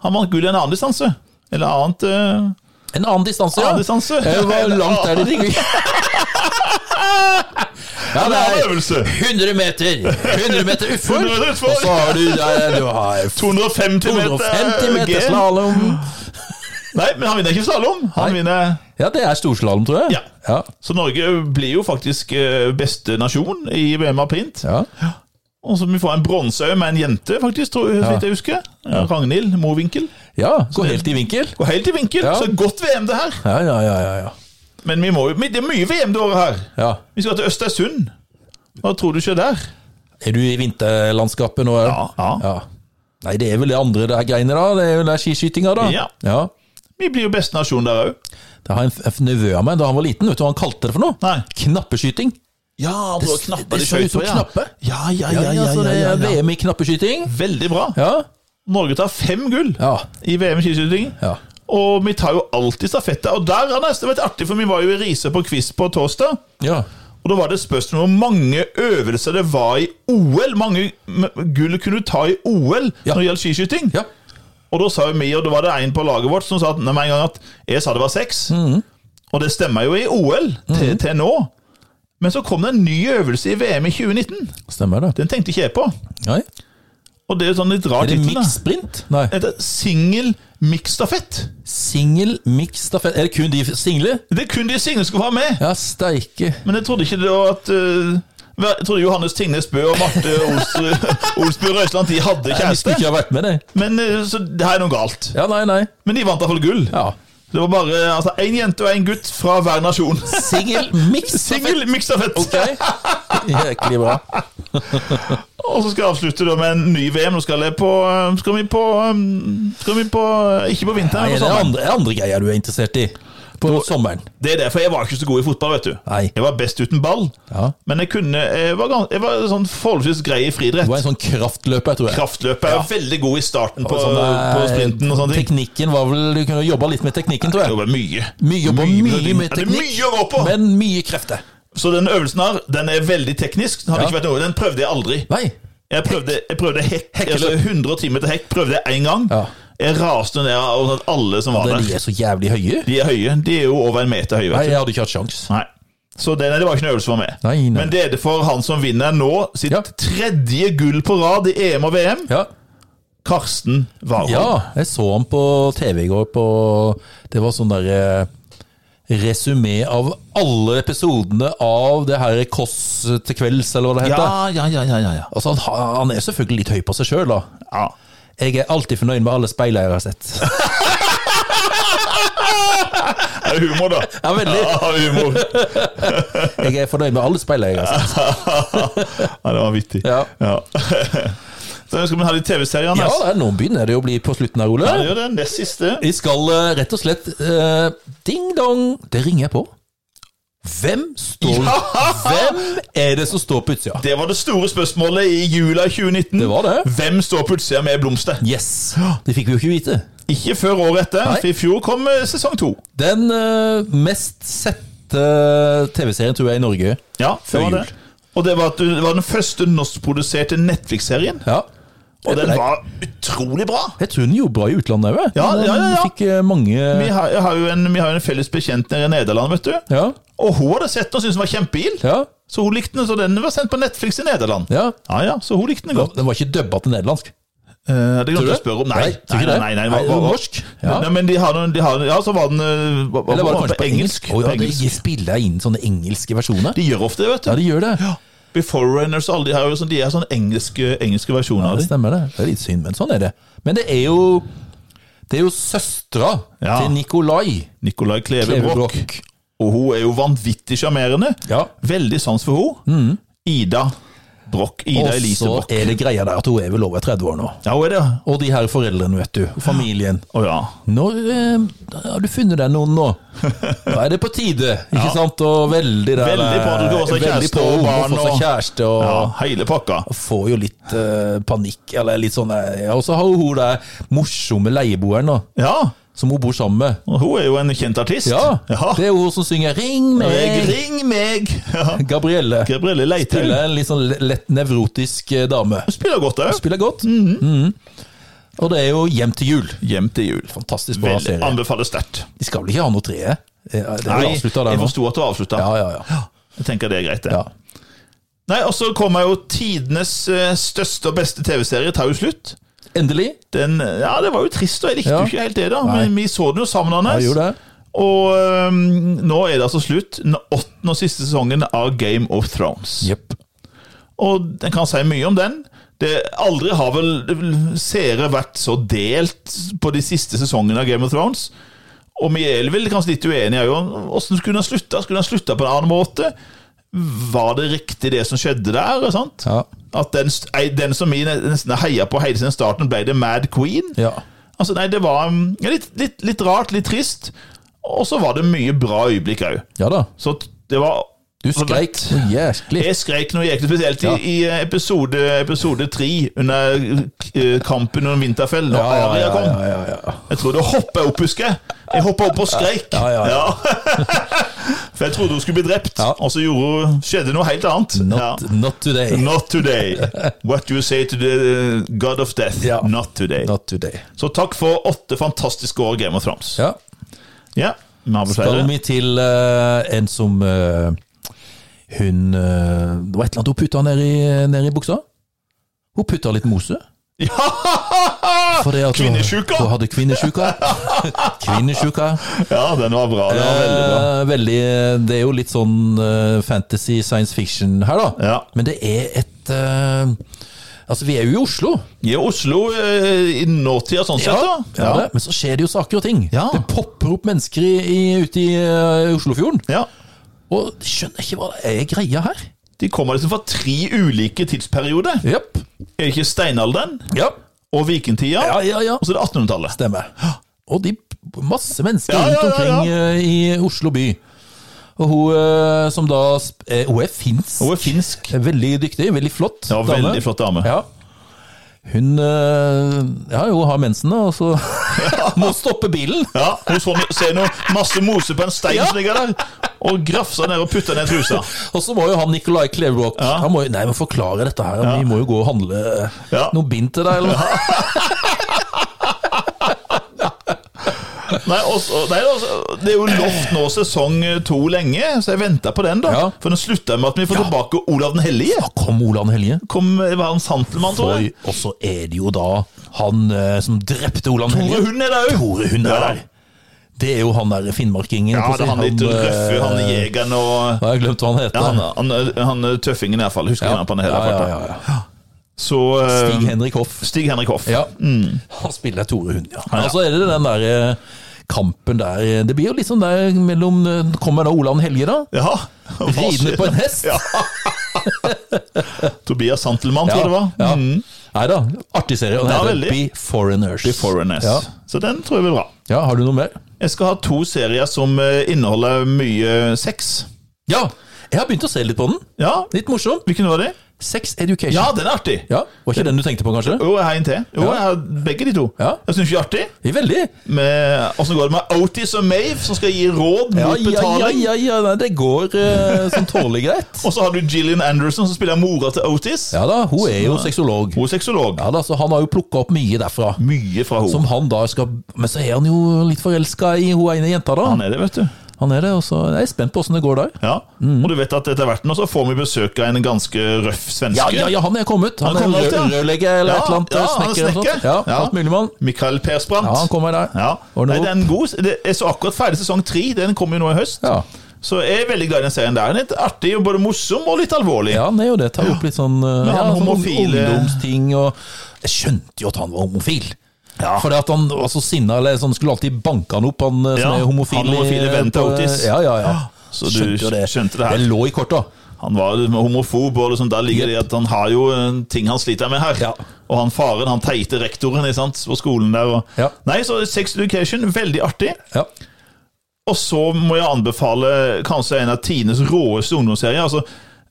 han vant gull i en annen distanse. Eller annet eh, En annen distanse, ja. Annen distanse. Det var langt der de [laughs] ligger. Ja, En det annen er øvelse! 100 meter! [laughs] 100 meter utfor, 100 meter utfor. og så har du der du [laughs] har 250 meter, 250 meter G. slalåm. Nei, men han vinner ikke slalåm. Han Nei. vinner Ja, det er storslalåm, tror jeg. Ja. Så Norge blir jo faktisk eh, beste nasjon i VM alpint. Ja. Og så vi får en bronse òg, med en jente, faktisk, tror jeg, så vidt jeg husker. Ragnhild Mowinckel. ja gå helt i vinkel. Går helt i vinkel, Ja. så godt VM det her. Ja, ja, ja. ja, ja. Men vi må, jo- det er mye VM det året her. ja. Vi skal til Østersund. Hva tror du skjer der? Er du i vinterlandskapet nå? er du? ja. ja. Nei, det er vel det andre der greiene, da. Det er jo der skiskytinga, da. Ja. Vi blir jo beste nasjon der òg. Det har en, en nevø av meg da han var liten, vet du hva han kalte det for noe? Nei. Knappeskyting. Ja, Det- det så ut som knappe. Ja, ja, ja. ja, ja, så det er ja, ja, VM altså, i knappeskyting. Veldig bra. Ja. Norge tar fem gull Ja. i VM i skiskyting. Ja. Og vi tar jo alltid stafettet. Og der Anders, det var litt artig, for vi var jo i Riise på quiz på torsdag. ja. Og da var det et spørsmål om hvor mange øvelser det var i OL. Mange m- gull kunne du ta i OL Ja. når det gjelder skiskyting. ja. Og da sa jo vi, og det var det en på laget vårt som sa at, nei, med en gang at jeg sa det var seks. Mhm. Og det stemmer jo i OL til, til nå. Men så kom det en ny øvelse i VM i 2019. Stemmer det. Den tenkte ikke jeg på. Nei. Og det er jo sånn litt rar Er det tittel. da. mix-sprint? Nei. Det heter Singel miksstafett. Singel mix-stafett. Er det kun de single? Det er kun de single skulle ha med. Ja, steike. Men jeg trodde ikke det var at eh, Jeg trodde Johannes Tingnes Bø og Marte [laughs] Ols- Olsby Røisland De hadde Jeg skulle kjæreste. ikke ha vært med, det. Men eh, så det her er noe galt. Ja, nei, nei. Men de vant iallfall gull. Ja. Det var bare altså, én jente og én gutt fra hver nasjon. [laughs] Singel mix-stafett. Singel miksstafett. Ok. Jæklig bra. Og så skal jeg avslutte da med en ny VM. Nå skal, jeg på, eh, skal vi på eh, Skal vi på eh, Ikke på vinteren, Nei, men er på det sommeren. andre, er det andre greier du er interessert i? På sommeren? Det er derfor jeg var ikke så god i fotball, vet du. Nei. Jeg var best uten ball. Ja. Men jeg kunne Jeg var, gans, jeg var sånn forholdsvis grei i friidrett. Du var en sånn kraftløper, tror jeg. Kraftløpet er veldig god i starten på, Sånn, eh, på sprinten og sånne ting. Teknikken var vel Du kunne jobba litt med teknikken, tror jeg. Jobber mye. Mye jobber mye, blodig- med Ja, det er teknikk. mye å gå på! Men mye krefter. Så den øvelsen her, den er veldig teknisk. Den, hadde Ja. ikke vært noe. den prøvde jeg aldri. Nei. Jeg prøvde, jeg prøvde hekk, altså Hekkeløp. 100 timer til hekk prøvde jeg én gang. Ja. Jeg raste ned av sånn at alle som var Men der. de er så jævlig høye. De er høye. De er jo over en meter høye. Nei, vet du. jeg hadde ikke hatt sjans. Nei. Så det, nei, det var ikke noen øvelse for meg. Nei, nei. Men det er det for han som vinner nå sitt Ja. tredje gull på rad i EM og VM. Ja. Karsten Warholm. ja, jeg så ham på TV i går på Det var sånn derre Resumé av alle episodene av det her Kåss til kvelds, eller hva det heter. Ja, ja, ja, ja, ja, ja. Altså, han, har- han er selvfølgelig litt høy på seg sjøl, da. ja. Jeg er alltid fornøyd med alle speiler jeg har sett. Er det humor, da? [laughs] Ja, veldig. Ja, humor. Jeg er fornøyd med alle speiler jeg har sett. Ja, det var vittig. Ja. [laughs] Så skal vi ha litt TV-serier, Ja, Anders. det er- nå begynner det å bli på slutten her, Ole. Ja, det gjør det. Nest siste. Vi skal eh, rett og slett eh, Ding dong! Det ringer jeg på. Hvem står Ja! Hvem er det som står på utsida? Det var det store spørsmålet i jula 2019. Det var det. Hvem står på utsida med blomster? Yes! Det fikk vi jo ikke vite. Ikke før året etter, Nei. for i fjor kom eh, sesong to. Den eh, mest sette eh, TV-serien, tror jeg, i Norge. Ja, Før det var jul. det. Og det var, at du- det var den første norskproduserte Netflix-serien. Ja. Og den Nei, var utrolig bra! Jeg tror den gjorde bra i utlandet òg. Ja, ja, ja, ja. Fikk eh, mange Vi har, jeg har jo en, vi har jo en felles bekjent nede i Nederland, vet du. Ja, Og hun hadde sett den og syntes den var kjempeild. ja. Så hun likte den, så den var sendt på Netflix i Nederland. ja. ja, ja, så hun likte den godt. Den var ikke dubba til nederlandsk. Eh, det Tror glemte du? jeg å spørre om. Nei, tror ikke nei, det. nei, nei, Nei, var- det var var- norsk. Ja. Nei, men de har noen de har, Ja, så var den eh, var, Eller var det var kanskje på engelsk? Å På ja, engelsk. de spiller inn sånne engelske versjoner. De gjør ofte det, vet du. Ja, de gjør det. Before Runners og alle de her, er jo sånn- de er sånn engelske, engelske versjoner Ja, av det dem. stemmer det. Det er litt synd, men sånn er det. Men det er jo Det er jo søstera Ja. til Nikolai Nicolai Kleve Kleve Broch. Broch. Og hun er jo vanvittig sjarmerende. Ja. Mm. Veldig sans for henne. Ida Broch. Og Ida Elise så Broch. er det greia der at hun er vel over 30 år nå. Ja, hun er det. Og de her foreldrene, vet du. Og familien. Å ja. Når eh, har du funnet deg noen nå? Nå er det på tide, ikke sant? Og veldig der, eh, Veldig på at du skal få seg veldig kjæreste på og å barn få seg og- kjæreste og ja. Hele pakka. Får jo litt eh, panikk, eller litt sånn eh, ja, Og så har jo hun der morsomme leieboeren, da, Ja. som hun bor sammen med. Og hun er jo en kjent artist. Ja, ja. Det er jo hun som synger 'Ring Jeg, meg', ring meg! [laughs] Ja. Gabrielle. Gabrielle Leithaug. Spiller en litt sånn le- lett nevrotisk eh, dame. Hun spiller godt òg. Spiller godt. Mhm. Og det er jo Hjem til jul. Hjem til jul. Fantastisk bra Veldig, serie. anbefaler sterkt. De skal vel ikke ha noe treet? Eh, Det er Nei, vel jeg avslutta der nå? forsto at det var avslutta. Ja, ja, ja. Jeg tenker det er greit, det. ja. Nei, Og så kommer jo tidenes eh, største og beste TV-serie, tar jo slutt. Endelig. Den, ja, det var jo trist, og jeg likte Ja. jo ikke helt det, da. Nei. Men vi så den jo sammen, Ja, Anders. gjorde det. Og øhm, nå er det altså slutt. Den åttende og siste sesongen av Game of Thrones. Jepp. Og en kan si mye om den. Det Aldri har vel seere vært så delt på de siste sesongene av Game of Thrones. Og vi er vel kanskje litt uenige òg om åssen skulle han slutta. Skulle han slutta på en annen måte? Var det riktig, det som skjedde der? Sant? Ja. At den, ei- den som vi nesten heia på hele siden starten, ble det Mad Queen? Ja. Altså, nei, det var mm, ja, litt, litt, litt rart, litt trist. Og så var det mye bra øyeblikk òg. ja da. Så t- det var Du skreik så jæsklig. jeg skreik noe jæklig spesielt i, Ja. i eh, episode, episode 3 under eh, kampen om Vinterfell, når Aria kom. ja, ja, ja. Jeg tror det hoppa opp, husker jeg. Jeg hoppa opp og skreik. Ja, ja, ja. [laughs] For jeg trodde hun skulle bli drept, Ja. og så gjorde, hun- skjedde noe helt annet. Not, Ja. not today. Not today. What you say to the eh, god of death. Ja. Not today. Not today. Så takk for åtte fantastiske år Game of Thrones. Ja. Ja, vi har vel Skal flere. vi til eh, en som eh, Hun eh, Det var et eller annet hun putta nedi ned i buksa. Hun putta litt mose. Fordi at hun- Kvinnesjuka! Hun hadde kvinnesjuka. [laughs] kvinnesjuka. Ja, den var bra. Den var veldig bra. Eh, veldig, det er jo litt sånn eh, fantasy, science fiction her, da. Ja. Men det er et eh, Altså, vi er jo i Oslo. I Oslo eh, i nåtida, sånn sett. da. Ja, det, Men så skjer det jo saker og ting. Ja. Det popper opp mennesker i, i, ute i eh, Oslofjorden. Ja. Og de skjønner ikke hva det er greia her. De kommer liksom fra tre ulike tidsperioder. Jepp. Er det ikke steinalderen Ja. og vikingtida? Ja, ja, ja. Og så er det 1800-tallet. Stemmer. Og de masse mennesker Ja, ja, rundt ja, ja. omkring eh, i Oslo by. Og hun eh, som da sp- eh, Hun er finsk. Hun er finsk. Er Veldig dyktig, veldig flott Ja, veldig flott dame. Ja. Hun eh, Ja, hun har mensen, da, og [laughs] så må stoppe bilen. Ja, Hun så, ser nå masse mose på en stein som ligger der, og grafser ned og putter ned trusa. Og så må jo han Nicolai Kleverok Ja. Han må jo, Nei, men forklare dette her. Vi må jo gå og handle eh, Ja. noe bind til deg, eller noe. Nei, og så- nei, og så- Det er jo lovt nå sesong eh, to lenge, så jeg venter på den, da. Ja. For den slutta med at vi får tilbake Olav den hellige. Da kom Olav den hellige. Kom, eh, var han santelmann, tror Og, jeg? og så er det jo da han eh, som drepte Olav den Tore hellige. Hund er der òg. Tore Hund er Ja. der. Det er jo han der finnmarkingen. Ja, på det er siden. han litt røffe, han eh, jegeren og Nå har jeg glemt hva han heter. Ja, han, han, han er tøffingen i hvert fall. Husker ja. han på den hele ja, farta. ja, ja, ja. Så Stig eh, Henrik Hoff. Stig Henrik Hoff. Ja. Han spiller Tore Hund, ja. Mm. ja. Og så er det den der eh, kampen der eh, Det blir jo litt sånn der mellom eh, Kommer da Olav den hellige, da? Ja, [laughs] hva Ridende skjer? på en hest? Ja. [laughs] Tobias Santelmann, tror jeg det var. Ja. Mm. Nei da, artig serie. Og den Ja, heter veldig. Be Foreigners. Foreigners. Ja. Så den tror jeg blir bra. ja, har du noe mer? Jeg skal ha to serier som eh, inneholder mye sex. Ja! Jeg har begynt å se litt på den. Ja, Litt morsom. Hvilken var det? Sex Education. Ja, den er artig! Ja, Var ikke den du tenkte på, kanskje? Jo, jeg har en til. Jo, Ja. jeg har begge de to. Ja. Jeg syns det er artig. Veldig. Med, hvordan går det med Otis og Mave, som skal gi råd mot Ja, ja, betaling? ja, ja, ja nei, det går eh, som tålelig greit. Og så har du Gillian Anderson, som spiller mora til Otis. Ja da, hun er jo sexolog. Hun er sexolog. Ja da, så han har jo plukka opp mye derfra. Mye fra Som henne. han da skal Men så er han jo litt forelska i hun ene jenta, da. Han er det, vet du. Han er det, og så jeg er spent på åssen det går der. Ja. Og du vet at etter hvert nå så får vi besøk av en ganske røff svenske. Ja, ja, ja, han er kommet. Han, Han er kommer rø- alt, ja. rørlegger eller Ja, et eller annet. ja, han er snekker. eller noe snekker. sånt. Ja, Ja. alt mulig, mann. Mikael Persbrandt. Ja, han kommer der. Ja. Ordner Nei, det opp. er en god Det er så akkurat ferdig sesong tre. Den kommer jo nå i høst. Ja. Så jeg er veldig glad i den serien der. Den er litt artig, og både morsom og litt alvorlig. Ja, han er jo det. Tar opp litt sånn, eh, Men ja, han sånn homofile- ungdomsting og Jeg skjønte jo at han var homofil. Ja. Fordi at han var så sinna, eller sånn, skulle alltid banke han opp, han eh, som Ja, er homofil. han i- homofile vennen til på- Otis. Ja, ja, ja. [gasps] Så du skjønte det her. Det lå i korta. Han var jo homofob, og liksom, der ligger det i at han har jo eh, ting han sliter med her. Ja. Og han faren, han teite rektoren ikke sant, på skolen der. Og... Ja. Nei, så Sex Education, veldig artig. Ja. Og så må jeg anbefale kanskje en av tidenes råeste ungdomsserier. altså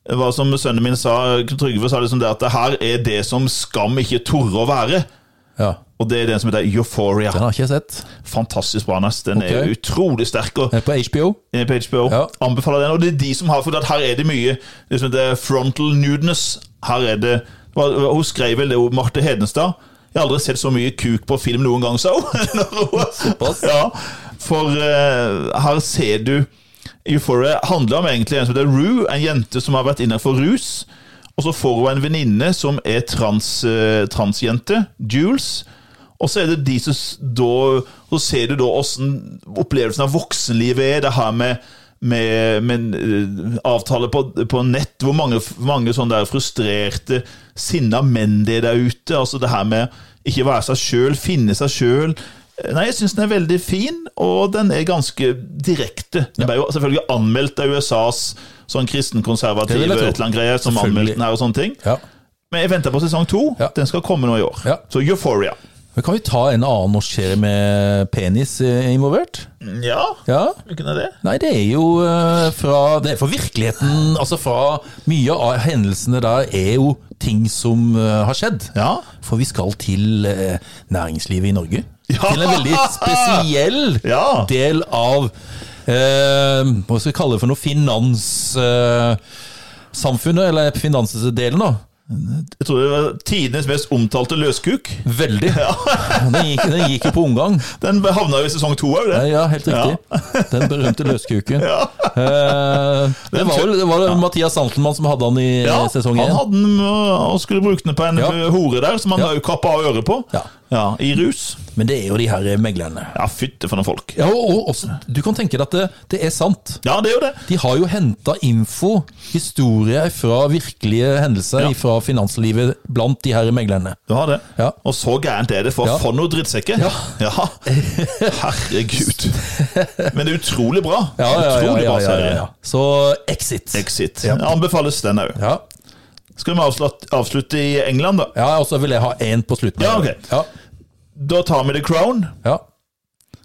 hva som sønnen min sa, Knut Trygve sa liksom det at det her er det som skam ikke torde å være. ja. Og det er den som heter Euphoria. Den har ikke jeg sett. Fantastisk bra, Nes. Den Ok. er utrolig sterk. og Den er på HBO. eh, på HBO. Ja. Anbefaler den. Og det er de som har For at her er det mye liksom det er frontal nudeness. Her er det hva- Hun skrev vel det, hun, Marte Hedenstad. Jeg har aldri sett så mye kuk på film noen gang, sa hun. [laughs] Når hun- Ja, for eh, her ser du Euphoria handler om egentlig en som heter Rue, en jente som har vært innenfor rus. Og så får hun en venninne som er trans, eh, transjente, Jules. Og så er det de som s- da Så ser du da åssen opplevelsen av voksenlivet er. Det her med med, med eh, avtaler på, på nett, hvor mange, mange sånne der frustrerte, sinna menn det er der ute. Altså det her med ikke være seg sjøl, finne seg sjøl. Nei, jeg syns den er veldig fin, og den er ganske direkte. Den ble jo selvfølgelig anmeldt av USAs sånn Det kristenkonservative vil jeg tro. et eller annet greie, som Selvfølgelig. anmeldte den her og sånne ting. Ja. Men jeg venter på sesong to. Ja. Den skal komme nå i år. Ja. Så Euphoria. Men kan vi ta en annen norsk serie med penis eh, involvert? Ja, Ja. hvilken er det? Nei, det er jo eh, fra Det er fra virkeligheten. Altså fra Mye av hendelsene der er jo ting som eh, har skjedd. Ja. For vi skal til eh, næringslivet i Norge. Ja! Til en veldig spesiell [laughs] Ja. del av eh, Hva skal vi kalle det for noe? Finanssamfunnet, eller finansdelen, da. Jeg tror det var tidenes mest omtalte løskuk. Veldig. [laughs] Den, gikk, den gikk jo på omgang. Den havna jo i sesong to òg, Ja, det. Ja, helt riktig. Den berømte løskuken. Eh, det var vel det var vel Mathias Santelmann som hadde han i eh, sesong han én. hadde den øh, og skulle bruke den på en Ja. øh, hore der, som han Ja. ja. kappa av øret på. Ja. I rus. Men det er jo de her meglerne. Ja, fytte for noen folk. Ja, og, og også, Du kan tenke deg at det, det er sant. Ja, det er jo det. De har jo henta info, historier fra virkelige hendelser Ja. fra finanslivet blant de her meglerne. Du har det. Ja. Og så gærent er det, for Ja. for noe drittsekker! Ja. Herregud. Men det er utrolig bra. Ja, ja, ja, utrolig ja, bra ja, ja, serie. ja. Så Exit. Exit. Ja. Anbefales den òg. Ja. Skal vi avslutte, avslutte i England, da? ja, og så vil jeg ha én på slutten. Ja, ok. ja, Da tar vi The Crown. ja.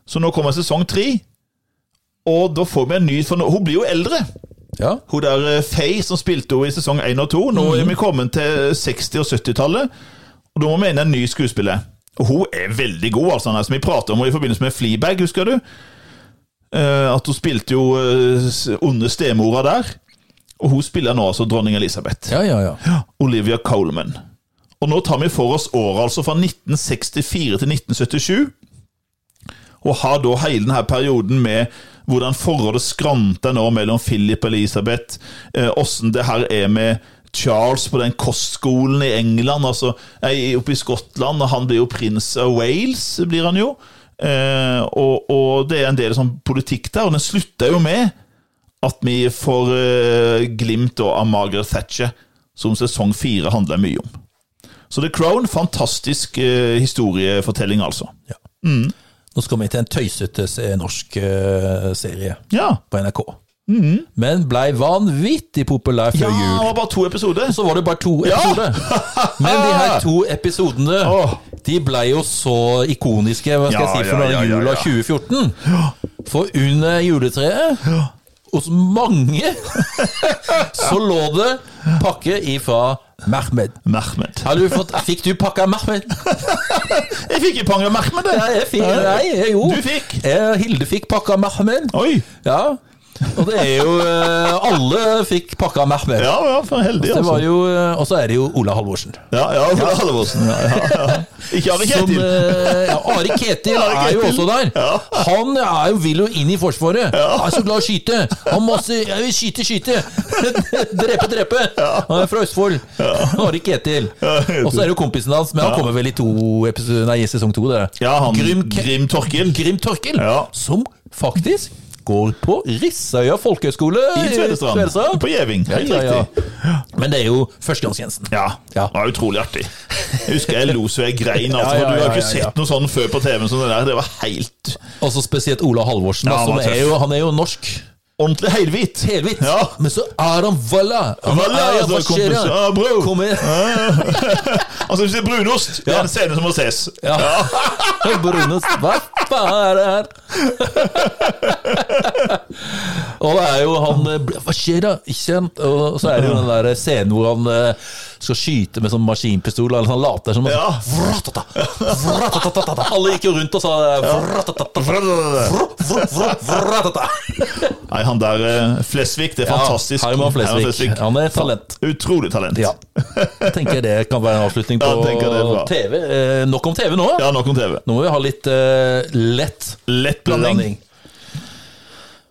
Så nå kommer sesong tre. Og da får vi en ny For nå, hun blir jo eldre. ja. Hun der eh, Faye som spilte henne i sesong 1 og 2. Nå er vi kommet til 60- og 70-tallet. Og da må vi inn en ny skuespiller. Og hun er veldig god, altså. Som vi pratet om henne i forbindelse med Fleabag, husker du? Eh, at hun spilte jo eh, s- onde stemora der. Og hun spiller nå altså dronning Elisabeth. ja, ja, ja. Olivia Coleman. Og nå tar vi for oss året altså fra 1964 til 1977. Og har da hele denne perioden med hvordan forholdet skranter nå mellom Philip og Elisabeth. eh, Åssen det her er med Charles på den kostskolen i England, altså nei, oppe i Skottland. og Han blir jo prins av Wales, blir han jo. Eh, og, og det er en del sånn politikk der, og den slutter jo med at vi får eh, glimt da av Margaret Thatcher, som sesong fire handler mye om. Så The Crown, fantastisk eh, historiefortelling, altså. Nå skal vi til en tøysete se- norsk eh, serie Ja. på NRK. Men blei vanvittig populær før Mhm. ja det jul. var bare to episoder. Så var det bare to Ja! episoder. Men de her to episodene Åh. De blei jo så ikoniske hva skal Ja, jeg si, for ja, denne ja, ja, jula ja. 2014. For under juletreet, hos mange, [laughs] så lå det pakke ifra Mehmed. Mehmed. Har du fått, fikk du pakka Mehmed? Jeg fikk ikke pange Mehmed, Nei, det! jeg fikk, nei, jeg, jo. Du fikk? Eh, Hilde fikk pakka Mehmed. Oi! Ja, og det er jo eh, Alle fikk pakka Mehmed. Ja, ja, for heldig, Det altså. var jo, eh, og så er det jo Ola Halvorsen. Ja, ja, Ola Halvorsen. Ja, ja, ja. Ikke Ari Som, Kjetil. eh, ja, Are Ketil [laughs] Are er jo Ketil. også der. Han er jo, vil jo inn i Forsvaret. Er så glad i å skyte. Han masse Jeg vil skyte, skyte! [laughs] drepe, drepe! Han er fra Østfold. Are Ketil. Ja, Ketil. Og så er det jo kompisen hans, men han kommer vel i to episode, Nei, i sesong to, det. Ja, han Grim, Grim Ke- Torkil. Grim Torkil, Ja. som faktisk går på Rissøya folkehøgskole I Tvedestrand. På Gjeving. Helt Ja, ja, riktig. Men det er jo førstegangstjenesten. Ja. Ja. Det var utrolig artig. Jeg husker jeg lo så jeg grein. Altså, Ja, ja, for du har ja, ikke ja, ja. sett noe sånn før på TV som det der. Det var Og helt så Altså spesielt Ola Halvorsen, Ja, da, han som var er tøff. jo, han er jo norsk. ordentlig helhvitt. Helhvitt. Ja. Men så er han valla! Han Valla, er- altså, hva skjer, kompis. ja? Ja, bro. Kom igjen! Altså, hvis det er brunost, det Ja. er en scene som må ses. Ja. Brunes, hva faen er det her? og det er jo han eh, Hva skjer da? Ikke sant? Og så er det jo den der scenen hvor han eh, skal skyte med sånn maskinpistol, eller han later som Ja. Vratatata, vratatatata. Alle gikk jo rundt og sa eh, det. Vratatata, vr, vr, vr, vratata. Nei, han der eh, Flesvig, det er fantastisk. Herman Flesvig. Han er et talent. Utrolig talent. Ja. Jeg tenker det kan være en avslutning på Ja, jeg tenker det er bra. TV. Eh, nok om TV nå. Ja, nok om TV. Nå må vi ha litt eh, lett Lett blanding. blanding.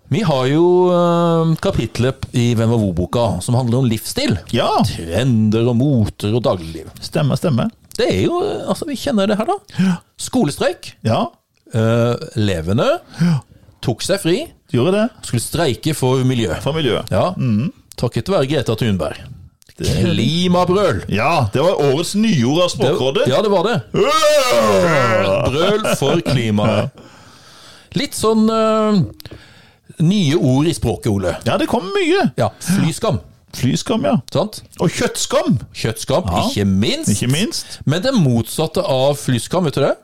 Vi har jo eh, kapitlet i Hvem var hvor-boka som handler om livsstil. Ja, Trender og moter og dagligliv. stemmer, stemmer. Det er jo Altså, vi kjenner det her, da. Skolestreik. Ja, Eh, elevene tok seg fri. gjorde det. Skulle streike for miljø. For Mhm. miljøet. Ja. Takket være Greta Thunberg. Klimabrøl! Ja, det var årets nyord av Språkrådet. Ja, det var det. Brøl for klimaet. Litt sånn eh, nye ord i språket, Ole. Ja, det kom mye. Ja, flyskam. Flyskam, ja. Sant? Og kjøttskam, Kjøttskam, Ja. ikke minst. ikke minst. Men det motsatte av flyskam, vet du det?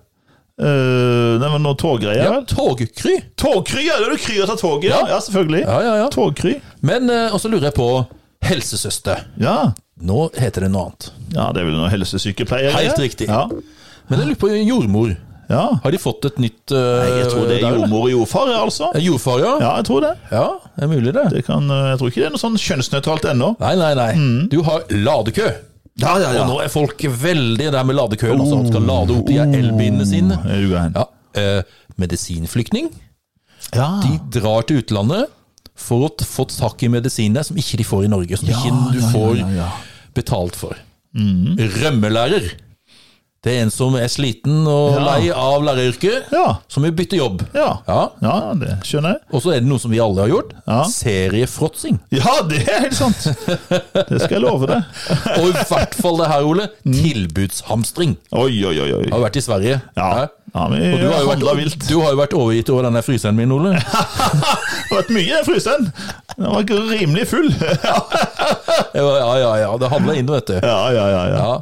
Uh, det var noe toggreier. Ja, vel? Togkry. Togkry, ja. Det er du kryr av toget, ja. Ja, selvfølgelig. Ja, ja, ja. Togkry. Men eh, også lurer jeg på helsesøster. Ja. Nå heter det noe annet. ja, det er vel noe helsesykepleier. Helt ja. riktig. Ja. Men jeg lurer på jordmor. ja. Har de fått et nytt eh, Jeg tror der, det er eller? jordmor og jordfar, ja, altså. Eh, Jordfar, ja. ja. Ja, jeg tror det. det er mulig, det. det kan, eh, jeg tror ikke det er noe sånn kjønnsnøytralt ennå. Nei, nei, nei. Du har ladekø. Mm. Ja, ja, Og nå er folk veldig der med ladekøen. Altså, han skal lade opp de Oh. her elbilene sine. Er du gæren? Ja, eh, Medisinflyktning. Ja. De drar til utlandet for å t- få tak i medisiner som ikke de får i Norge. Som ikke du ja, ja, får ja, ja. Mm. betalt for. Rømmelærer. Det er en som er sliten og Ja. lei av læreryrket, Ja. som vil bytte jobb. Ja. Ja. ja, det skjønner jeg. Og så er det noe som vi alle har gjort. Ja. Seriefråtsing. Ja, det er helt sant! Det skal jeg love deg. Og i hvert fall det her, [laughs] Ole. Mm. Tilbudshamstring. Oi, oi, oi. oi. Jeg har vært i Sverige. Ja. Hæ? ja men Og du har, jo handla vært, vilt. du har jo vært overgitt over denne fryseren min, [laughs] Ole. Det har vært mye i den fryseren. Den var ikke rimelig full. Ja, ja, ja. ja. Det handler inn, vet du. Ja, ja, ja. Ja, Ja.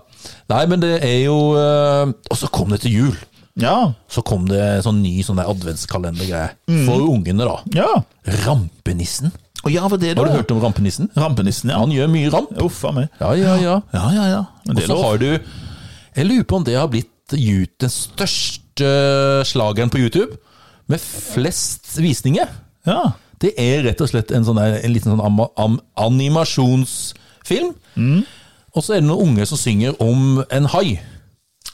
Nei, men det er jo eh, Og så kom det til jul. ja. Så kom det en sånn ny sånn der adventskalendergreie. Mm. For ungene, da. ja. Rampenissen. Og ja, var det Har du da? hørt om rampenissen? Rampenissen, ja. Han gjør mye ramp. Uff a meg. Ja, ja, ja. Ja, ja, ja. Og Men det er så lov. har du Jeg lurer på om det har blitt ut- den største slageren på YouTube, med flest visninger. Ja. Det er rett og slett en, sånn der, en liten sånn ama- am, animasjonsfilm. Mm. Og så er det noen unge som synger om en hai.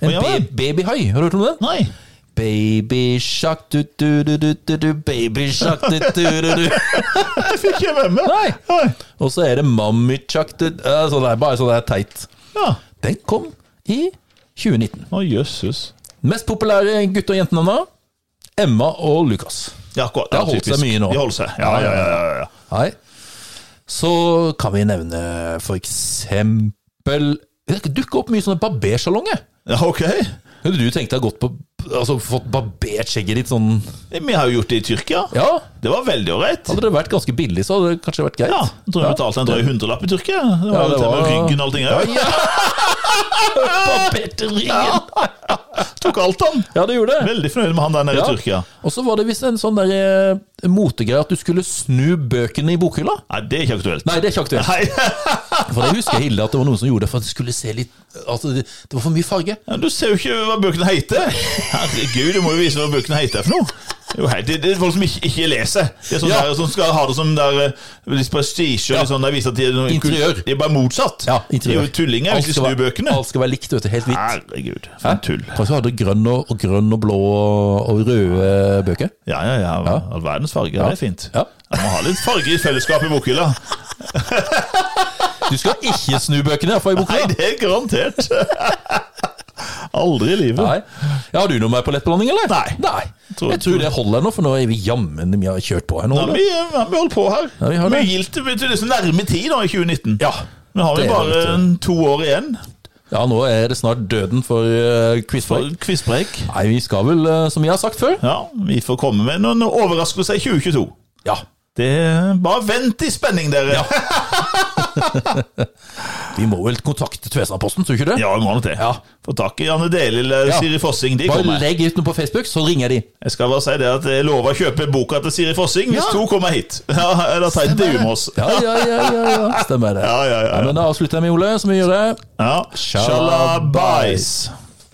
En Å, ja vel. ba- babyhai. Har du hørt om den? Nei. Baby shark du du du du du du Baby shark du du du du [laughs] Det fikk [laughs] jeg med meg. Nei. Og så er det mommy shark du eh, Sånn der, bare sånn der teit. Ja. Den kom i 2019. Å, jøsses. Mest populære gutte- og jentenavna? Emma og Lukas. Ja, akkurat. har holdt seg typisk. mye nå. De holder seg. Ja, ja, ja. ja, ja. Nei. Så kan vi nevne for eksempel Det dukker opp mye sånne barbersalonger. ja ok. Kunne du tenkt deg gått på Altså fått barbert skjegget ditt sånn Vi har jo gjort det i Tyrkia. Ja, Det var veldig ålreit. hadde det vært ganske billig, så hadde det kanskje vært greit. Ja, jeg tror jeg betalte en drøy hundrelapp i Tyrkia. Det var Ja, jo det til og med var- ryggen og allting her. [laughs] Barbert i ryggen! Tok alt han. Ja, det gjorde det. Veldig fornøyd med han der nede Ja. i Tyrkia. Og så var det visst en sånn der eh, motegreie at du skulle snu bøkene i bokhylla. Nei, det er ikke aktuelt. Nei, det er ikke aktuelt. Nei. For det husker jeg Hilde at det var noen som gjorde det for at det skulle se litt Altså, det, det var for mye farge. Ja, Du ser jo ikke hva bøkene heter. Herregud, du må jo vise hva bøkene heter for noe. Det er Jo, helt- det det er folk som ikke, ikke leser. Det er sånn Ja. der, som skal ha det som der, eh, litt prestisje. og litt Sånn, der, viser at de er noe, Interiør. De er bare motsatt. Ja, de er jo tullinger Alt hvis de skal snur være- bøkene. Alt skal være likt, vet du. Helt hvitt. Herregud, for en tull. Kanskje du hadde grønn og, og grønn og blå og røde bøker? Ja, ja, ja. All verdens farger. Det er fint. Ja. Man må ha litt farge i fellesskap i bokhylla. Du skal ikke snu bøkene, iallfall i Nei, boka. det er garantert. [laughs] Aldri i livet. Nei. Ja, har du noe mer på lettblanding, eller? Nei. Tror- Jeg tror det holder nå, for nå er vi jammen vi har kjørt på her nå. Ja, Ole. vi, ja, vi holder på her. Ja, vi har det. Mye gildt vet du, det er så nærme tid da, i 2019. Ja. Nå har vi Det er bare helt, en to år igjen ja, nå er det snart døden for uh, for quizfolk. quizbreak. Nei, vi skal vel, eh, som jeg har sagt før Ja, vi får komme med noen overraskelser i 2022. Ja. Det er Bare vent i spenning, dere! Ja, [laughs] Vi må vel kontakte Tvesenposten, tror du ikke det? vi må nå til. Ja. Få tak i Anne Deli eller Ja. Siri Fossing. De Bare kommer. legg ut noe på Facebook, så ringer de. Jeg skal bare si det at jeg lover å kjøpe boka til Siri Fossing hvis Ja. to kommer hit. [laughs] Ja, Eller ta intervju med oss. Ja, ja, ja, ja, ja. [laughs] Stemmer det. Ja, ja, ja, ja. Men da avslutter jeg med Ole, som vi gjør det. Ja. Shalabais.